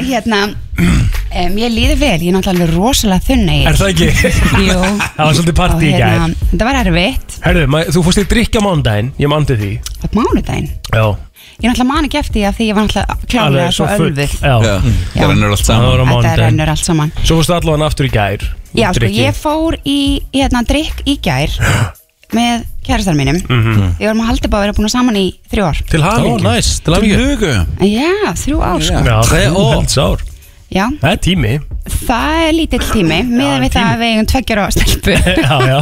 Speaker 13: hérna um, ég líði vel, ég er náttúrulega alveg rosalega þunna
Speaker 4: Er það ekki?
Speaker 13: Jú
Speaker 4: Það var svolítið partí í
Speaker 13: Og
Speaker 11: hérna,
Speaker 13: hérna,
Speaker 4: gær.
Speaker 13: þetta var erfitt,
Speaker 4: Herðu, ma- þú fórst í drikja mándaginn, ég mandi því
Speaker 13: það var mánudaginn
Speaker 4: Já,
Speaker 13: ég náttúrulega man ekki eftir því að því ég var náttúrulega
Speaker 4: Alveg
Speaker 13: klálega svo
Speaker 4: full.
Speaker 13: ölvuð
Speaker 4: Já,
Speaker 3: Já, Það rennur allt
Speaker 4: það
Speaker 3: saman
Speaker 4: var á
Speaker 13: þetta
Speaker 4: mándaginn
Speaker 13: rennur allt saman
Speaker 4: Svo fórstu allavega aftur í gær úr
Speaker 13: já, sko,
Speaker 4: drykki.
Speaker 13: ég fór í hérna drikk í gær með kærastar mínum mm
Speaker 4: Mhm.
Speaker 13: -hmm. við vorum að halda bara að vera búin saman í þrjú ár
Speaker 4: Til
Speaker 2: Ó,
Speaker 4: hamingi
Speaker 2: næs, til að mikið
Speaker 3: Lugu
Speaker 13: já, þrjú ár sko
Speaker 4: Já,
Speaker 2: Tre
Speaker 4: þú
Speaker 2: ár.
Speaker 4: helds ár
Speaker 13: já,
Speaker 4: Það er tími
Speaker 13: það er lítill tími
Speaker 4: en
Speaker 13: með við það
Speaker 4: tími.
Speaker 13: að við eigum tveggjur og stelpu
Speaker 4: Já, já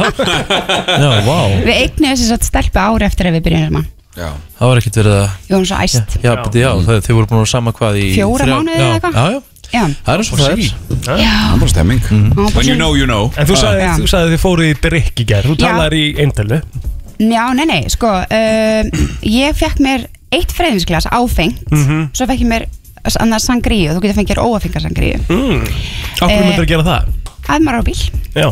Speaker 2: Já, vá
Speaker 13: Við eignum þess að stelpa ári eftir að við byrjum saman
Speaker 3: Já.
Speaker 2: Það var ekkert verið að
Speaker 13: Ég var svo æst.
Speaker 2: Já, já, já það, þið voru búin að sama hvað í
Speaker 13: Fjóra
Speaker 2: þrjá-
Speaker 13: mánuði eða
Speaker 2: Já,
Speaker 13: eitthvað?
Speaker 2: Já, já
Speaker 13: Já.
Speaker 2: Það er eins og það er
Speaker 13: Já.
Speaker 3: Bara stemming When you know, you know
Speaker 4: En þú sagði,
Speaker 13: Já.
Speaker 4: þú sagði þið fóruð í drikk í gerð Þú
Speaker 13: Já.
Speaker 4: talaðir í eindelu
Speaker 13: Já, nei, nei, sko um, Ég fekk mér eitt freyðinsglas áfengt
Speaker 4: Mhm.
Speaker 13: Svo fekk ég mér annars sangríu Þú getur fengið þér óafengar sangríu
Speaker 4: mm. Akkur
Speaker 13: Eh,
Speaker 4: myndir að gera það?
Speaker 13: Að maður á bíl,
Speaker 4: Já,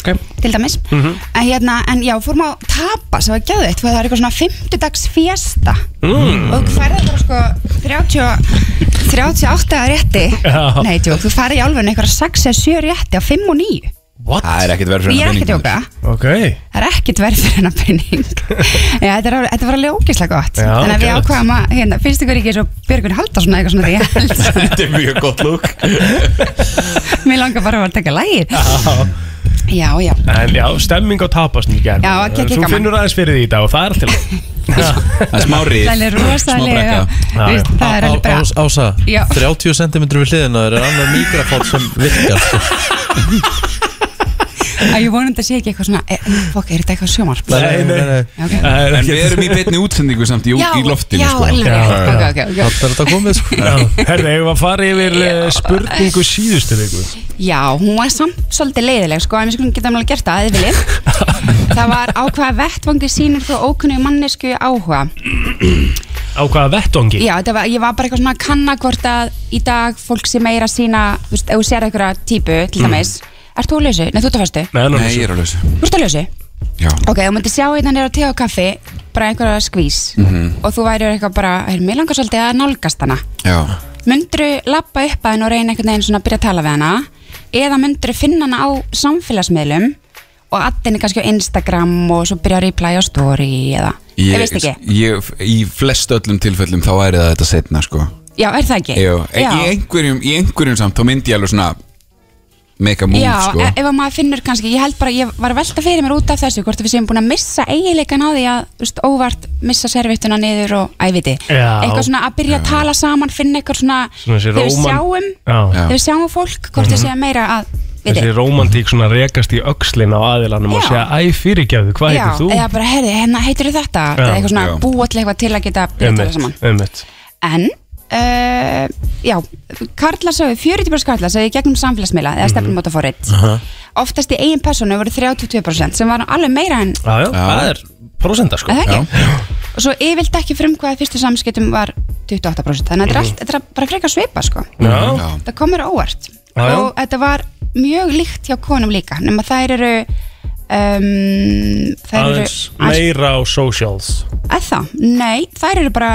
Speaker 4: ok
Speaker 13: til dæmis
Speaker 4: Mhm.
Speaker 13: en, hérna, en já, fórum á tapa sem var gæðveitt Það er eitthvað svona fimmtudags fjasta
Speaker 4: Mm.
Speaker 13: Og þú færði bara sko 30, og- 38 að rétti
Speaker 3: Já.
Speaker 13: Nei, tjók, þú færði í alveg einhverja 6 eða 7 rétti á 5 og 9
Speaker 4: What?
Speaker 3: Ah, Það er ekkert verið fyrir
Speaker 13: Ég er ekki að tjóka
Speaker 4: Ok
Speaker 13: það er ekkert verð fyrir hennar penning Já, þetta, er, alveg- þetta var alveg ógeðslega gott
Speaker 4: Já,
Speaker 13: þannig að við
Speaker 4: geðveikt.
Speaker 13: ákvaðum að, hérna, finnst ykkur ekki eins og Björgun Haldarsson eða eitthvað svona þegar
Speaker 3: Þetta er mjög gott lúk
Speaker 13: mér langar bara að taka lægir
Speaker 4: Já.
Speaker 13: Já, já,
Speaker 4: En já, stemming á tapast í gerð
Speaker 13: Já, ok,
Speaker 4: Þú
Speaker 13: gaman.
Speaker 4: finnur aðeins fyrir því í dag og það er alltaf
Speaker 3: Smá rif
Speaker 13: það er rosalega
Speaker 2: Já,
Speaker 13: veist,
Speaker 2: já.
Speaker 13: það er alveg bara
Speaker 2: Á- á- Ása,
Speaker 13: Já.
Speaker 2: 30 cm við hliðina er annar mikrofón sem virkar sko.
Speaker 13: að ég vonum þetta sé ekki eitthvað svona e, fokk, er þetta eitthvað sjómarp?
Speaker 2: Nei, nei, nei.
Speaker 13: Já, ok.
Speaker 3: En
Speaker 4: Eh,
Speaker 3: við erum í betni útsendingu samt í,
Speaker 13: Já,
Speaker 3: í loftinu
Speaker 13: já,
Speaker 3: sko.
Speaker 13: alveg rétt. Ok, ok, ok.
Speaker 2: Það er þetta komið sko
Speaker 4: Herði, ég var að fara yfir eh, spurningu síðustu viku
Speaker 13: Já, hún var samt svolítið leiðileg sko, en við skulum geta alveg gert það, eða viljum Það var á hvaða vettvangi sýnir frá ókunni mannesku áhuga
Speaker 4: Á hvaða vettongi?
Speaker 13: Já, þetta var, ég var bara eitthvað svona að kanna hvort að í dag fólk sé meira sína, þú veist, ef þú sér einhverja típu, til
Speaker 3: Mm.
Speaker 13: dæmis, ert þú á lausu? Nei, þú ert á fastu?
Speaker 4: Nei,
Speaker 3: Nei, ég er á lausu
Speaker 13: Þú ert á lausu?
Speaker 3: Já.
Speaker 13: Ok, þú myndir sjá hérna nýra te og kaffi, bara einhverja skvís
Speaker 3: Mhm.
Speaker 13: og þú væri eitthvað bara, er, mér langar svolítið að nálgast hana.
Speaker 3: Já
Speaker 13: Myndirðu lappa upp að henn og reyna einhvern veginn svona að byrja að tala við hana eða myndirðu finna hana á samfélagsmiðlum og addinni kannski á Instagram og svo byrja að reply á story eða, ég,
Speaker 3: Ég-
Speaker 13: veist ekki.
Speaker 3: ég, Í flest öllum tilfellum þá væri það þetta setna sko.
Speaker 13: Já, er það ekki?
Speaker 3: Jú, en
Speaker 13: Eh, Já.
Speaker 3: í, einhverjum, í einhverjum samt þá myndi ég alveg svona make a move
Speaker 13: Já,
Speaker 3: sko.
Speaker 13: e- ef að maður finnur kannski, ég held bara, ég var að velta fyrir mér út af þessu, hvort að við séum búin að missa eiginleikan á því að, þú veist, óvart missa servittuna niður og æviti.
Speaker 4: Já.
Speaker 13: Eitthvað svona að byrja að tala saman, finna eitthvað svona,
Speaker 4: Svona þessi
Speaker 13: þegar við
Speaker 4: róman-
Speaker 13: sjáum,
Speaker 4: Já.
Speaker 13: þegar við sjáum fólk, hvort við
Speaker 4: Mhm.
Speaker 13: séum meira að, við
Speaker 4: Þessi romantík svona rekast í öxlin á aðilanum og
Speaker 13: Já.
Speaker 4: segja Æ, fyrirgefðu, hvað
Speaker 13: Já,
Speaker 4: heitir þú?
Speaker 13: eða bara, herði, hérna heitir þetta,
Speaker 4: Já,
Speaker 13: eða eitthvað svona
Speaker 4: já.
Speaker 13: búa til eitthvað til að geta byrja að tala saman.
Speaker 4: Einmitt, einmitt
Speaker 13: En, uh, já, karla sögðu, 40% karla sögðu í gegnum samfélagsmiðla, eða stefnumótaforrið.
Speaker 4: Mhm. Aha.
Speaker 13: oftast í eigin persónu voru 32% sem var nú alveg meira en
Speaker 4: Já, já, það er prosenta sko
Speaker 13: Er það ekki? og svo yfirlt ekki frumkvæða fyrstu samskiptum var 28%
Speaker 4: Mhm.
Speaker 13: þannig að þetta er allt- þetta er bara frekar svipa sko
Speaker 4: Já. Já.
Speaker 13: það komur óvart
Speaker 4: Já, já.
Speaker 13: og þetta var mjög líkt hjá konum líka nema þær eru um, þær eru
Speaker 4: Aðeins meira á socials
Speaker 13: að það, nei, þær eru bara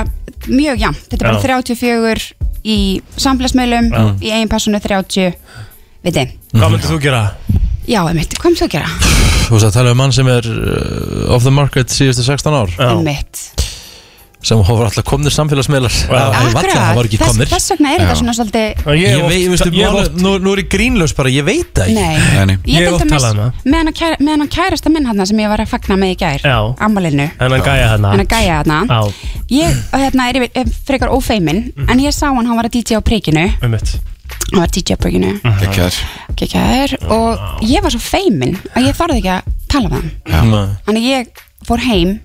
Speaker 13: mjög jafn, þetta er bara
Speaker 4: Já.
Speaker 13: 34 í samfélagsmiðlum
Speaker 4: Já.
Speaker 13: í eigin persónu 30 við þið,
Speaker 4: Hvað myndir þú gera?
Speaker 13: já, emitt, hvað um þú að gera?
Speaker 2: Þú veist að tala um mann sem er uh, off the market síðustu 16 ár
Speaker 13: Einmitt.
Speaker 2: Sem hafa alltaf komnir samfélagsmiðlar Það var það var ekki
Speaker 13: Þess-
Speaker 2: komnir
Speaker 13: þess vegna er þetta svona svolítið
Speaker 2: Ég, veit, veistu,
Speaker 4: ég hef
Speaker 2: máli, nú, nú er ég grínlaus bara, ég veit það
Speaker 13: Nei.
Speaker 2: ekki
Speaker 13: Ég til dæmis- meðan að kæra- meðan að kærasta minn hann sem ég var að fagna með í gær
Speaker 4: Já.
Speaker 13: ammálinu
Speaker 4: Hennan gæja hérna
Speaker 13: Þennan gæja þarna.
Speaker 4: Já,
Speaker 13: ég hérna, er, yfir- er frekar ófeimin en ég sá hann, hann var að DJ á prikinu
Speaker 4: einmitt
Speaker 13: hann var DJ á prikinu
Speaker 3: Gekkjaður
Speaker 13: gekkjaður og ég var svo feimin að ég þorði ekki að tala við hann þannig ég fór heim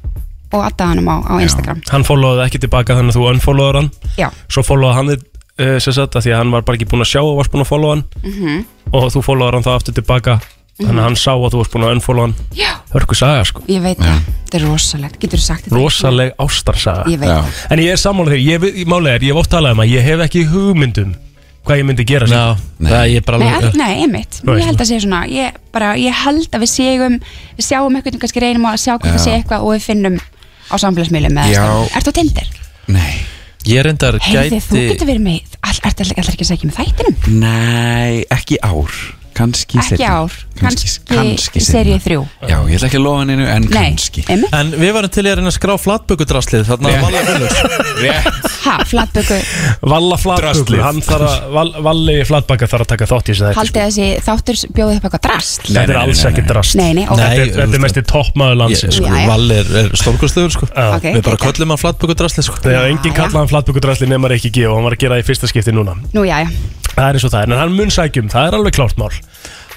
Speaker 13: og addaði hann á, á Instagram
Speaker 4: Hann followði ekki tilbaka þannig að þú unfollowar hann
Speaker 13: Já.
Speaker 4: Svo followði hann þig uh, sem sagt að því að hann var bara ekki búinn að sjá og varst búinn að followa hann
Speaker 13: Mhm.
Speaker 4: og þú followar hann þá aftur tilbaka þannig að hann sá að þú varst búinn að unfollowa hann
Speaker 13: Já.
Speaker 4: Hörku saga sko
Speaker 13: ég veit það, þetta er rosalegt getur þú sagt þetta
Speaker 4: Rosaleg ástarsaga
Speaker 13: Ég veit Já.
Speaker 4: En ég er sammála þegar, ég, veit- málið er, ég hef oft talað um að ég hef ekki hugmyndum hvað ég myndi gera Já,
Speaker 2: það er
Speaker 13: Nei, all, nei, einmitt,
Speaker 4: Þú veist
Speaker 13: ég held
Speaker 4: það.
Speaker 13: að sé svona ég, bara, ég held að við séum við sjáum eitthvað, kannski reynum að sjá hvað
Speaker 2: Já.
Speaker 13: það sé eitthvað og við finnum á samfélagsmiðlum
Speaker 2: Já.
Speaker 13: Er þú tindir?
Speaker 2: Ég reyndar
Speaker 13: Heyrði, þú
Speaker 2: gæti
Speaker 13: getur verið með all, Er þetta ekki að segja með þættinum?
Speaker 3: Nei, ekki ár Kanski
Speaker 13: Ekki ár, kannski, kannski
Speaker 3: seinna.
Speaker 13: seríu þrjú
Speaker 3: Já, ég ætla ekki að lofa hennu en
Speaker 13: Nei, einmitt
Speaker 2: En við varum til í að reyna að skrá flatbökudraslið Þarna að valja
Speaker 3: Rétt
Speaker 13: Ha, flatböku,
Speaker 4: Valla flatböku,
Speaker 2: Draslið.
Speaker 4: hann þarf að, val, valli flatbaka þarf að taka þátt í þessu þætti,
Speaker 2: sko-
Speaker 13: haldið þessi þáttur bjóðið upp eitthvað drast
Speaker 4: Þetta er alls ekki drast
Speaker 13: Nei, nei, ok. Nei,
Speaker 4: Þetta er- Þetta er mest í toppmaður landsins
Speaker 2: Ég- sko,
Speaker 13: Jæja.
Speaker 2: Valli er, er stórkostlegur sko.
Speaker 4: Ok.
Speaker 2: Við bara köllum hann flatbökudraslið sko.
Speaker 4: Þegar enginn kallaði hann flatbökudrasli nema Rikki G og hann var að gera það í fyrsta skipti núna
Speaker 13: Nú, já, já
Speaker 4: um, Það er eins og það er, en hann mun sækjum, það er alveg klárt mál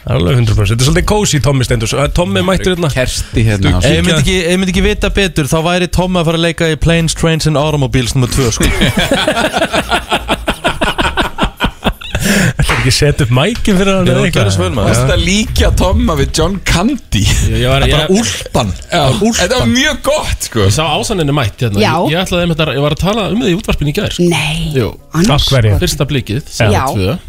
Speaker 4: Alveg 100% Þetta er svolítið kósi Tommi Steindus Eh, Tommi mættur hérna
Speaker 3: Kersti hérna
Speaker 2: Ef ég myndi ekki, ef ég myndi ekki vita betur þá væri Tommi að fara að leika í Planes, Trains and Automobiles nr. 2 sko.
Speaker 4: Þetta er ekki set upp mækin fyrir hann
Speaker 3: Ég
Speaker 4: eða
Speaker 3: var að gera
Speaker 4: eitthvað?
Speaker 3: svo vel maður Varst að líkja Tomma við John Candy
Speaker 14: Ég var,
Speaker 3: Bara úlpan Þetta var mjög gott sko
Speaker 14: Ég sá ásaninni mætt hérna
Speaker 13: Já.
Speaker 14: Ég, ég ætlaði einmitt að, ég var að tala um þið í útvarpinu í gær sko.
Speaker 13: Nei
Speaker 14: Jú
Speaker 13: Annars- Af hverju?
Speaker 14: Fyrsta blikið
Speaker 13: Já,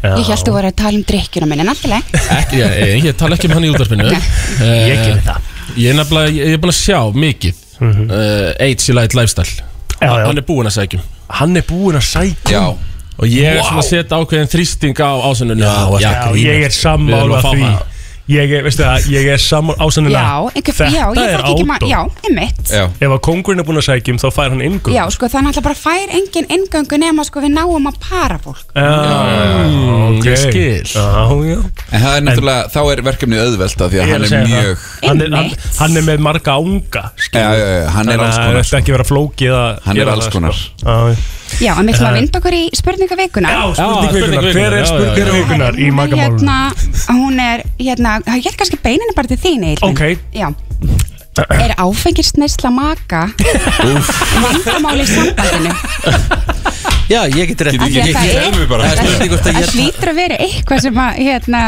Speaker 13: ég held þú voru að tala um drikkjuna minni náttúrulega
Speaker 14: Ekki, ég, ég, ég tala ekki um hann í útvarpinu
Speaker 4: Ég gerði
Speaker 14: það Ég er nefnilega, ég, ég er búin að sjá mikið mm
Speaker 9: Mhm.
Speaker 14: -hmm. Age Light Lifestyle já, já. Hann er búin að um. sækjum
Speaker 4: Hann er búin að sækja
Speaker 14: Já Og ég er
Speaker 4: Vá.
Speaker 14: svona að setja ákveðin þrýsting á ásuninu
Speaker 4: Já, ég er sammála því Ég er, veistu það, ég er sammála ásanina
Speaker 13: Já, einhver, já, ég þekki ekki ma- Já, einmitt
Speaker 4: Já. Ef að kongurinn er búin að sækja um þá fær hann inngöng
Speaker 13: Já, sko, þannig að bara fær engin ingöngu nema sko við náum að para fólk
Speaker 4: Já, Ah, ok.
Speaker 3: Ég skil.
Speaker 4: Já, já
Speaker 3: En það er náttúrulega, þá er verkefnið auðvelt af Því að
Speaker 4: Ég
Speaker 3: hann
Speaker 4: að
Speaker 3: er
Speaker 4: segja
Speaker 3: mjög
Speaker 4: það. hann er, hann, hann er með marga ánga
Speaker 3: Já, já, já, hann er alls
Speaker 4: Þannig að
Speaker 3: konar sko.
Speaker 4: þetta ekki vera flókið að
Speaker 3: Hann er
Speaker 4: gera
Speaker 3: alls
Speaker 4: það,
Speaker 3: konar.
Speaker 4: sko. Já,
Speaker 13: Já, en við ætlum
Speaker 4: Það
Speaker 13: að
Speaker 4: er-
Speaker 13: vinda okkur í spurningaveikuna Já,
Speaker 4: Spurningvikunar, hver er spurningvikunar í magamálunum?
Speaker 13: Hérna, hún er, hérna, ég held kannski beininu bara til þín, Eilin
Speaker 4: Ok.
Speaker 13: Já Er áfengisneisla maka vandamáli í sambandinu?
Speaker 2: Já, ég get rétt
Speaker 13: Af því að það er-
Speaker 2: Það hérna- er spurning hvort að
Speaker 13: Það
Speaker 2: ég
Speaker 13: hlýtur að vera eitthvað sem að, hérna,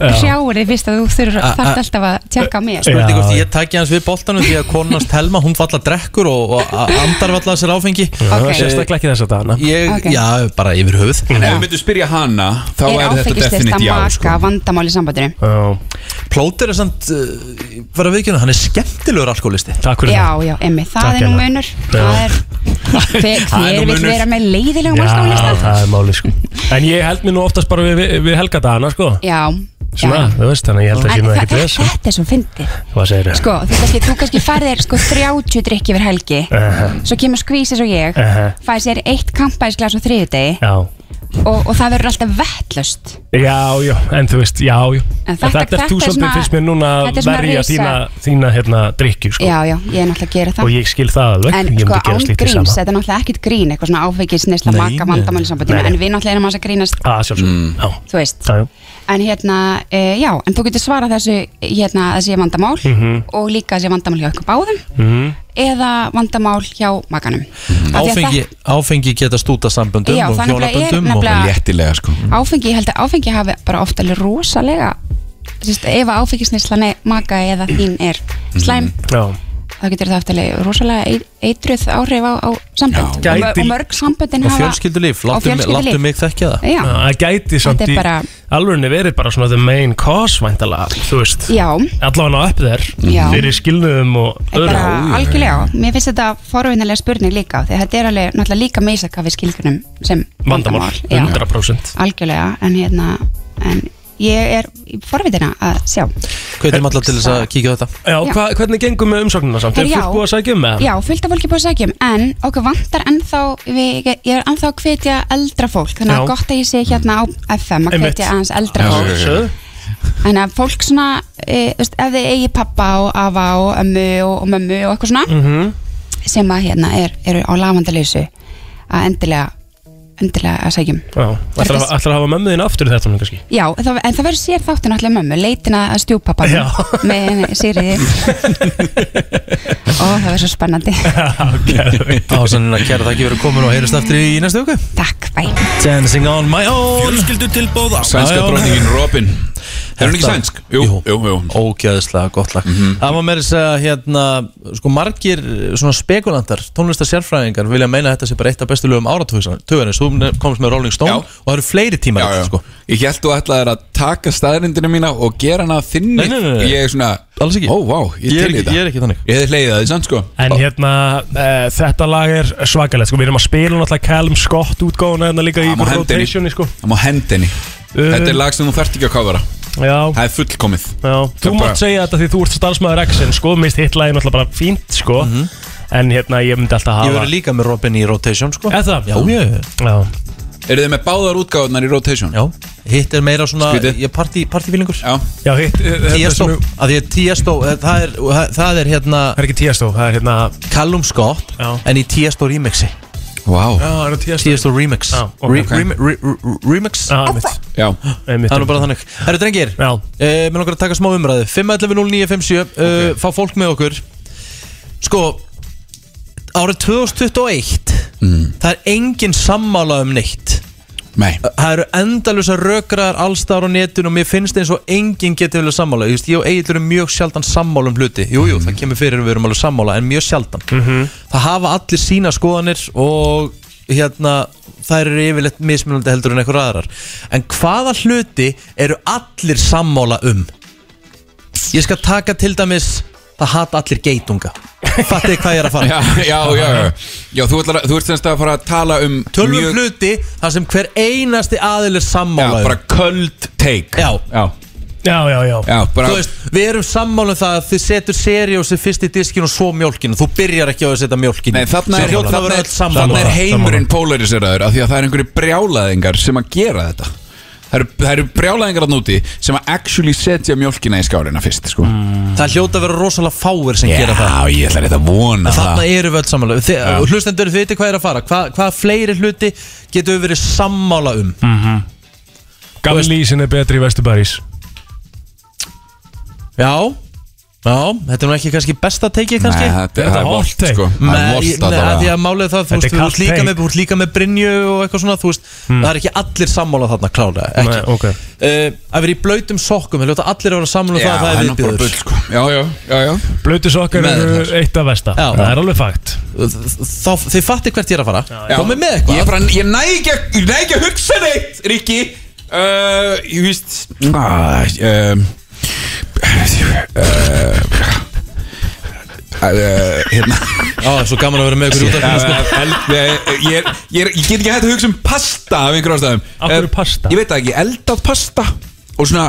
Speaker 2: Já.
Speaker 13: sjáur þið fyrst að þú þurfur
Speaker 2: A- a-
Speaker 13: þarft alltaf að tjekka á mér sko.
Speaker 2: Spurning hvort ég taki hans við boltanum því að konans Telma, hún falla drekkur og, og a- andar valla sér áfengi
Speaker 4: Ok. sérstaklega ekki þess að dana
Speaker 2: Ég,
Speaker 13: Ok.
Speaker 2: já, bara yfir höfuð
Speaker 3: En ef við myndum spyrja hana Þá
Speaker 13: Er
Speaker 3: er þetta
Speaker 13: áfengisneisla
Speaker 3: definit já
Speaker 13: maka sko. vandamáli í sambandinu?
Speaker 2: Plóter er samt uh, bara viðkjörna, hann er skemmtilegur alkoholisti
Speaker 4: Takk
Speaker 13: Já, já, emmi, það
Speaker 2: Takk
Speaker 13: er nú
Speaker 2: hérna.
Speaker 13: munur Það
Speaker 2: Já.
Speaker 13: er, hver
Speaker 4: Það er nú
Speaker 13: hver vill
Speaker 4: munur.
Speaker 13: vera með leiðilegum
Speaker 4: Já,
Speaker 13: málskólista?
Speaker 4: það er máli sko En ég held mér nú oftast bara við, við, við helga dana sko
Speaker 13: Já,
Speaker 4: Svona, þú veist, þannig að ég held að
Speaker 13: En
Speaker 4: sé nú
Speaker 13: þa-
Speaker 4: ekkert
Speaker 13: þa-
Speaker 4: við sko. þessu
Speaker 13: Þetta er svo fyndið
Speaker 4: Hvað segir
Speaker 13: Sko, þú kannski, þú kannski færðir sko 30 drikki yfir helgi
Speaker 4: Uh-huh.
Speaker 13: Svo kemur skvísis og ég
Speaker 4: Uh-huh.
Speaker 13: Fæði sér eitt kampæðisglas á þriðjudegi
Speaker 4: Já,
Speaker 13: og, og það verður alltaf vettlust
Speaker 4: já, já, en þú veist, já, já
Speaker 13: En
Speaker 4: En
Speaker 13: þetta-
Speaker 4: þetta er þú
Speaker 13: þetta er
Speaker 4: svolítið
Speaker 13: svona-
Speaker 4: finnst mér núna
Speaker 13: þetta er
Speaker 4: að
Speaker 13: svona
Speaker 4: verja
Speaker 13: risa-
Speaker 4: þína, þína hérna drikju sko
Speaker 13: Já, já, ég er náttúrulega að gera það
Speaker 4: Og ég skil það alveg,
Speaker 13: En
Speaker 4: ég
Speaker 13: sko
Speaker 4: myndi gera
Speaker 13: án
Speaker 4: slítið
Speaker 13: gríns,
Speaker 4: sama
Speaker 13: þetta er náttúrulega ekkert grín Eitthvað svona áfengis, nesla,
Speaker 4: Nei,
Speaker 13: maka,
Speaker 4: nei.
Speaker 13: vandamáli sambandinu
Speaker 4: Nei.
Speaker 13: En við náttúrulega erum að grínast
Speaker 4: Að sjálfsög, Ah, já
Speaker 13: Þú veist
Speaker 4: Já, já
Speaker 13: En hérna, e, já, en þú getur svarað þessu hérna að sé vandamál
Speaker 4: Mhm.
Speaker 13: og líka að sé vandamál hjá ykkur báðum
Speaker 2: Mhm.
Speaker 13: eða vandamál hjá makanum Af því að
Speaker 2: áfengi, áfengi geta stúta samböndum
Speaker 13: Já,
Speaker 2: og
Speaker 13: það nefnilega er
Speaker 2: hjólaböndum og
Speaker 13: nefnilega-
Speaker 2: léttilega sko
Speaker 13: það- áfengi, ég held að áfengi hafi bara oft alveg rosalega sérst, ef að áfengisneislan er maka eða þín er slæm
Speaker 2: Mhm.
Speaker 4: Já
Speaker 13: þá getur það oft alveg rosalega ei- eitruð áhrif á, á sambönd
Speaker 4: Já.
Speaker 13: og, mör-
Speaker 4: Gæti- sko.
Speaker 13: og mörg samböndin
Speaker 2: Og
Speaker 13: hafa
Speaker 2: fjölskyldulíf,
Speaker 13: Og
Speaker 2: láttu mig-
Speaker 13: fjölskyldulíf.
Speaker 2: láttu mig þekkja það
Speaker 13: Já.
Speaker 4: Það gæti samt
Speaker 13: Þetta
Speaker 4: í
Speaker 13: er bara-
Speaker 4: alvörunni verið bara svona the main cause væntalega, þú veist
Speaker 13: Já.
Speaker 4: Allan á upp þér
Speaker 13: Já.
Speaker 4: fyrir skilnuðum og öðru
Speaker 13: bara algjörlega, mér finnst þetta forvinnilega spurning líka, því að þetta er alveg náttúrulega líka meisaka við skilgrunum sem
Speaker 4: Vandamál,
Speaker 13: Já.
Speaker 4: 100%
Speaker 13: algjörlega en hérna en ég er í forvitina að sjá
Speaker 2: Hvetjum alla til þess að kíkja á þetta
Speaker 4: Já,
Speaker 13: Já.
Speaker 4: hva, hvernig gengum með umsóknuna samt? Er
Speaker 13: Herri, já.
Speaker 4: fólk búið að sækja um með
Speaker 13: Já, fullt af fólki búið að sækja um en okkur vantar ennþá við, ég er ennþá að hvetja eldra fólk þannig að
Speaker 4: Já.
Speaker 13: gott að ég sé hérna á FM að
Speaker 4: Einmitt.
Speaker 13: hvetja aðeins eldra fólk þannig að fólk svona, e, þú veist, ef þið eigi pappa og afa og ömmu og, og mömmu og eitthvað svona
Speaker 4: Mhm.
Speaker 13: sem að hérna er, eru á lafandaleysu að endilega endilega að sækjum
Speaker 4: Já, ætlar að, ætlar að hafa mömmu þín aftur í þetta núna kannski
Speaker 13: Já, þá, en það verður sér þáttin allir mömmu, leitin að stjúpappa
Speaker 4: Já.
Speaker 13: með sýriði og það verður svo spennandi
Speaker 2: Ásannin að kæra það ekki verið komin og heyrist aftur í næstu viku
Speaker 13: Takk, bæ
Speaker 2: Dancing on my own
Speaker 9: Fjölskyldu tilbóð á
Speaker 3: Sænska dronningin Robin Er hún ekki
Speaker 2: Þetta-
Speaker 3: sænsk? Jú, jú, jú
Speaker 2: Ógæðislega gott lag
Speaker 3: Mhm.
Speaker 2: Það var meira að segja hérna sko margir svona spekulantar tónlistarsérfræðingar vilja meina að þetta sé bara eitt af bestu lögum áratugurins þú komst með Rolling Stone og það eru fleiri tímar já, já. Sko.
Speaker 3: Ég held þú ætlaðir að taka staðrindina mína og gera hana þinni
Speaker 2: Nei, nei, nei, nei.
Speaker 3: Ég er svona
Speaker 2: Alls ekki
Speaker 3: Ó, vá, ég,
Speaker 2: Ég er
Speaker 3: til í
Speaker 2: ekki-
Speaker 3: þetta.
Speaker 2: ég er ekki þannig
Speaker 3: Ég hefði hleyðið að því sann sko
Speaker 4: En hérna, uh, þetta lag er svakalegt sko. Við erum að spila náttúrulega Callum Scott útgáðuna hérna líka í
Speaker 3: Það má
Speaker 4: ykkur
Speaker 3: hendi henni.
Speaker 4: rotationi sko.
Speaker 3: Það má hendi henni
Speaker 2: Um-
Speaker 3: Þetta er lag sem þú þarft ekki að kofara
Speaker 4: Já
Speaker 3: Það er fullkomið
Speaker 4: Já, þú
Speaker 3: Það bara-
Speaker 4: mátt segja þetta því þú ert starfsmæður X-in sko, mist hitt lagi náttúrulega bara fínt sko En hérna, ég myndi alltaf
Speaker 2: Mhm. Ég
Speaker 4: hafa
Speaker 2: verið líka með Robin í rotation sko
Speaker 4: Er það?
Speaker 2: Já, ég
Speaker 4: Já
Speaker 3: Eru þið með báðar útgáðunar í rotation?
Speaker 2: Já Hitt er meira svona Ég er partí, partífílingur
Speaker 3: Já
Speaker 4: Já, hitt eh,
Speaker 2: Tiesto að Því að Tiesto eh, Það er, það er hérna
Speaker 4: Það er ekki Tiesto, það er hérna
Speaker 2: Callum Scott
Speaker 4: Já.
Speaker 2: En í Tiesto remixi
Speaker 3: Vá
Speaker 14: Já,
Speaker 2: Tiesto Remix
Speaker 4: Já, ok.
Speaker 2: Re- rem- re- re- Remix
Speaker 4: Já, einmitt.
Speaker 3: Já
Speaker 2: Það er nú bara þannig Herru drengir
Speaker 4: Já
Speaker 2: Mér Eh, langar að taka smá umræðu 511-0957 uh, Fá fólk með okkur Sko Árið 2021 Það er engin sammála um neitt
Speaker 3: Nei
Speaker 2: Það eru endalusa rökraðar allstar á netinu og mér finnst eins og enginn getur vilja sammála Ég, veist, ég og Egil eru mjög sjaldan sammála um hluti Jújú, jú, það kemur fyrir að við erum alveg sammála en mjög sjaldan
Speaker 3: Mhm.
Speaker 2: Það hafa allir sína skoðanir og hérna, það eru yfirleitt mismunandi heldur en eitthvað aðrar En hvaða hluti eru allir sammála um? Ég skal taka til dæmis Það hata allir geitunga Fattið þið hvað ég er að fara
Speaker 3: Já, já, já, já. já þú, ætlar, að- þú ert semst að fara að tala um
Speaker 2: Tölvum hluti þar sem hver einasti aðil er sammála
Speaker 3: Já, bara köld take
Speaker 2: Já,
Speaker 3: já.
Speaker 4: Já, já, já
Speaker 3: Já, bara
Speaker 2: Þú veist, við erum sammála um það að þið setur seriósi fyrst í diskin og svo mjólkin og þú byrjar ekki á að setja mjólkin
Speaker 3: Nei, þarna er,
Speaker 2: hljótt að
Speaker 3: þarna er,
Speaker 2: vera öll
Speaker 3: þarna
Speaker 2: sammála
Speaker 3: er heimurinn polariseraður af því að það er einhverju brjálaðingar sem að gera þetta Það eru, það eru brjálæðingar að núti sem að actually setja mjólkina í skálina fyrst sko.
Speaker 2: Það hljóta að vera rosalega fáir
Speaker 3: Já,
Speaker 2: sem Mm, gera það
Speaker 3: ég ætla rétt að vona
Speaker 2: En þarna
Speaker 3: það
Speaker 2: eru við öll sammála Þi,
Speaker 3: Já.
Speaker 2: Hlustendur, þið veitir hvað er að fara Hva, Hvaða fleiri hluti getum við verið sammála um
Speaker 4: Mhm. Gamli lísin er betri í Vesturbarís
Speaker 2: Já Já, þetta er nú ekki kannski besta teikið kannski
Speaker 4: Nei, þetta- Þetta er það er hot volt, take. sko. Það er
Speaker 2: Nei,
Speaker 4: volt
Speaker 2: ég-
Speaker 4: að
Speaker 2: nei,
Speaker 4: það var.
Speaker 2: því að málið er það, þú
Speaker 4: Þetta
Speaker 2: veist,
Speaker 4: er
Speaker 2: þú
Speaker 4: kalt
Speaker 2: ert líka
Speaker 4: take. Hmm.
Speaker 2: með, þú ert líka með Brynju og eitthvað svona, þú veist Það er ekki allir sammála þarna, klálega, ekki
Speaker 4: Nei, ok.
Speaker 2: uh, Að vera í blautum sokkum, það hljóta allir að vera sammála um það að það er viðbjöður
Speaker 3: sko. Já, já, já, já
Speaker 4: Blötu sokkar
Speaker 2: Með
Speaker 4: eru
Speaker 2: þær.
Speaker 4: eitt af vesta
Speaker 2: Já.
Speaker 4: Það er alveg fakt
Speaker 2: Þá, þið fatti hvert ég er að fara
Speaker 3: Já.
Speaker 2: Komið með eitthvað
Speaker 3: Ég, bara, ég næ ekki, að- ég næ ekki að hugsa neitt, Rikki uh, Ég víst ah, um, uh, uh, Hérna
Speaker 2: Já, svo gaman að vera með ykkur út af
Speaker 3: Já,
Speaker 2: því, sko.
Speaker 3: eh, eld- eh, Ég er- ég er- ég get ekki hægt að hugsa um pasta af einhverjum ástæðum
Speaker 4: Af hverju
Speaker 3: Eh, Ég veit það ekki, eldað pasta Og svona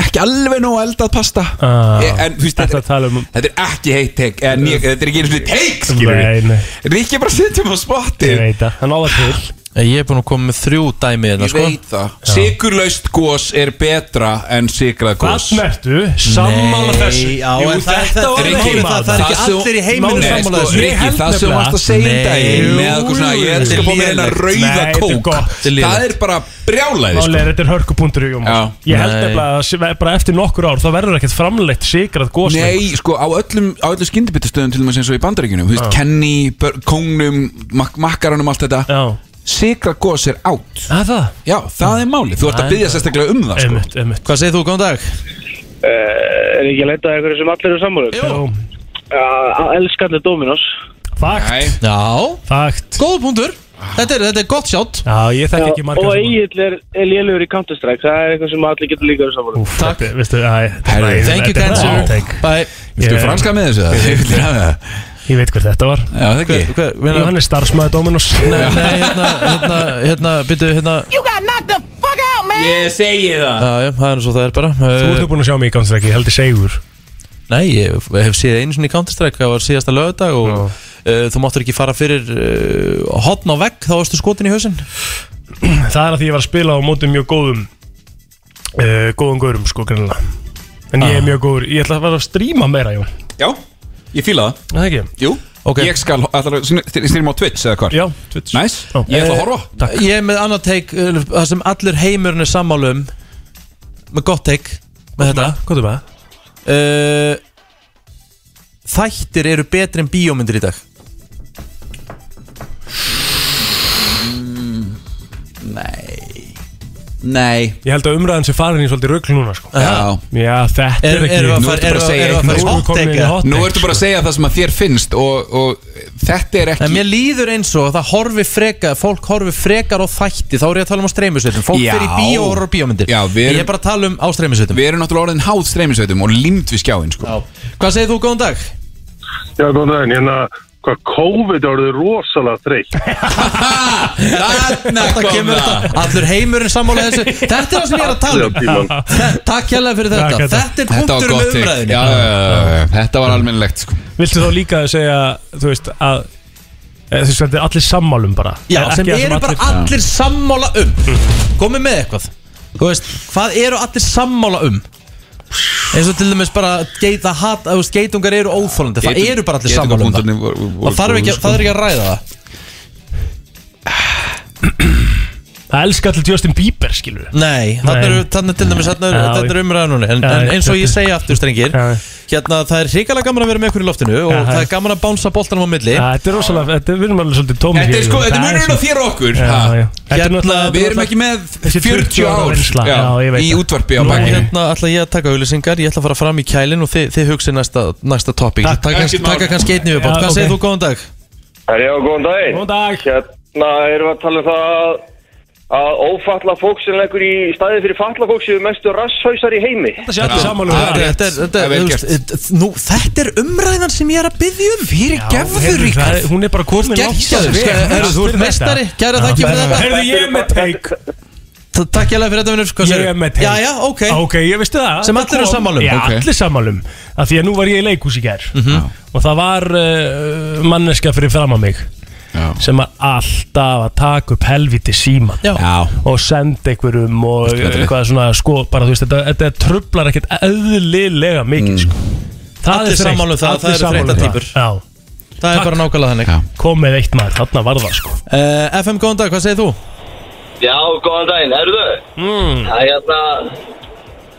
Speaker 3: ekki alveg nóg eldað pasta
Speaker 4: Ah,
Speaker 3: Eh, En þú veist
Speaker 4: þetta tala um
Speaker 3: Þetta er ekki heitt teik en ég- Þetta er ekki einu svona teik skilur
Speaker 4: Nei, nei.
Speaker 3: Rikki er bara að setja mig á spotti
Speaker 4: Ég veit það, það náða
Speaker 2: Ah,
Speaker 4: til
Speaker 2: Eh, Ég er búin að koma með þrjú dæmi hérna, sko.
Speaker 3: Ég veit það Sigurlaust gós er betra en sigrað gós
Speaker 4: Þarna ertu sammála þessu
Speaker 2: já, en það- það-
Speaker 4: var
Speaker 2: Rikki,
Speaker 4: heima
Speaker 2: það- það er
Speaker 4: þarna.
Speaker 2: ekki allir í heiminum
Speaker 4: Málið er
Speaker 2: sammála
Speaker 4: sko,
Speaker 2: þessu.
Speaker 4: ég
Speaker 2: Rikki,
Speaker 4: held
Speaker 3: það sem
Speaker 4: nefnilega-
Speaker 3: varst að segja um
Speaker 4: Nei.
Speaker 3: daginn með eitthvað svona, ég elska að fá mér eina
Speaker 4: Lélegt.
Speaker 3: rauða
Speaker 4: Nei, þetta er
Speaker 3: kók
Speaker 4: gott.
Speaker 3: það er bara brjálæði sko.
Speaker 4: Málega,
Speaker 2: Sko.
Speaker 4: þetta er hörkupunktur í Jómas
Speaker 3: Já.
Speaker 4: Ég held
Speaker 3: Nei.
Speaker 4: nefnilega að sé- bara eftir nokkur ár þá verður ekkert framleitt sigrað gos
Speaker 3: Nei, sko, á öllum, á öllum skyndibittastöðum til og með sem svo í bandaríkjunum Þú veist,
Speaker 4: Já.
Speaker 3: Kenny, bör, Kongnum, mak Makkaranum, allt þetta Já Sigra gós er átt
Speaker 4: Að það?
Speaker 3: Já, það er málið, þú ert að
Speaker 4: Það er
Speaker 3: byggja
Speaker 4: það.
Speaker 3: sérstaklega um það, sko
Speaker 4: Einmitt, einmitt
Speaker 2: Hvað segir þú, góðan dag?
Speaker 6: Eh, Er ekki að leita að einhverju sem allir eru sammála um?
Speaker 4: Jú
Speaker 6: Elskalli Dominos
Speaker 4: Fakt
Speaker 2: Já
Speaker 4: Fakt
Speaker 2: Góð punktur Þetta er, þetta er gott sjátt
Speaker 4: Já, ég þekki ekki margar
Speaker 6: Og
Speaker 4: sem-
Speaker 6: Egil er, er lélur í Counter-Strike Það er eitthvað sem allir getur líka verið sammála um.
Speaker 4: Úff, þetta- Veistu, æ, þetta er
Speaker 3: Herri,
Speaker 4: bara-
Speaker 3: thank you,
Speaker 4: þetta er
Speaker 3: cancer.
Speaker 4: hot take.
Speaker 2: Bye
Speaker 3: Viltu
Speaker 4: Ég-
Speaker 3: franska með þessu, eða?
Speaker 4: Ég-
Speaker 3: Ég vil hafa það.
Speaker 4: Ég veit hver þetta var
Speaker 3: Já, það ekki.
Speaker 2: Hver- hver-
Speaker 4: Jú, hann er starfsmæði Dominos
Speaker 2: Nei, nei, hérna, hérna, hérna, byrju, hérna
Speaker 15: You got knocked the fuck out, man!
Speaker 3: Ég segi það
Speaker 2: Já, já, það er svo það er bara Eh,
Speaker 4: Þú ert nú búin að sjá mig í Counter-Strike, ég held ég segur
Speaker 2: Nei, ég hef séð einu svona í Counter-Strike Það var síðasta lögadag og uh, þú máttur ekki fara fyrir uh, hotn á vegg Þá varstu skotin í hausinn
Speaker 4: Það er að því ég var að spila á móti mjög góðum uh, Góðum gaurum, sko, grannlega En ég er mjög góður, ég ætla að vera að stríma meira, Jón
Speaker 3: Já, ég fíla það
Speaker 4: Það ekki?
Speaker 3: Jú,
Speaker 2: Ok.
Speaker 3: ég skal, ætlar að styrma á Twitch eða hvar?
Speaker 4: Já, Twitch
Speaker 3: Næs, ég
Speaker 2: Eh,
Speaker 3: ætla að horfa
Speaker 2: Takk Ég er með annað teik uh, Það sem allir heimurinn er sammála um Með gott teik Með þetta
Speaker 4: Hvað er með?
Speaker 2: Uh, þættir eru betri en bíómyndir í dag
Speaker 3: Mm, Nei Nei
Speaker 4: Ég held að umræðan sé farin í svolítið rugl núna, sko
Speaker 3: Já.
Speaker 4: Já, þetta
Speaker 2: Er-
Speaker 4: er ekki
Speaker 2: Eh. erum við að
Speaker 4: Nú
Speaker 2: fara-
Speaker 4: ertu bara
Speaker 2: erum við-
Speaker 4: að segja
Speaker 2: erum við að
Speaker 4: eitthvað. sko.
Speaker 2: fara í hot
Speaker 4: Nú erum við komin
Speaker 2: take,
Speaker 4: í
Speaker 2: eða?
Speaker 4: hot
Speaker 3: Nú
Speaker 4: take,
Speaker 3: ertu bara að segja það sem að þér finnst og, og þetta er
Speaker 2: En
Speaker 3: ekki
Speaker 2: mér líður eins og að það horfi frekar Fólk horfi frekar á þætti Þá er ég að tala um á streymisveitum Fólk
Speaker 3: Já.
Speaker 2: fyrir í bíó og horfir á bíómyndir
Speaker 3: Já, við
Speaker 2: Ég er bara að tala um á streymisveitum
Speaker 3: Við erum náttúrulega orðin háð streymisveitum og límt við skjáinn sko.
Speaker 2: Hvað segir þú, góðan dag?
Speaker 6: Já, góðan daginn, hérna Hvað COVID orðið rosalega þreytt
Speaker 3: Þarna
Speaker 2: Þetta kemur þetta Allur heimurinn sammála þessu Þetta er það sem ég er að tala um Þe- Takk hérlega fyrir þetta Þetta er
Speaker 3: Þetta var
Speaker 2: punktur
Speaker 3: gott
Speaker 2: um með
Speaker 3: take.
Speaker 2: umræðinu
Speaker 3: Já, já, já, já. Þetta var almennilegt sko.
Speaker 4: Viltu þá líka segja, þú veist, að eh, Þú veist, þetta er allir sammálum bara
Speaker 2: Já,
Speaker 4: Ekki
Speaker 2: sem
Speaker 4: það
Speaker 2: eru bara allir sammála um Komið með eitthvað Þú veist, hvað eru allir sammála um? Eins og til dæmis bara geit, það hat, þú veist, Geitungar eru óþólandi Það
Speaker 3: Geitung-
Speaker 2: eru bara allir
Speaker 3: geitungapunktarnir
Speaker 2: sammála um það
Speaker 3: voru- voru-
Speaker 2: Það þarf ekki,
Speaker 3: voru-
Speaker 2: það er ekki að ræða það
Speaker 4: Það elskar allir Justin Bieber, skilur
Speaker 2: Nei, þarna eru- þarna er til dæmis þarna eru- þarna eru umræðan núna en, en eins og ég segi aftur strengir Hérna það er hrikalega gaman að vera með ykkur í loftinu Og
Speaker 4: Já,
Speaker 2: það
Speaker 4: það
Speaker 2: er gaman að bánsa boltanum á milli
Speaker 4: Já, Þetta er rosalega, þetta er, við erum alveg svolítið tómið
Speaker 2: Þetta er sko- þetta er munurinn á þér og okkur,
Speaker 4: Já,
Speaker 2: ha?
Speaker 4: já Þetta er
Speaker 2: Hérna,
Speaker 4: náttúrulega-
Speaker 2: við erum
Speaker 3: ekki með
Speaker 4: Þessi
Speaker 3: 40 ár
Speaker 4: reynsla,
Speaker 3: já,
Speaker 4: já, ég veit
Speaker 3: í
Speaker 4: það.
Speaker 3: útvarpi á
Speaker 4: Nú,
Speaker 3: bakinu.
Speaker 2: Hérna ætla ég að taka auðlýsingar Ég ætla að fara fram í kælin og þið, þið hugsi næsta, næsta topic
Speaker 16: Takk.
Speaker 2: Taka kannski-
Speaker 16: Ekkert mál.
Speaker 2: taka kannski einn yfirbótt
Speaker 16: Já,
Speaker 2: Hvað
Speaker 16: ok.
Speaker 2: segir þú góðan dag?
Speaker 16: Herjá, góðan daginn Góðan dag Hérna erum við að tala um það að, að ófalla fólk sem leggur í staðið fyrir falla fólk séu mestu rasshausar í heimi Þetta
Speaker 4: sé allir sammála um
Speaker 2: Það er- Þetta er- þetta er- þú veist, eh, nú, þetta er umræðan sem ég er að byggja um Fyrir gefður ykkur
Speaker 4: Hún er bara komin
Speaker 2: Gekkjaður, herru, sko, þú ert meistari Kæra þakki fyrir þetta
Speaker 4: Herðu, ég er með teik
Speaker 2: Ta- Takk hérlega fyrir þetta vinnur Hvað
Speaker 4: Ég
Speaker 2: segirðu?
Speaker 4: er með teik
Speaker 2: Jæja, ok
Speaker 4: Ah, Ok, ég veistu það
Speaker 2: Sem allir eru
Speaker 4: kom-
Speaker 2: sammála um.
Speaker 4: Já,
Speaker 2: Ok. Mhm.
Speaker 4: allir sammálum Af því að nú var ég í leikhús í gær Og það var uh, manneska fyrir fram að mig sem var alltaf að taka upp helviti síman
Speaker 2: Já.
Speaker 4: og senda einhverjum og
Speaker 3: betri.
Speaker 4: eitthvað svona sko, bara þú veist, þetta, þetta trublar ekkert eðlilega mikið sko. Það
Speaker 2: Mm. Allir
Speaker 4: er þreytt.
Speaker 2: sammála um það,
Speaker 4: Allir
Speaker 2: það eru
Speaker 4: sammála um
Speaker 2: þreytta
Speaker 4: það.
Speaker 2: týpur.
Speaker 4: Já
Speaker 2: Það er bara nákvæmlega þannig
Speaker 4: Komið eitt maður, þarna var það sko
Speaker 2: Eh, FM, góðan dag, hvað segir þú?
Speaker 17: Já, góðan daginn, erðu?
Speaker 2: Hmm.
Speaker 17: Mm. Það er hérna,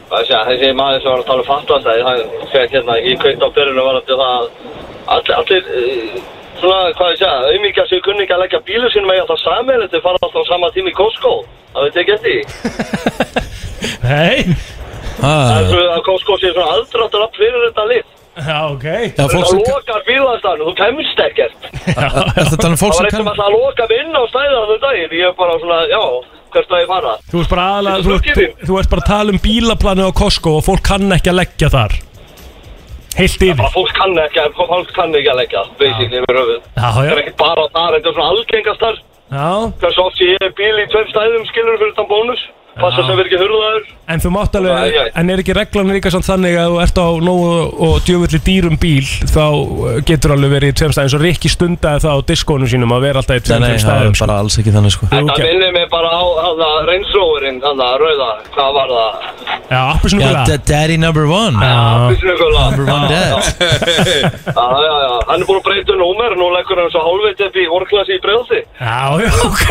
Speaker 17: hvað sé, þessi maður sem var að tala um fatlandæði, hann fekk hérna í kveikt á byrjunu var að það allir, allir, eh, svona, hvað sé, auðmíkja sem kunni ekki að leggja bílu sínum eða alltaf sammeilin til fara alltaf á sama tíma í Costco, það veit ekki eftir. því.
Speaker 4: Nei
Speaker 2: Ah.
Speaker 17: Það er svona að Costco sé svona aðdráttur að fyrir þetta lið.
Speaker 4: Já, ok
Speaker 2: Já, fólk
Speaker 17: Það
Speaker 2: sem-
Speaker 17: lokar bílaðstæðinu, þú kemst ekkert.
Speaker 2: Ertu að tala um fólk
Speaker 17: Það
Speaker 2: sem
Speaker 17: var eitthvað
Speaker 2: kann
Speaker 17: alltaf að loka mig inn á stæðan þannig daginn, ég er bara svona, já, hvert að ég fara?
Speaker 4: Þú veist bara aðalega,
Speaker 17: Þetta
Speaker 4: þú,
Speaker 17: er
Speaker 4: ert-
Speaker 17: fullgefin.
Speaker 4: þú, þú ert bara að tala um bílaplanu á Costco og fólk kann ekki að leggja þar Heilt yfir
Speaker 17: Bara fólk kann ekki, fólk kann ekki að leggja, basically, yfir höfuð.
Speaker 4: Já, já.
Speaker 17: Það er ekki bara þar, þetta er svona algengast þar.
Speaker 4: Já,
Speaker 17: Hversu oft sé ég bíl í tveim stæðum, skilur fyrir þann bónus. Passa
Speaker 4: Já.
Speaker 17: sem verið ekki hurðaður.
Speaker 4: en þú mátt
Speaker 17: Æ,
Speaker 4: alveg,
Speaker 17: æ.
Speaker 4: en er ekki reglan líka samt þannig að þú ert á nógu og djöfulli dýrum bíl þá eh, getur alveg verið í tveim stæðum svo Rikki stundaði það á diskónum sínum að vera alltaf í
Speaker 2: Nei,
Speaker 4: tveim
Speaker 2: nei,
Speaker 4: tveim
Speaker 2: það
Speaker 4: stæðum
Speaker 2: er bara alls ekki þannig sko
Speaker 17: Það minnir mig bara á hana, reynsróurinn, hana, rauða, hvað var það?
Speaker 4: Já, appelsínugula.
Speaker 2: da- Daddy number one
Speaker 17: Appelsínugula.
Speaker 2: Number one dead
Speaker 17: Já, já, já, hann er búin að breyta um númer, nú leggur hann svo hálfitt upp í vorklasi í breyðsi.
Speaker 4: Já, já, ok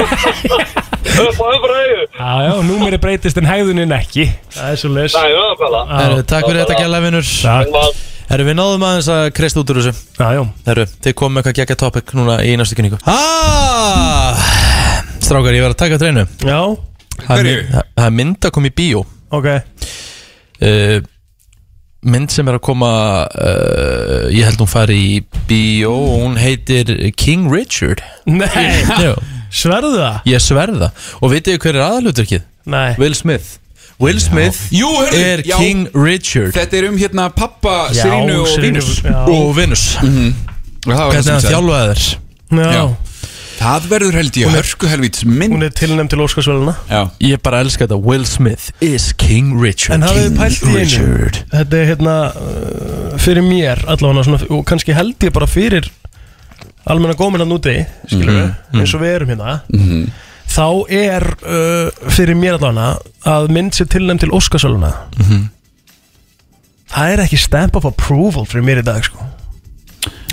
Speaker 17: Upp á öfræðu.
Speaker 4: Já, já, númeri breytist en hegðunin ekki Það er svo les
Speaker 17: Nei, já, bara.
Speaker 2: Herru, takk fyrir þetta gæla vinnur
Speaker 4: Takk.
Speaker 2: Herru, við náðum aðeins að kreist út úr þessu
Speaker 4: Já, já
Speaker 2: Herru, þið komum með eitthvað gegga topic núna í næstu kynningu Ah! Strákar, ég var að taka treinu
Speaker 4: Já
Speaker 2: Hverju? Það er mynd að koma í bíó
Speaker 4: Ok
Speaker 2: uh, Mynd sem er að koma uh, Ég held hún fari í bíó og Hún heitir King Richard
Speaker 4: Nei.
Speaker 2: Jú.
Speaker 4: Sverðu það?
Speaker 2: Ég sverðu það Og vitið þið hver er aðalutverkið?
Speaker 4: Nei
Speaker 2: Will Smith Will Smith
Speaker 3: Jú, heyrðu,
Speaker 2: er
Speaker 3: já.
Speaker 2: King Richard
Speaker 3: Þetta er um hérna pappa
Speaker 2: Já,
Speaker 3: Sirinu og
Speaker 2: Sirinu,
Speaker 3: Venus
Speaker 2: já. Og Venus Hvernig hann þjálfaði þér
Speaker 4: Já.
Speaker 3: Það verður held ég hörku helvíts mynd
Speaker 4: Hún er tilnæmt til Óskarsvöluna
Speaker 3: Já.
Speaker 2: Ég bara elska þetta Will Smith is King Richard
Speaker 4: En hafið
Speaker 2: King
Speaker 4: þið pælt í einu Þetta er hérna uh, fyrir mér allavega svona, og kannski held ég bara fyrir almenna góminn hann úti skilur við,
Speaker 3: Mhm.
Speaker 4: eins og við erum hérna
Speaker 3: Mhm.
Speaker 4: þá er uh, fyrir mér allavega að mynd sér tilnæmt til Óskarsvöluna
Speaker 2: Mhm.
Speaker 4: Það er ekki stamp of approval fyrir mér í dag sko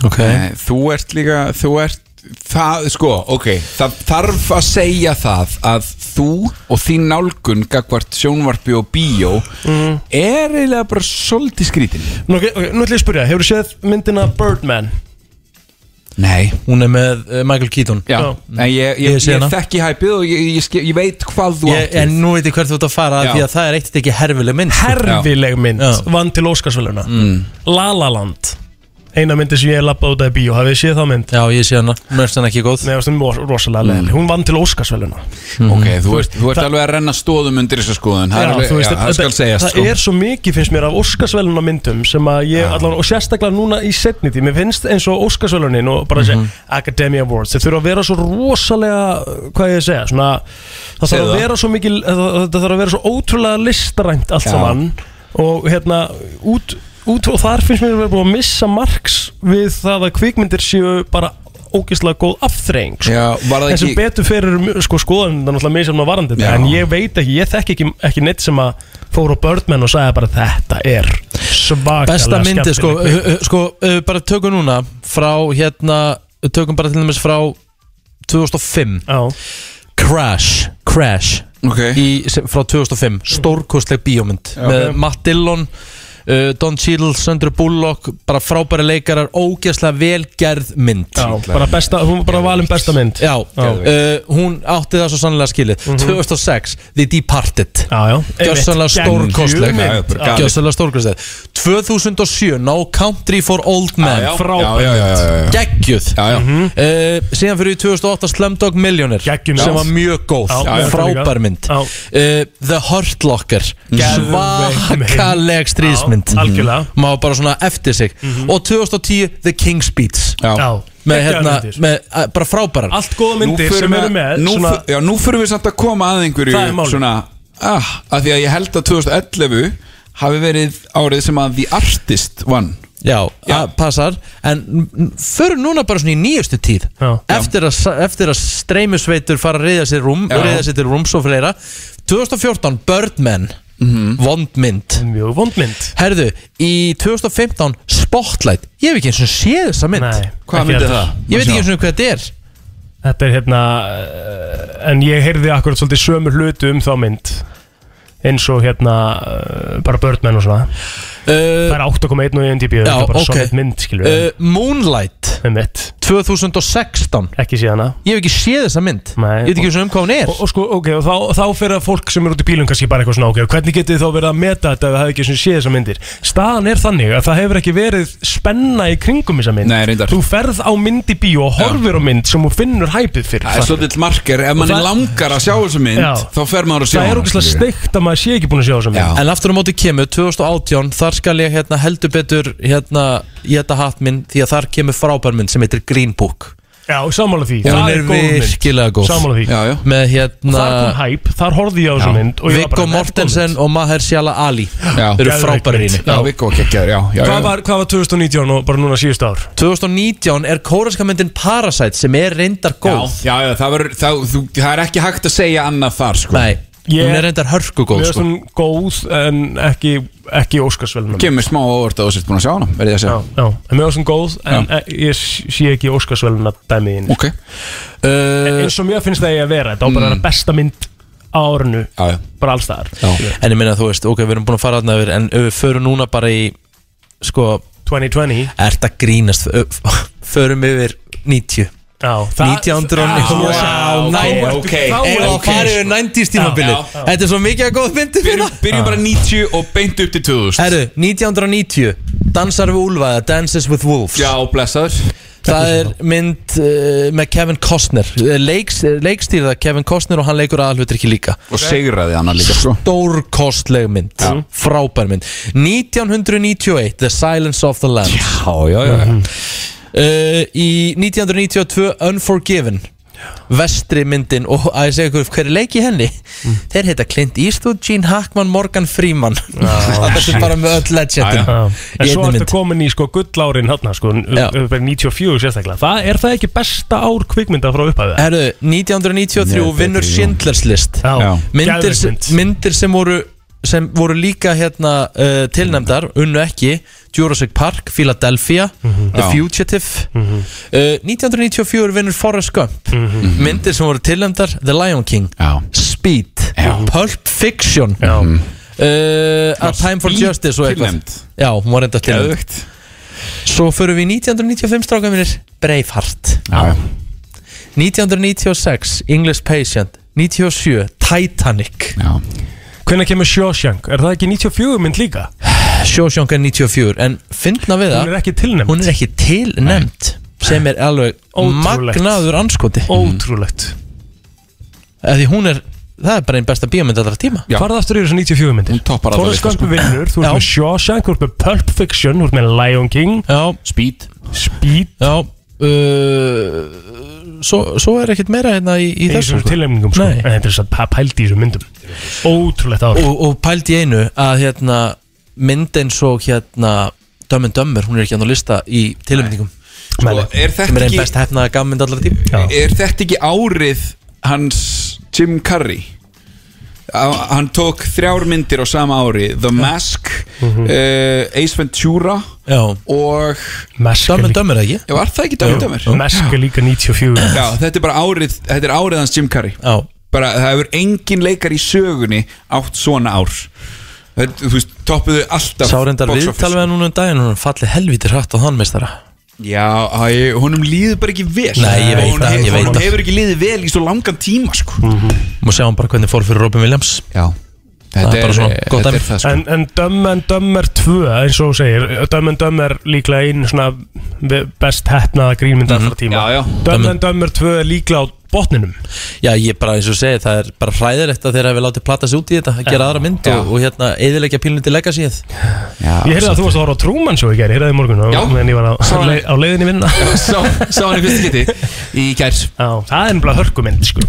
Speaker 3: Nei, Eh, Þú ert líka, þú ert Það, sko, ok, það þarf að segja það að þú og þín nálgun gagvart sjónvarpi og bíó er eiginlega bara svolítið skrítin
Speaker 4: Nú, okay, okay, nú ætlum ég að spyrja, hefur þú séð myndina Birdman?
Speaker 3: Nei
Speaker 2: Hún er með uh, Michael Keaton
Speaker 3: Já, Nei, ég, ég,
Speaker 2: Ég
Speaker 3: ég,
Speaker 2: sé hana.
Speaker 3: þekki hæpið og ég, ég, ég, ég veit hvað þú
Speaker 2: ég,
Speaker 3: átt
Speaker 2: En nú veit ég hvert þú ert að fara
Speaker 3: Já.
Speaker 2: Því að það er eitt ekki herfileg mynd sko.
Speaker 4: Herfileg mynd, vann til Óskarsvöluna mm. La La Land Eina myndi sem ég lappa út af í bíó, hafið þið séð þá mynd?
Speaker 2: Já, ég sé hana, mörst hana ekki góð
Speaker 4: Nei, hún var rosalega leðileg, hún vann til Óskarsvöluna
Speaker 3: Ok, þú, veist, þú ert alveg að renna stóðum undir þessa skoðun Það, er alveg, já, það skal segjast sko.
Speaker 4: það er svo mikið finnst mér af Óskarsvöluna myndum sem að ég, allavega, og sérstaklega núna í setni því, mér finnst eins og Óskarsvölunin og bara
Speaker 3: Mhm.
Speaker 4: þessi Academy Awards, þeir þurfa að vera svo rosalega, hvað ég að segja svona,
Speaker 3: Segðu
Speaker 4: það þarf að
Speaker 3: það.
Speaker 4: vera svo mikið það þarf að vera svo ótrúlega listarænt allt
Speaker 3: Já.
Speaker 4: saman og hérna út, út og þar finnst mér að vera búið að missa marks við það að kvikmyndir séu bara ógeðslega góð afþreying sko.
Speaker 3: Já, var það
Speaker 4: en sem
Speaker 3: ekki-
Speaker 4: betur fyrir mjög- sko, skoðan það er náttúrulega mér sem að varandi
Speaker 3: Já.
Speaker 4: þetta en ég veit ekki, ég þekki ekki, ekki neitt sem að fór á Birdman og sagði bara þetta er svakalega
Speaker 2: Besta myndi, sko,
Speaker 4: skemmtileg
Speaker 2: uh, uh, sko uh, Bara tökum núna frá hérna Tökum bara til dæmis frá 2005
Speaker 4: Já.
Speaker 2: Crash Crash okay. í, sem, frá 2005, stórkostleg bíómynd
Speaker 4: Já,
Speaker 2: með
Speaker 4: ok.
Speaker 2: Matt Dillon uh, Don Cheadle, Sandra Bullock bara frábæri leikarar, ógeðslega velgerð mynd
Speaker 4: Já, bara besta, hún var bara valin besta mynd
Speaker 2: Já, Uh, hún átti það svo sannlega skilið 2006, The Departed
Speaker 4: Mhm. já, já.
Speaker 2: Gjössanlega
Speaker 4: Einmitt.
Speaker 2: stórkostleg
Speaker 4: Geggjum mynd. Já, bara galið.
Speaker 2: Gjössanlega stórkostleg 2007, No Country for Old Men
Speaker 4: já. Frábær Já, já, já, já, já.
Speaker 2: Geggjuð
Speaker 3: já,
Speaker 4: Mhm.
Speaker 3: já.
Speaker 2: Uh, Síðan fyrir í 2008 Slumdog Millionaire
Speaker 4: Hmm? Geggjum
Speaker 2: Sem
Speaker 4: mynd.
Speaker 2: var mjög góð,
Speaker 4: Já, já, já.
Speaker 2: frábær mynd uh, The Hurt Locker Svakaleg stríðsmynd Hmm.
Speaker 4: Já, algjörlega.
Speaker 2: Má bara svona eftir sig Og 2010, The King's Beats
Speaker 4: Já.
Speaker 2: Með
Speaker 4: Geggjaðar
Speaker 2: hérna,
Speaker 4: myndir. sko.
Speaker 2: með, uh, bara frábærar
Speaker 4: Allt góða myndir sem eru með
Speaker 3: nú,
Speaker 4: svona,
Speaker 3: svona, Já, nú fyrir við samt að koma að einhverju
Speaker 4: Það er málið.
Speaker 3: Svona, ah, að því að ég held að 2011 hafi verið árið sem að The Artist vann
Speaker 2: Já, já. passar En förum núna bara svona í nýjustu tíð
Speaker 4: Já.
Speaker 2: eftir, að, eftir að streymusveitur fara að reyða sér rúm
Speaker 4: Já.
Speaker 2: Reyða sér til rúms og fleira 2014, Birdman
Speaker 4: Mhm.
Speaker 2: Vondmynd
Speaker 4: Mjög vondmynd
Speaker 2: Herðu, í 2015, Spotlight Ég hef ekki eins og séð þessa mynd Nei,
Speaker 4: Hvaða ekki mynd er heldur. það?
Speaker 2: Ég veit ekki eins og hvað þetta er
Speaker 4: Þetta er hérna eh, En ég heyrði akkurat svolítið sömu hlutu um þá mynd eins og hérna eh, bara börnmenn og svona
Speaker 2: Það
Speaker 4: er 8,1 og 1 dB
Speaker 2: Já,
Speaker 4: Þetta er bara
Speaker 2: ok.
Speaker 4: solid mynd skilur
Speaker 2: uh, Moonlight 2016
Speaker 4: Ekki séð hana
Speaker 2: Ég hef ekki séð þessa mynd
Speaker 4: Nei,
Speaker 2: Ég veit ekki eins og um hvað hún er
Speaker 4: og, og sko, ok, og þá, þá fyrir fólk sem er út í bílum kannski bara eitthvað svona, ok, hvernig getið þið þá verið að meta þetta ef það hefði ekki svona séð þessar myndir staðan er þannig að það hefur ekki verið spenna í kringum þessar mynd
Speaker 3: Nei, reyndar.
Speaker 4: þú ferð á mynd í bíó og horfir á mynd sem þú finnur hæpið fyrir
Speaker 3: Það er svolítið marker, ef
Speaker 4: Og
Speaker 3: mann
Speaker 4: það-
Speaker 3: langar að sjá þessu mynd
Speaker 4: Já.
Speaker 3: þá fer maður að sjá
Speaker 4: það er
Speaker 3: hana,
Speaker 4: ógeðslega
Speaker 3: skilurðu.
Speaker 4: steikt að maður sé ekki búin að sjá þessar mynd
Speaker 2: En aftur á móti kemur 2018 Þar skal ég hérna, heldur betur hérna, í þetta hatt minn Því að þar kemur frábær mynd sem heitir Green Book
Speaker 4: já, sammála því,
Speaker 2: Og
Speaker 4: það
Speaker 2: hún er
Speaker 4: góð mynd.
Speaker 2: virkilega góð
Speaker 4: sammála því
Speaker 2: Með hérna
Speaker 4: þar kom hæp, þar horfði ég á þessar mynd og ég
Speaker 2: Viggo
Speaker 4: var bara, þetta er góð mynd.
Speaker 2: Mortensen og Maher Shala Ali
Speaker 4: Já.
Speaker 2: Eru
Speaker 4: Geðveik
Speaker 2: frábærir í
Speaker 4: mynd.
Speaker 2: henni
Speaker 4: Já, Viggo
Speaker 3: geggjaður, já,
Speaker 4: hvað var, hvað var 2019 og bara núna síðust ár
Speaker 2: 2019 er kóreska myndin Parasite sem er reyndar góð
Speaker 3: Já, já, já það, var, það, þú, það er ekki hægt að segja annað þar sko.
Speaker 2: Nei,
Speaker 4: Ég- hún er
Speaker 2: reyndar hörku sko.
Speaker 4: Mér finnst hún góð en ekki, ekki óskarsvelunum
Speaker 3: Kemur smá óvart að þú sért búin að sjá hana verðið að segja
Speaker 4: Já, en mér var svona góð en e, ég sé ekki Óskarsvæluna dæmið inn
Speaker 3: okay.
Speaker 2: eh,
Speaker 4: uh, eins og mér finnst það ég að vera þetta á
Speaker 2: mm.
Speaker 4: bara að vera besta mynd á árinu
Speaker 3: já, já.
Speaker 4: bara alls þar
Speaker 2: En ég minna þú veist, ok, við erum búin að fara aðna yfir En ef við förum núna bara í Sko
Speaker 4: 2020
Speaker 2: Ert að grínast ö, f- Förum yfir 90
Speaker 4: Já, það-
Speaker 2: 1900
Speaker 4: Já,
Speaker 2: Wow,
Speaker 4: já,
Speaker 2: næ-
Speaker 4: ok, ok.
Speaker 2: Ef
Speaker 4: Þá
Speaker 2: við
Speaker 4: ertu-
Speaker 2: farum yfir 90s tímabilið
Speaker 4: Já, já.
Speaker 2: Þetta er svo mikið að góð myndi fyrir
Speaker 3: Byrjum bara 90 og beint upp til 2000
Speaker 2: Herru, 1990 Dansar við úlfaða, Dances with Wolves
Speaker 3: Já, blessaður
Speaker 2: Það er mynd uh, með Kevin Costner Eh, Leiks, Leikstýrða Kevin Costner og hann leikur aðalhutur ekki líka
Speaker 3: Og sigraði hana líka sko.
Speaker 2: Stórkostleg mynd Frábær mynd 1991 The Silence of the Lambs Já,
Speaker 3: já, já, já.
Speaker 2: Uh, Í 1992 Unforgiven Vestri myndin og að ég segja ykkur hver er leik í henni
Speaker 4: Mm.
Speaker 2: Þeir heita Clint Eastwood, Gene Hackman, Morgan Freeman Þetta er bara með öll legendin
Speaker 4: en
Speaker 2: Í einni
Speaker 4: svo ertu
Speaker 2: mynd
Speaker 4: komin í sko gullárin hérna sko, um- um- bara 94 sérstaklega það er það ekki besta ár kvikmynda frá upphæðu
Speaker 2: Herru, 1993
Speaker 4: Nei,
Speaker 2: vinnur
Speaker 4: betri, já.
Speaker 2: Schindlers list
Speaker 4: Já. Já.
Speaker 2: Myndir,
Speaker 4: Geðveik mynd.
Speaker 2: myndir sem voru sem voru líka hérna uh, tilnæmdar, unnu ekki Jurassic Park, Philadelphia The
Speaker 4: Já.
Speaker 2: Fugitive uh, 1994 vinnur Forrest Gump myndir sem voru tilnæmdar The Lion King,
Speaker 3: Já.
Speaker 2: Speed Pulp Fiction Uh, A Time for
Speaker 3: Mhm. Speed
Speaker 2: Justice og eitthvað
Speaker 3: tilnefnd.
Speaker 2: Já, hún var enda tilnæmd
Speaker 3: Geðvögt
Speaker 2: Svo förum við í 1995 stráka mínir Braveheart
Speaker 3: Já, já
Speaker 2: 1996 English Patient 97 Titanic
Speaker 3: Já.
Speaker 4: hvernig kemur Shawshank, er það ekki 94 mynd líka
Speaker 2: Shawshank er 94 en fyndna við það
Speaker 4: Hún er ekki tilnefnd.
Speaker 2: hún er ekki tilnefnd sem er alveg
Speaker 4: Ótrúlegt.
Speaker 2: magnaður anskoti
Speaker 4: ótrúlegt
Speaker 2: því hún er það er bara einn besta bíómynd allra tíma
Speaker 4: farað aftur yfir þessu 94 myndir
Speaker 3: toppar alla
Speaker 4: Forrest
Speaker 3: lista,
Speaker 4: Gump
Speaker 3: sko.
Speaker 4: vinnur, þú ert
Speaker 2: Já.
Speaker 4: með Shawshank þú ert með Pulp Fiction, þú ert með Lion King
Speaker 2: Já.
Speaker 3: Speed
Speaker 4: Speed
Speaker 2: Já, uh, svo, svo er ekkert meira hérna í, í
Speaker 4: í
Speaker 2: þessu
Speaker 4: þessum
Speaker 2: sko.
Speaker 4: tilnefningum sko.
Speaker 2: Nei.
Speaker 4: en þetta er svo pa- pælt í þessum myndum ótrúlegt ár
Speaker 2: og, og pælt í einu að hérna, mynd eins og hérna Dömmin Dömmur, hún er ekki hann á lista í tilnefningum
Speaker 4: sko,
Speaker 3: er þetta
Speaker 2: sem er einn
Speaker 3: ekki-
Speaker 2: best hefnaða gammynd allra tíma
Speaker 3: Er þetta ekki árið hans Jim Carrey? Á- Hann tók þrjár myndir á sama ári The Mask, uh, Ace Ventura
Speaker 2: Já.
Speaker 3: og
Speaker 4: Mask
Speaker 2: Dömmin Dömmur ekki?
Speaker 3: Já, var það ekki Dömmin Dömmur?
Speaker 4: Mesk er líka 94
Speaker 3: Já, þetta er bara árið, þetta er árið hans Jim Carrey
Speaker 2: Já
Speaker 3: bara, það hefur engin leikar í sögunni átt svona ár Það- þú veist, toppuðu alltaf
Speaker 2: Sá reyndar
Speaker 3: box
Speaker 2: viðtal við hann núna um daginn og Hún falli helvítir hratt á þann meistara
Speaker 3: Já, hæ, honum líður bara ekki vel
Speaker 2: Nei, ég veit
Speaker 3: Honum
Speaker 2: það,
Speaker 3: hefur-
Speaker 2: ég veit
Speaker 3: Honum
Speaker 2: það. Mm.
Speaker 3: hefur ekki liðið vel í svo langan tíma sko.
Speaker 2: Má sjá hann bara hvernig fór fyrir Robin Williams
Speaker 3: Já
Speaker 2: Það er bara svona, gott dæmi
Speaker 3: sko.
Speaker 4: En, en Dumb and Dumber 2, eins og þú segir Dumb and Dumber líklega einu svona ve- best hefnaða grínmynd allra tíma já, já. Dumb and Dumber 2 er líklega á botninum
Speaker 2: Já, ég bara eins og segi, það er bara hræðilegt að þeir hafi látið plata sig út í þetta að gera aðra mynd og, og hérna, eðilegja pílunni til legacyið
Speaker 4: Ég heyrði að þú varst að horfa á Trúmann svo í gær, ég heyrði það í morgun
Speaker 2: Já.
Speaker 4: meðan ég var á,
Speaker 2: Sá hann.
Speaker 4: leið, á leiðinni vinna
Speaker 3: Sá, sá hann í fyrsta geti í gær
Speaker 4: Já, það er ennbla hörkumynd sko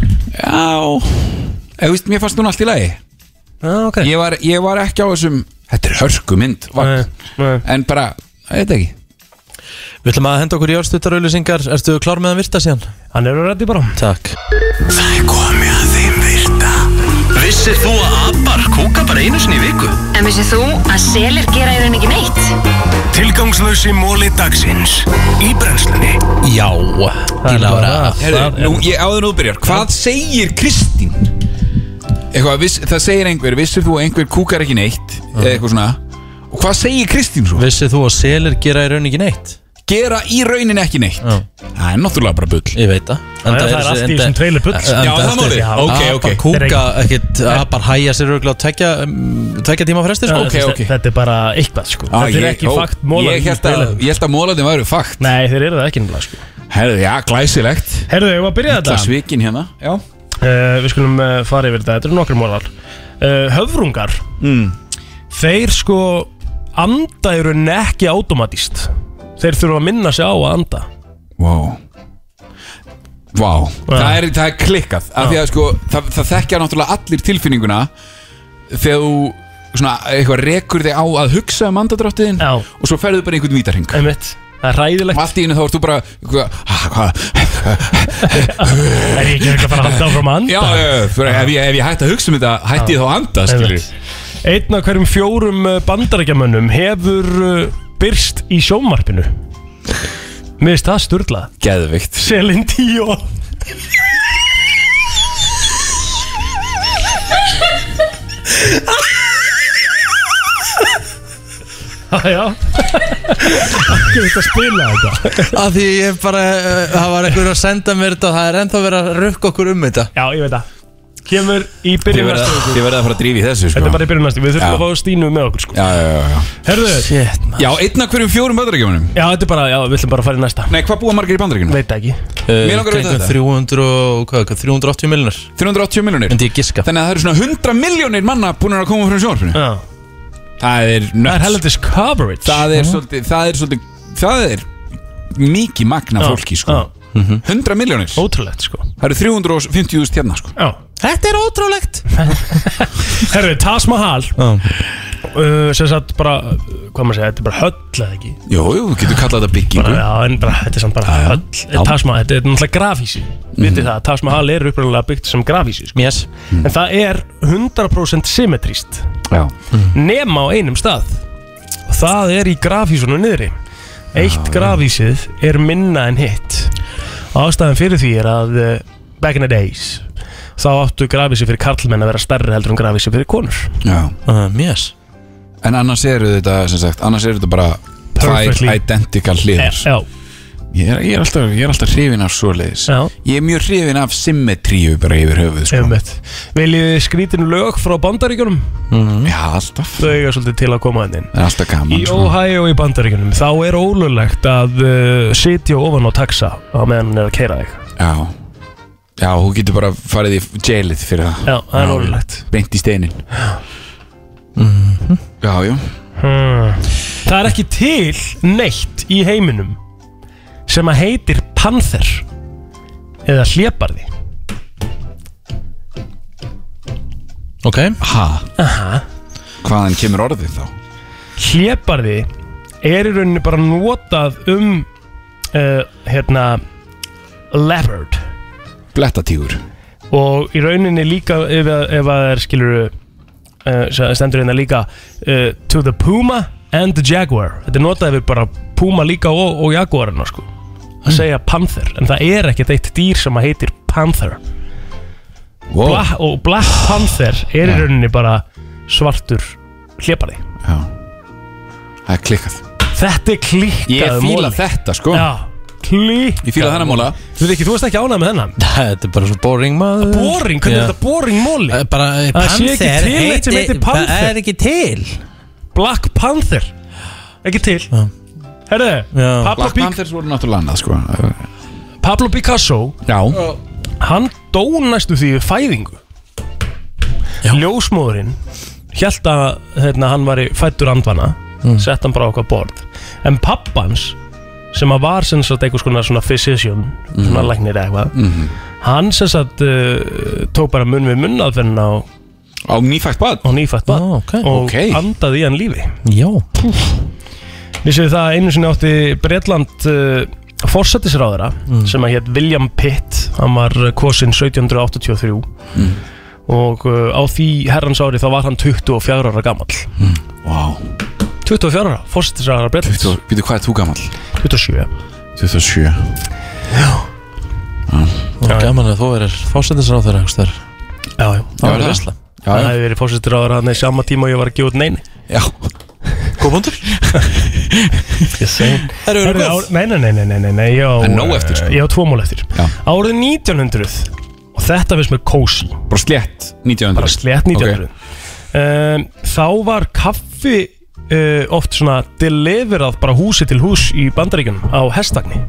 Speaker 3: Já Ég veist, mér fannst núna allt í lagi
Speaker 4: ah, okay.
Speaker 3: ég, var, ég var ekki á þessum Þetta er hörku mynd
Speaker 2: Eh,
Speaker 3: En bara, ég veit ekki
Speaker 2: Við ætlum að henda okkur í örstuttarauðlýsingar Ertu klár með að virta síðan?
Speaker 4: Hann er að reddi bara
Speaker 2: Takk
Speaker 9: Það er komið að þeim virta Vissir þú að abar kúka bara einu sinni í viku?
Speaker 12: En vissið þú að selir gera í raun ekki neitt?
Speaker 9: Tilgangslösi móli dagsins Í brennslunni
Speaker 2: Já,
Speaker 3: Díla Herðu, nú, ég áður nú byrjar Hvað segir Kristín? Eitthvað, viss, það segir einhver Vissir þú að einhver kúkar ekki neitt Eða eitthvað svona Og hvað segir Kristín svo?
Speaker 2: Vissir þú að selir gera í rauninni ekki neitt?
Speaker 3: Gera í rauninni ekki neitt Það er náttúrulega bara bull
Speaker 2: Ég veit það Enda
Speaker 4: það er
Speaker 2: þessi-
Speaker 4: allt í
Speaker 2: enda-
Speaker 4: þessum trailer bull.
Speaker 2: enda-
Speaker 4: Já, það
Speaker 2: enda-
Speaker 4: málið.
Speaker 2: enda-
Speaker 4: Ok,
Speaker 2: apar
Speaker 4: ok.
Speaker 2: Kúka,
Speaker 4: Þeir-
Speaker 2: ekkit, apar hæja sér örgulega á tvekja mm, Tvekja tíma fresti, sko
Speaker 4: Þetta- Þetta er bara eitthvað
Speaker 3: Á,
Speaker 4: sko Þetta er
Speaker 3: Ah, ég-
Speaker 4: ekki
Speaker 3: ó,
Speaker 4: fakt mólan
Speaker 3: Ég held að, ég held að mólandin væri fakt
Speaker 4: Nei, þeir eru það ekki nefnilega sko
Speaker 3: Herðu, já, glæsilegt
Speaker 4: Herðu, ég var að byrja þetta
Speaker 3: Það svikin hérna Já
Speaker 4: Eh, Við skulum eh, fara yfir þetta, þetta eru nokkri mólar uh, Höfrungar
Speaker 3: Mm.
Speaker 4: Þeir sko anda í rauninni ekki automatist Þeir þurfa að minna sig á að anda
Speaker 3: Vá Vá það, er, það er klikkað af því að sko, það, það þekkja náttúrulega allir tilfinninguna þegar þú svona eitthvað rekur þig á að hugsa um andadráttiðin
Speaker 4: Já.
Speaker 3: og svo ferðu bara í einhvern vítarhing
Speaker 4: Einmitt. það er ræðilegt
Speaker 3: og allt í henni þá ert þú bara eitthvað, "Ah, hvað
Speaker 4: Er ég ekki að fara að halda áfram að anda?
Speaker 3: já, já, já, fyrir, ef, ég, ef ég hætti að hugsa um þetta hætti ég þá að anda skilur
Speaker 4: Einmitt. Einn af hverjum fjórum bandarækjamönnum hefur eh, byrst í sjómarpinu Mér finnst það sturla
Speaker 3: Geðvikt
Speaker 4: Selin Díó Já Ekki þetta spila þetta
Speaker 2: Af því ég bara, uh, það var einhver að senda mér þetta og Það er ennþá verið að rukka okkur um þetta
Speaker 4: Já, ég veit það Kemur í
Speaker 3: Ég
Speaker 4: byrjun
Speaker 3: verði
Speaker 4: næstu
Speaker 3: að-
Speaker 4: viku.
Speaker 3: ég verði að fara að drífa í þessu sko.
Speaker 4: Þetta er bara í byrjun næstu, við
Speaker 3: Já.
Speaker 4: þurfum að fá Stínu með okkur sko.
Speaker 3: Já, já, já, já.
Speaker 4: Herðu
Speaker 3: Já, einn af hverjum fjórum bandaríkjumunum
Speaker 4: Já, þetta er bara, já, við ætlum bara að fara í næsta
Speaker 3: Nei, hvað búa margir í bandaríkjunum?
Speaker 4: Veit ekki
Speaker 3: Mér langar að vita þetta.
Speaker 2: 300, og- hvað, hvað, 380 miljonar
Speaker 3: 380 miljonir
Speaker 2: Myndi ég giska
Speaker 3: Þannig að það eru svona 100 miljónir manna búin að koma frá sjónvarpinu
Speaker 4: Já
Speaker 3: Það er nuts
Speaker 4: Það er helvitis coverage
Speaker 3: Það er svolítið, það er svolítið, það er mikið magna
Speaker 4: Já,
Speaker 3: fólki sko 100 miljónir
Speaker 4: Ótrúlegt sko
Speaker 3: Það eru 350.000 hérna sko
Speaker 4: Já
Speaker 2: Þetta er ótrúlegt
Speaker 4: Herru, Taj Mahal uh, Sem sagt bara, uh, hvað maður segja, þetta er bara höll eða ekki
Speaker 3: Jú, jú, þú getur kallað þetta byggingu
Speaker 2: Mhm.
Speaker 4: bara, Já, en bara, þetta er samt bara höll
Speaker 3: já.
Speaker 4: Taj Mahal, þetta er náttúrulega grafísi mm. Vitið það, Taj Mahal er upprunalega byggt sem grafísi sko.
Speaker 2: Mhm. yes.
Speaker 4: En það er 100% symmetríst
Speaker 3: Já
Speaker 4: Nema á einum stað Og það er í grafísunum niðri Eitt grafísið er minna en hitt Ástæðan fyrir því er að eh, Back in the days Þá áttu grafísið fyrir karlmenn að vera stærri heldur en grafísið fyrir konur
Speaker 3: Já
Speaker 2: uh, Yes
Speaker 3: En annars eru þetta, sem sagt, annars eru þetta bara Tvær
Speaker 4: Perfectly.
Speaker 3: identical hliðar
Speaker 4: Eh, Já
Speaker 3: Ég er, ég er alltaf, ég er alltaf hrifin af svoleiðis
Speaker 4: Já.
Speaker 3: Ég er mjög hrifin af symmetríu bara yfir höfuð sko
Speaker 4: Einmitt. Viljið þið skrítin lög frá bandaríkjunum?
Speaker 3: Já, alltaf
Speaker 4: Þau eiga svolítið til að koma hennin
Speaker 3: Það er alltaf
Speaker 4: Í
Speaker 3: gaman sko.
Speaker 4: Ohio í bandaríkjunum þá er ólulegt að uh, sitja ofan á taxa á meðan hann er að keira þig
Speaker 3: Já Já, hún getur bara farið í jailið fyrir það
Speaker 4: Já, það er ólulegt
Speaker 3: Beint í steinin Já, já
Speaker 4: hmm. Það er ekki til neitt í heiminum sem að heitir panther eða hlébarði
Speaker 2: Ok
Speaker 3: Ha,
Speaker 4: Aha.
Speaker 3: hvaðan kemur orðið þá?
Speaker 4: Hlébarði er í rauninni bara notað um uh, hérna leopard
Speaker 3: Blettatígur
Speaker 4: og í rauninni líka ef, að- ef að það er skilur uh, stendur hérna líka uh, to the puma and the jaguar þetta er notaði við bara puma líka og, og jaguarina sko að segja panther en það er ekkert eitt dýr sem að heitir panther
Speaker 3: Wow.
Speaker 4: Black, og Black Panther er í rauninni bara svartur hljepari
Speaker 3: Það er klikkað
Speaker 4: Þetta er klikkað
Speaker 3: Ég fíla
Speaker 4: móli.
Speaker 3: þetta sko
Speaker 4: Já, klikkað
Speaker 3: Ég fíla þennan móla.
Speaker 4: Þú veit ekki, þú veist ekki ánægð með þennan
Speaker 2: Þetta er bara svo boring maður
Speaker 4: Boring, hvernig er Eh, þetta boring móli?
Speaker 2: Bara
Speaker 4: Það sé ekki
Speaker 2: Panther
Speaker 4: til eitt sem
Speaker 2: heiti-
Speaker 4: heitir Panther
Speaker 2: það er ekki til
Speaker 4: Black Panther Ekki til Herðu, Pablo,
Speaker 3: Black
Speaker 4: Pic
Speaker 3: Panthers voru náttúrulega annað sko
Speaker 4: Pablo Picasso
Speaker 3: Já
Speaker 4: Hann dó næstu því við fæðingu Já. Ljósmóðurinn Hjælt að hérna, hann var í fættur andvana
Speaker 2: Mm.
Speaker 4: Sett hann bara á okkar borð En pappans sem að var sem sagt einhvers konar svona physician svona
Speaker 3: Mhm.
Speaker 4: læknir eða eitthvað
Speaker 3: Mhm.
Speaker 4: hann sem sagt uh, tók bara munn við munn aðferðin á
Speaker 3: á nýfætt bad
Speaker 4: á nýfætt bad
Speaker 2: Ah,
Speaker 4: og
Speaker 3: Ok.
Speaker 4: andaði í hann lífi
Speaker 2: Já
Speaker 4: Við séum það að einu sinni átti Breitland uh, forsættisráðara
Speaker 3: Mm.
Speaker 4: sem að hétt William Pitt hann var eh, kosinn 1783
Speaker 3: Mm.
Speaker 4: og uh, á því herrans ári þá var hann 24 ára gamall
Speaker 3: Vá
Speaker 4: 24 ára, forsættisráðara Breitlands
Speaker 3: Býtu hvað er þú gammal?
Speaker 4: 27
Speaker 3: 27
Speaker 2: Og gaman að þú verður fósendinsráður Já,
Speaker 4: já
Speaker 2: Það var veistla
Speaker 4: Það hefði verið fórsettiráður hann í sama tíma og ég var að gefa út neini
Speaker 3: Já
Speaker 2: Góð búndur
Speaker 4: Ég segi
Speaker 2: Herru, eru góð?
Speaker 4: Nei, nei, nei, nei, nei, nei, nei já,
Speaker 3: En nóg eftir, sko.
Speaker 4: Ég á tvo mól eftir
Speaker 3: Já.
Speaker 4: Árið 1900 Og þetta finnst mér kósi
Speaker 3: Bara slétt 1900
Speaker 4: Bara slétt 1900 um, Þá var kaffi uh, oft svona deliverað bara húsi til hús í bandaríkjunum á hestvagni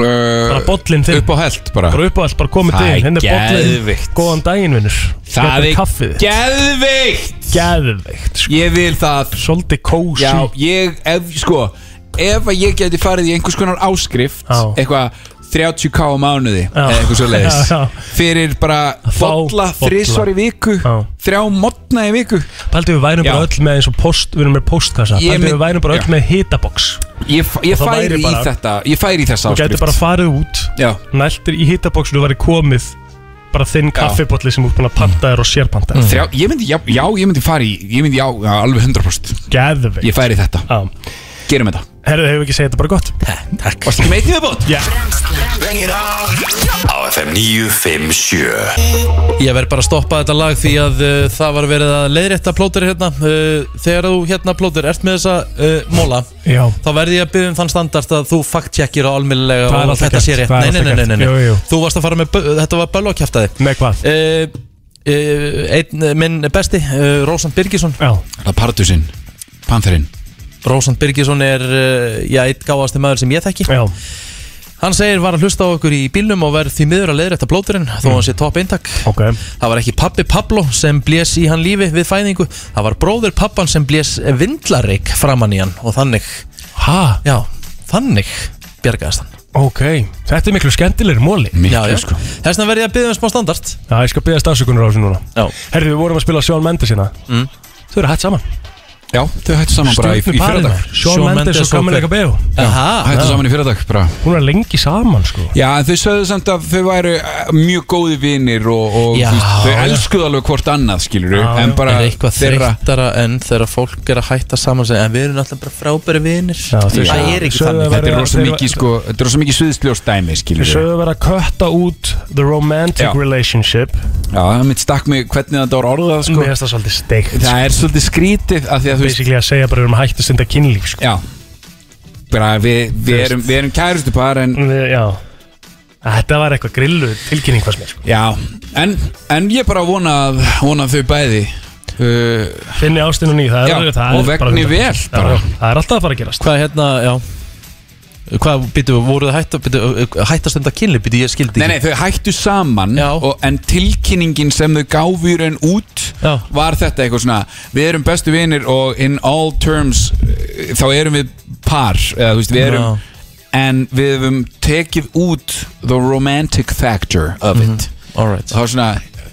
Speaker 3: Bara
Speaker 4: bollin þinn
Speaker 3: Upp á held bara
Speaker 4: bara upp á allt, bara komið
Speaker 3: Það
Speaker 4: til
Speaker 3: er
Speaker 4: hérna er bollin,
Speaker 3: geðveikt.
Speaker 4: góðan daginn vinnur
Speaker 3: Það er
Speaker 4: kaffið þitt.
Speaker 3: geðveikt
Speaker 4: Geðveikt sko.
Speaker 3: Ég vil það
Speaker 4: Svolítið kósi
Speaker 3: Já, ég, ef, sko Ef að ég geti farið í einhvers konar áskrift
Speaker 4: Já.
Speaker 3: Eitthvað 30k á mánuði Eða eitthvað svo
Speaker 4: Já, já.
Speaker 3: Fyrir bara Bolla þrisvar í viku Þrjá modna í viku
Speaker 4: Paldið við værum bara
Speaker 3: Já.
Speaker 4: öll með eins og post Við erum með postkassa
Speaker 3: Ég
Speaker 4: Paldið við
Speaker 3: mynd-
Speaker 4: værum bara öll
Speaker 3: Já.
Speaker 4: með hitabox
Speaker 3: Ég, f- ég
Speaker 4: Og það
Speaker 3: færi
Speaker 4: væri
Speaker 3: í
Speaker 4: bara-
Speaker 3: þetta Ég færi í þessa
Speaker 4: Þú
Speaker 3: áskrift
Speaker 4: gæti bara farið út
Speaker 3: Já.
Speaker 4: Næltir í hitaboxinu og væri komið Bara þinn kaffibotli sem út búin að panta þér og sérpanta þér
Speaker 3: Þrjá, ég myndi, já, já, ég myndi fara í Ég myndi, já, já, alveg 100%
Speaker 4: Geðveikt
Speaker 3: Mm. Ég færi í þetta
Speaker 4: Já.
Speaker 3: Gerum þetta
Speaker 4: Herðu, hefur við ekki segið þetta bara gott?
Speaker 2: Takk
Speaker 3: Varstu ekki meitið við bótt?
Speaker 4: Já
Speaker 1: Á FM 957
Speaker 2: Ég verð bara að stoppa þetta lag því að uh, það var verið að leiðrétta plótur hérna uh, Þegar þú hérna plótur ert með þessa uh, móla
Speaker 4: Já.
Speaker 2: Þá verði ég að byggja um þann standart að þú fact-checkir á almillega og
Speaker 4: Það er alltaf
Speaker 2: þetta
Speaker 4: gert,
Speaker 2: sé rétt
Speaker 4: það er
Speaker 2: Nei, nei,
Speaker 4: alltaf
Speaker 2: nei, nei,
Speaker 4: gert,
Speaker 2: nei.
Speaker 4: jú, jú.
Speaker 2: Þú varst að fara með, bö- þetta var bölu að kjæfta þig
Speaker 4: Með hvað?
Speaker 2: Uh, uh, einn, uh, minn besti, uh, Rósand Birgisson
Speaker 4: Já
Speaker 3: Það er Pardusinn Pantherinn
Speaker 2: Rósand Birgisson er uh, já, eitt gáðasti maður sem ég þekki
Speaker 4: Já.
Speaker 2: Hann segir var að hlusta á okkur í bílnum og verð því miður að leiðrætta blóturinn þó hann sé topp eintak
Speaker 4: okay.
Speaker 2: Það var ekki pappi Pablo sem blés í hann lífi við fæðingu Það var bróður pappan sem blés vindlareik framann í hann og þannig
Speaker 4: Ha?
Speaker 2: Já, þannig bjargaðist hann
Speaker 4: Ok, þetta er miklu skemmtilegri móli
Speaker 3: Mm.
Speaker 2: Já, já.
Speaker 3: sko.
Speaker 2: Þess vegna verð ég að byggja um smá standart
Speaker 4: Já, ég skal byggja stafsökunar á þessu núna
Speaker 2: Já
Speaker 4: Herðu, við vorum að spila Sjón Mendes hérna
Speaker 2: mm.
Speaker 4: Þau eru hætt saman
Speaker 3: Já, þau hættu saman bara í, í
Speaker 4: Stjörnuparið
Speaker 3: fyrradag
Speaker 4: maður. Shawn Shawn Mendes Mendes og og Camila Fer- Cabello. Aha.
Speaker 2: Ah,
Speaker 3: Hættu
Speaker 4: Já.
Speaker 3: saman í fyrradag bara
Speaker 4: Hún er lengi saman sko
Speaker 3: Já, en þau sögðu samt að þau væru eh, mjög góði vinir og, og
Speaker 2: Já.
Speaker 3: þú veist, þau elskuðu alveg hvort annað, skilur En bara
Speaker 2: er eitthvað
Speaker 3: þeirra
Speaker 2: þreyttara en þegar fólk er að hætta saman sem, en við erum alltaf bara frábæri vinir
Speaker 4: þau-
Speaker 2: það er ekki
Speaker 4: sögðu að
Speaker 2: þannig
Speaker 4: vera-
Speaker 3: Þetta er rosa
Speaker 4: þeirra-
Speaker 3: mikið, sko, þetta er rosa mikið sviðsljóstæmi,
Speaker 4: Við
Speaker 3: skilur
Speaker 4: sögum að vera að kötta út The romantic
Speaker 3: Já.
Speaker 4: relationship
Speaker 3: Já, það er mitt stakk mig hvernig þetta var orðað, sko
Speaker 4: Mér finnst það svolítið steikt sko.
Speaker 3: Það er svolítið skrítið að því að þú veist
Speaker 4: Basically að segja bara við erum hægt að stunda kynlíf sko.
Speaker 3: Já Bara við, við
Speaker 4: Þú veist. Mm.
Speaker 3: erum, við erum kærustu par en
Speaker 4: Já Þetta var eitthvað grillu tilkynning fannst mér sko.
Speaker 3: Já, en, en ég bara vona að, vona að þau bæði uh,
Speaker 4: Finni ástinn og ný það er,
Speaker 3: Já,
Speaker 4: það er
Speaker 3: og
Speaker 4: bara
Speaker 3: vegni
Speaker 4: 100%.
Speaker 3: vel
Speaker 4: Já,
Speaker 3: bara.
Speaker 4: já, Það er alltaf að fara að gerast
Speaker 2: hvað er hérna, já hvað, býtu, voruð þið hætt að bíddu, hætt að stunda kynli, býtu, ég skildi
Speaker 3: Nei, nei, þau hættu saman og, En tilkynningin sem þau gáfu í raun út
Speaker 2: Já.
Speaker 3: Var þetta eitthvað svona Við erum bestu vinir og in all terms uh, Þá erum við par eða, þú veist, Við erum En við hefum tekið út The romantic factor of it
Speaker 4: Mhm.
Speaker 2: Alright
Speaker 3: Það var svona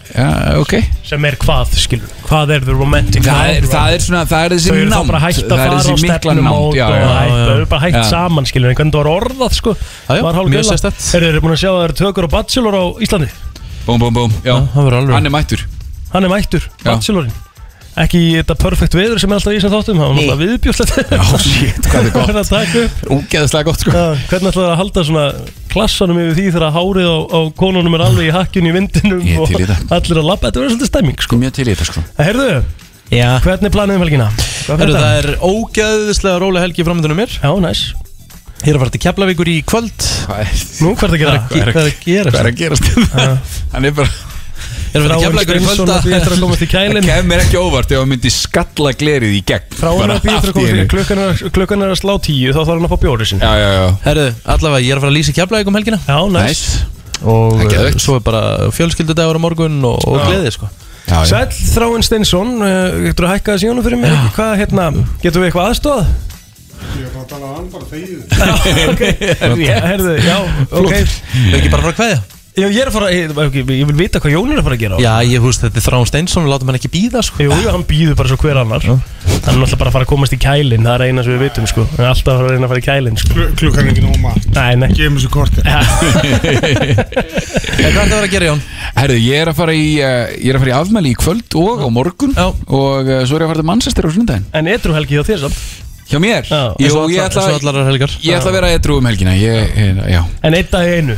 Speaker 3: Já, ok
Speaker 4: Sem er hvað, skil Hvað er the romantic
Speaker 3: Það er,
Speaker 4: factor?
Speaker 3: það er svona, það er þessi
Speaker 4: Þau eru þá
Speaker 3: nánd
Speaker 4: bara hægt að
Speaker 3: Það er
Speaker 4: fara
Speaker 3: þessi
Speaker 4: á
Speaker 3: mikla
Speaker 4: stefnum
Speaker 3: nánd,
Speaker 4: og
Speaker 3: já, já,
Speaker 4: hægt
Speaker 3: já,
Speaker 4: Þau eru bara hægt
Speaker 3: já.
Speaker 4: saman, skilur En hvernig það var orðað, sko
Speaker 2: já,
Speaker 4: Var hálf
Speaker 2: mjög
Speaker 4: grilla.
Speaker 2: sérstakt.
Speaker 4: Eru þeir búin að sjá að það eru tökur og bachelor á Íslandi?
Speaker 3: Búm, búm, búm Já,
Speaker 2: hann er
Speaker 3: mættur
Speaker 4: Hann er mættur,
Speaker 3: Já.
Speaker 4: bachelorinn ekki í þetta perfect veður sem er alltaf í þessum þáttum það var náttúrulega viðbjörnslegt já, shit,
Speaker 14: hvað þetta er gott.
Speaker 4: Úgeðslega gott sko já, Hvernig ætlaðu að halda svona klassanum yfir því þegar hárið á, á konunum er alveg í hakkinu í vindinum
Speaker 14: Ég er
Speaker 4: og
Speaker 14: til í þetta.
Speaker 4: allir að labba, þetta verður svolítið stemming sko
Speaker 14: Mjög til í þetta sko
Speaker 4: Herðu, já. hvernig er planið um helgina? Hvað
Speaker 2: Herru,
Speaker 4: fyrir
Speaker 2: það
Speaker 4: þetta?
Speaker 2: er ógæðislega róleg helgi framöndunum mér
Speaker 4: Já, næs
Speaker 2: Ég er að fara til Keflavíkur í kvöld
Speaker 4: Nú, hvað er að gera?
Speaker 2: Hvað er að gera?
Speaker 4: Hvað er að gerast? hérna?
Speaker 3: Hann er bara
Speaker 2: Ég er að fara til Keflavíkur í kvöld
Speaker 4: Steinsson að því eftir að komast í kælin.
Speaker 3: Það kemur ekki óvart ef hann myndi skalla glerið í gegn
Speaker 4: Frá hann
Speaker 3: Bara
Speaker 4: að býja
Speaker 3: allt
Speaker 4: eftir að komast
Speaker 3: í
Speaker 4: fyrir
Speaker 3: einu.
Speaker 4: klukkan er, klukkan er að slá tíu þá þarf hann að fá bjórið sinni
Speaker 3: Já, já, já
Speaker 2: Herru, allavega, ég er að fara að lýsa í Keflavík um helgina
Speaker 4: Já, næs
Speaker 2: Og eh, svo er bara fjölskyldudagur á morgun og, og
Speaker 4: Já.
Speaker 2: gleði sko
Speaker 4: Sæll, Þráinn Steinsson, uh, getur að hækka þessi jónu fyrir mig? Hvað, hérna, getur við eitthvað aðstóð? Já, herðu, já, ok
Speaker 2: Þau ekki bara fara að kveðja?
Speaker 4: Já, ég er að fara, ég, ég- ég vil vita hvað Jón er að fara að gera
Speaker 2: Já, ég húst þetta er Þráin Steinsson, látum hann ekki býða sko
Speaker 4: Jú, jú, hann býður bara svo hver annar Hann er náttúrulega bara að fara að komast í kælin Það er eina sem við vitum, sko Hann er alltaf að fara að reyna að fara í kælin, sko
Speaker 18: Klukkan er ekki nóg margt
Speaker 4: Nei, nei
Speaker 18: Gefum þessu kortir
Speaker 2: Hvað er það að vera að gera Jón?
Speaker 3: Herðu, ég er að fara í, uh, ég er að fara í afmæli í kvöld og á morgun Já. Og uh, svo er ég að fara til Manchester á sunnudaginn
Speaker 4: En etru helgi hjá þér samt
Speaker 3: Hjá mér? Já,
Speaker 2: eins og allar- eins og allar aðrar helgar.
Speaker 3: Ég ætla að vera edru um helgina ég, ég, Já
Speaker 4: En einn dag í einu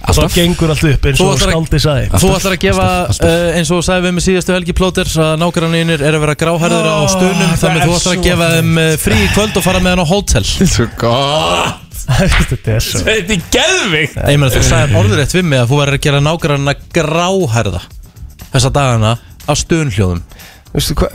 Speaker 4: Og þá
Speaker 2: Alltaf.
Speaker 4: gengur allt upp eins
Speaker 2: Þú
Speaker 4: og
Speaker 2: ætlar að-
Speaker 4: skáldið sagði
Speaker 2: Þú ætlar að gefa, uh, eins og þú sagði við með síðastu helgi plóter að nágranninir er að vera gráhærður á stunum
Speaker 4: það
Speaker 2: þannig að
Speaker 4: er
Speaker 2: þú ætlar
Speaker 4: svo
Speaker 2: að gefa þeim eh, frí í kvöld og fara með hann á hótel
Speaker 3: Svo gott
Speaker 4: Þetta er svo
Speaker 14: Þetta er geðvikt
Speaker 2: Eh, Ég meina þú sagði orður rétt við mig að þú verður að gera nágrannina gráhærða þessa dagana á stunhljóðum
Speaker 4: Vistu, hva,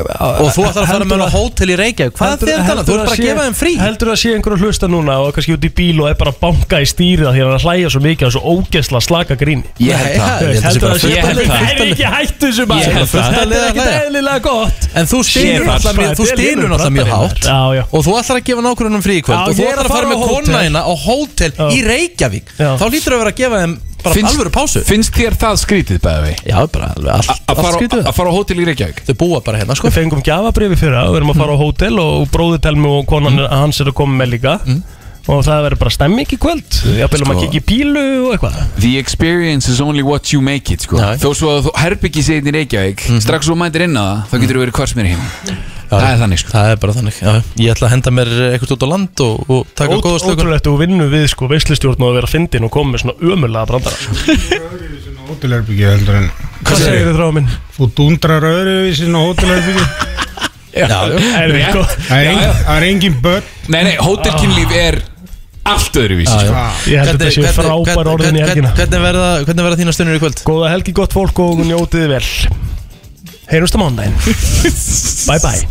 Speaker 2: og þú ætlar Ah, að fara með hann á hótel í Reykjavík Hvað
Speaker 4: Heldur-
Speaker 2: þér þannig? Þú
Speaker 4: heldur
Speaker 2: ert bara að
Speaker 4: sé-
Speaker 2: gefa þeim frí
Speaker 4: Heldur það sé einhver að hlusta núna og kannski út í bíl og er bara að banka í stýrið af því að hann er að hlæja svo mikið og svo ógeðsla slaka gríni
Speaker 2: Ég held það.
Speaker 4: Þú
Speaker 2: Ég held
Speaker 4: veist,
Speaker 2: það sé
Speaker 4: Heldur
Speaker 2: bara fullt af leið.
Speaker 4: það sé Það er ekki hættu þessu maður.
Speaker 2: Ég held það.
Speaker 4: Þetta er ekki eðlilega gott
Speaker 2: En þú stynur alltaf mjög, þú stynur alltaf mjög hátt
Speaker 4: Já, já
Speaker 2: Og þú ætlar að gefa nákvæmum frí í kvöld
Speaker 4: Já,
Speaker 2: Og þú
Speaker 4: ég
Speaker 2: ætlar að fara með
Speaker 4: á hótel.
Speaker 2: kona hérna á hótel
Speaker 4: Já.
Speaker 2: í Reykjavík
Speaker 4: Já.
Speaker 2: Þá lítur að vera að gefa þeim bara
Speaker 3: Finnst-
Speaker 2: alvöru pásu
Speaker 3: Finnst þér það skrítið bæði við?
Speaker 2: Já, bara alveg allt
Speaker 3: Að
Speaker 2: allt
Speaker 3: fara
Speaker 2: skrítið
Speaker 3: á- að fara á hótel í Reykjavík
Speaker 2: Þau búa bara hérna sko
Speaker 4: Við fengum gjafabrifi fyrir að við erum að fara á hótel og bróður telmi og konan
Speaker 2: Mm.
Speaker 4: hans er að koma með líka og það verður bara stemming í kvöld jafnvel um að
Speaker 3: Sko.
Speaker 4: kikki í bílu og eitthvað
Speaker 3: The experience is only what you make it sko. Þó svo að þú herbyggi seginn í Reykjavík Strax þú mætir inn á það, þá getur þú verið hvers mér heim Það er þannig sko
Speaker 2: Það er bara þannig, já Ég ætla að henda mér eitthvað út á land og, og taka
Speaker 4: Ótrú-
Speaker 2: góða slökun
Speaker 4: Ótrúlegt og vinnu við sko veislistjórn og að vera fyndin og koma með svona ömurlega brandara
Speaker 18: Hótelherbyggja heldur en
Speaker 4: Hvað segirðu, þráð minn?
Speaker 18: Þú dundrar öðruvísin á hótelherbyggja
Speaker 3: Já,
Speaker 4: já. Er við
Speaker 18: Rétt.
Speaker 4: góð?
Speaker 18: Það er engin- það er engin börn
Speaker 3: Nei, nei, hótelkynlíf er allt öðruvísi
Speaker 18: Já, já.
Speaker 3: sko.
Speaker 4: Ég held að þetta
Speaker 2: Hvernig-
Speaker 4: séu
Speaker 2: hvernig-
Speaker 4: frábær
Speaker 2: hvernig-
Speaker 4: orðin í
Speaker 2: hvernig-
Speaker 4: helgina
Speaker 2: Hvernig verða, hvernig verða þína stunir í kvöld?
Speaker 4: Góða helgi, gott fólk og njótið vel Heyrumst á mándaginn Bye bye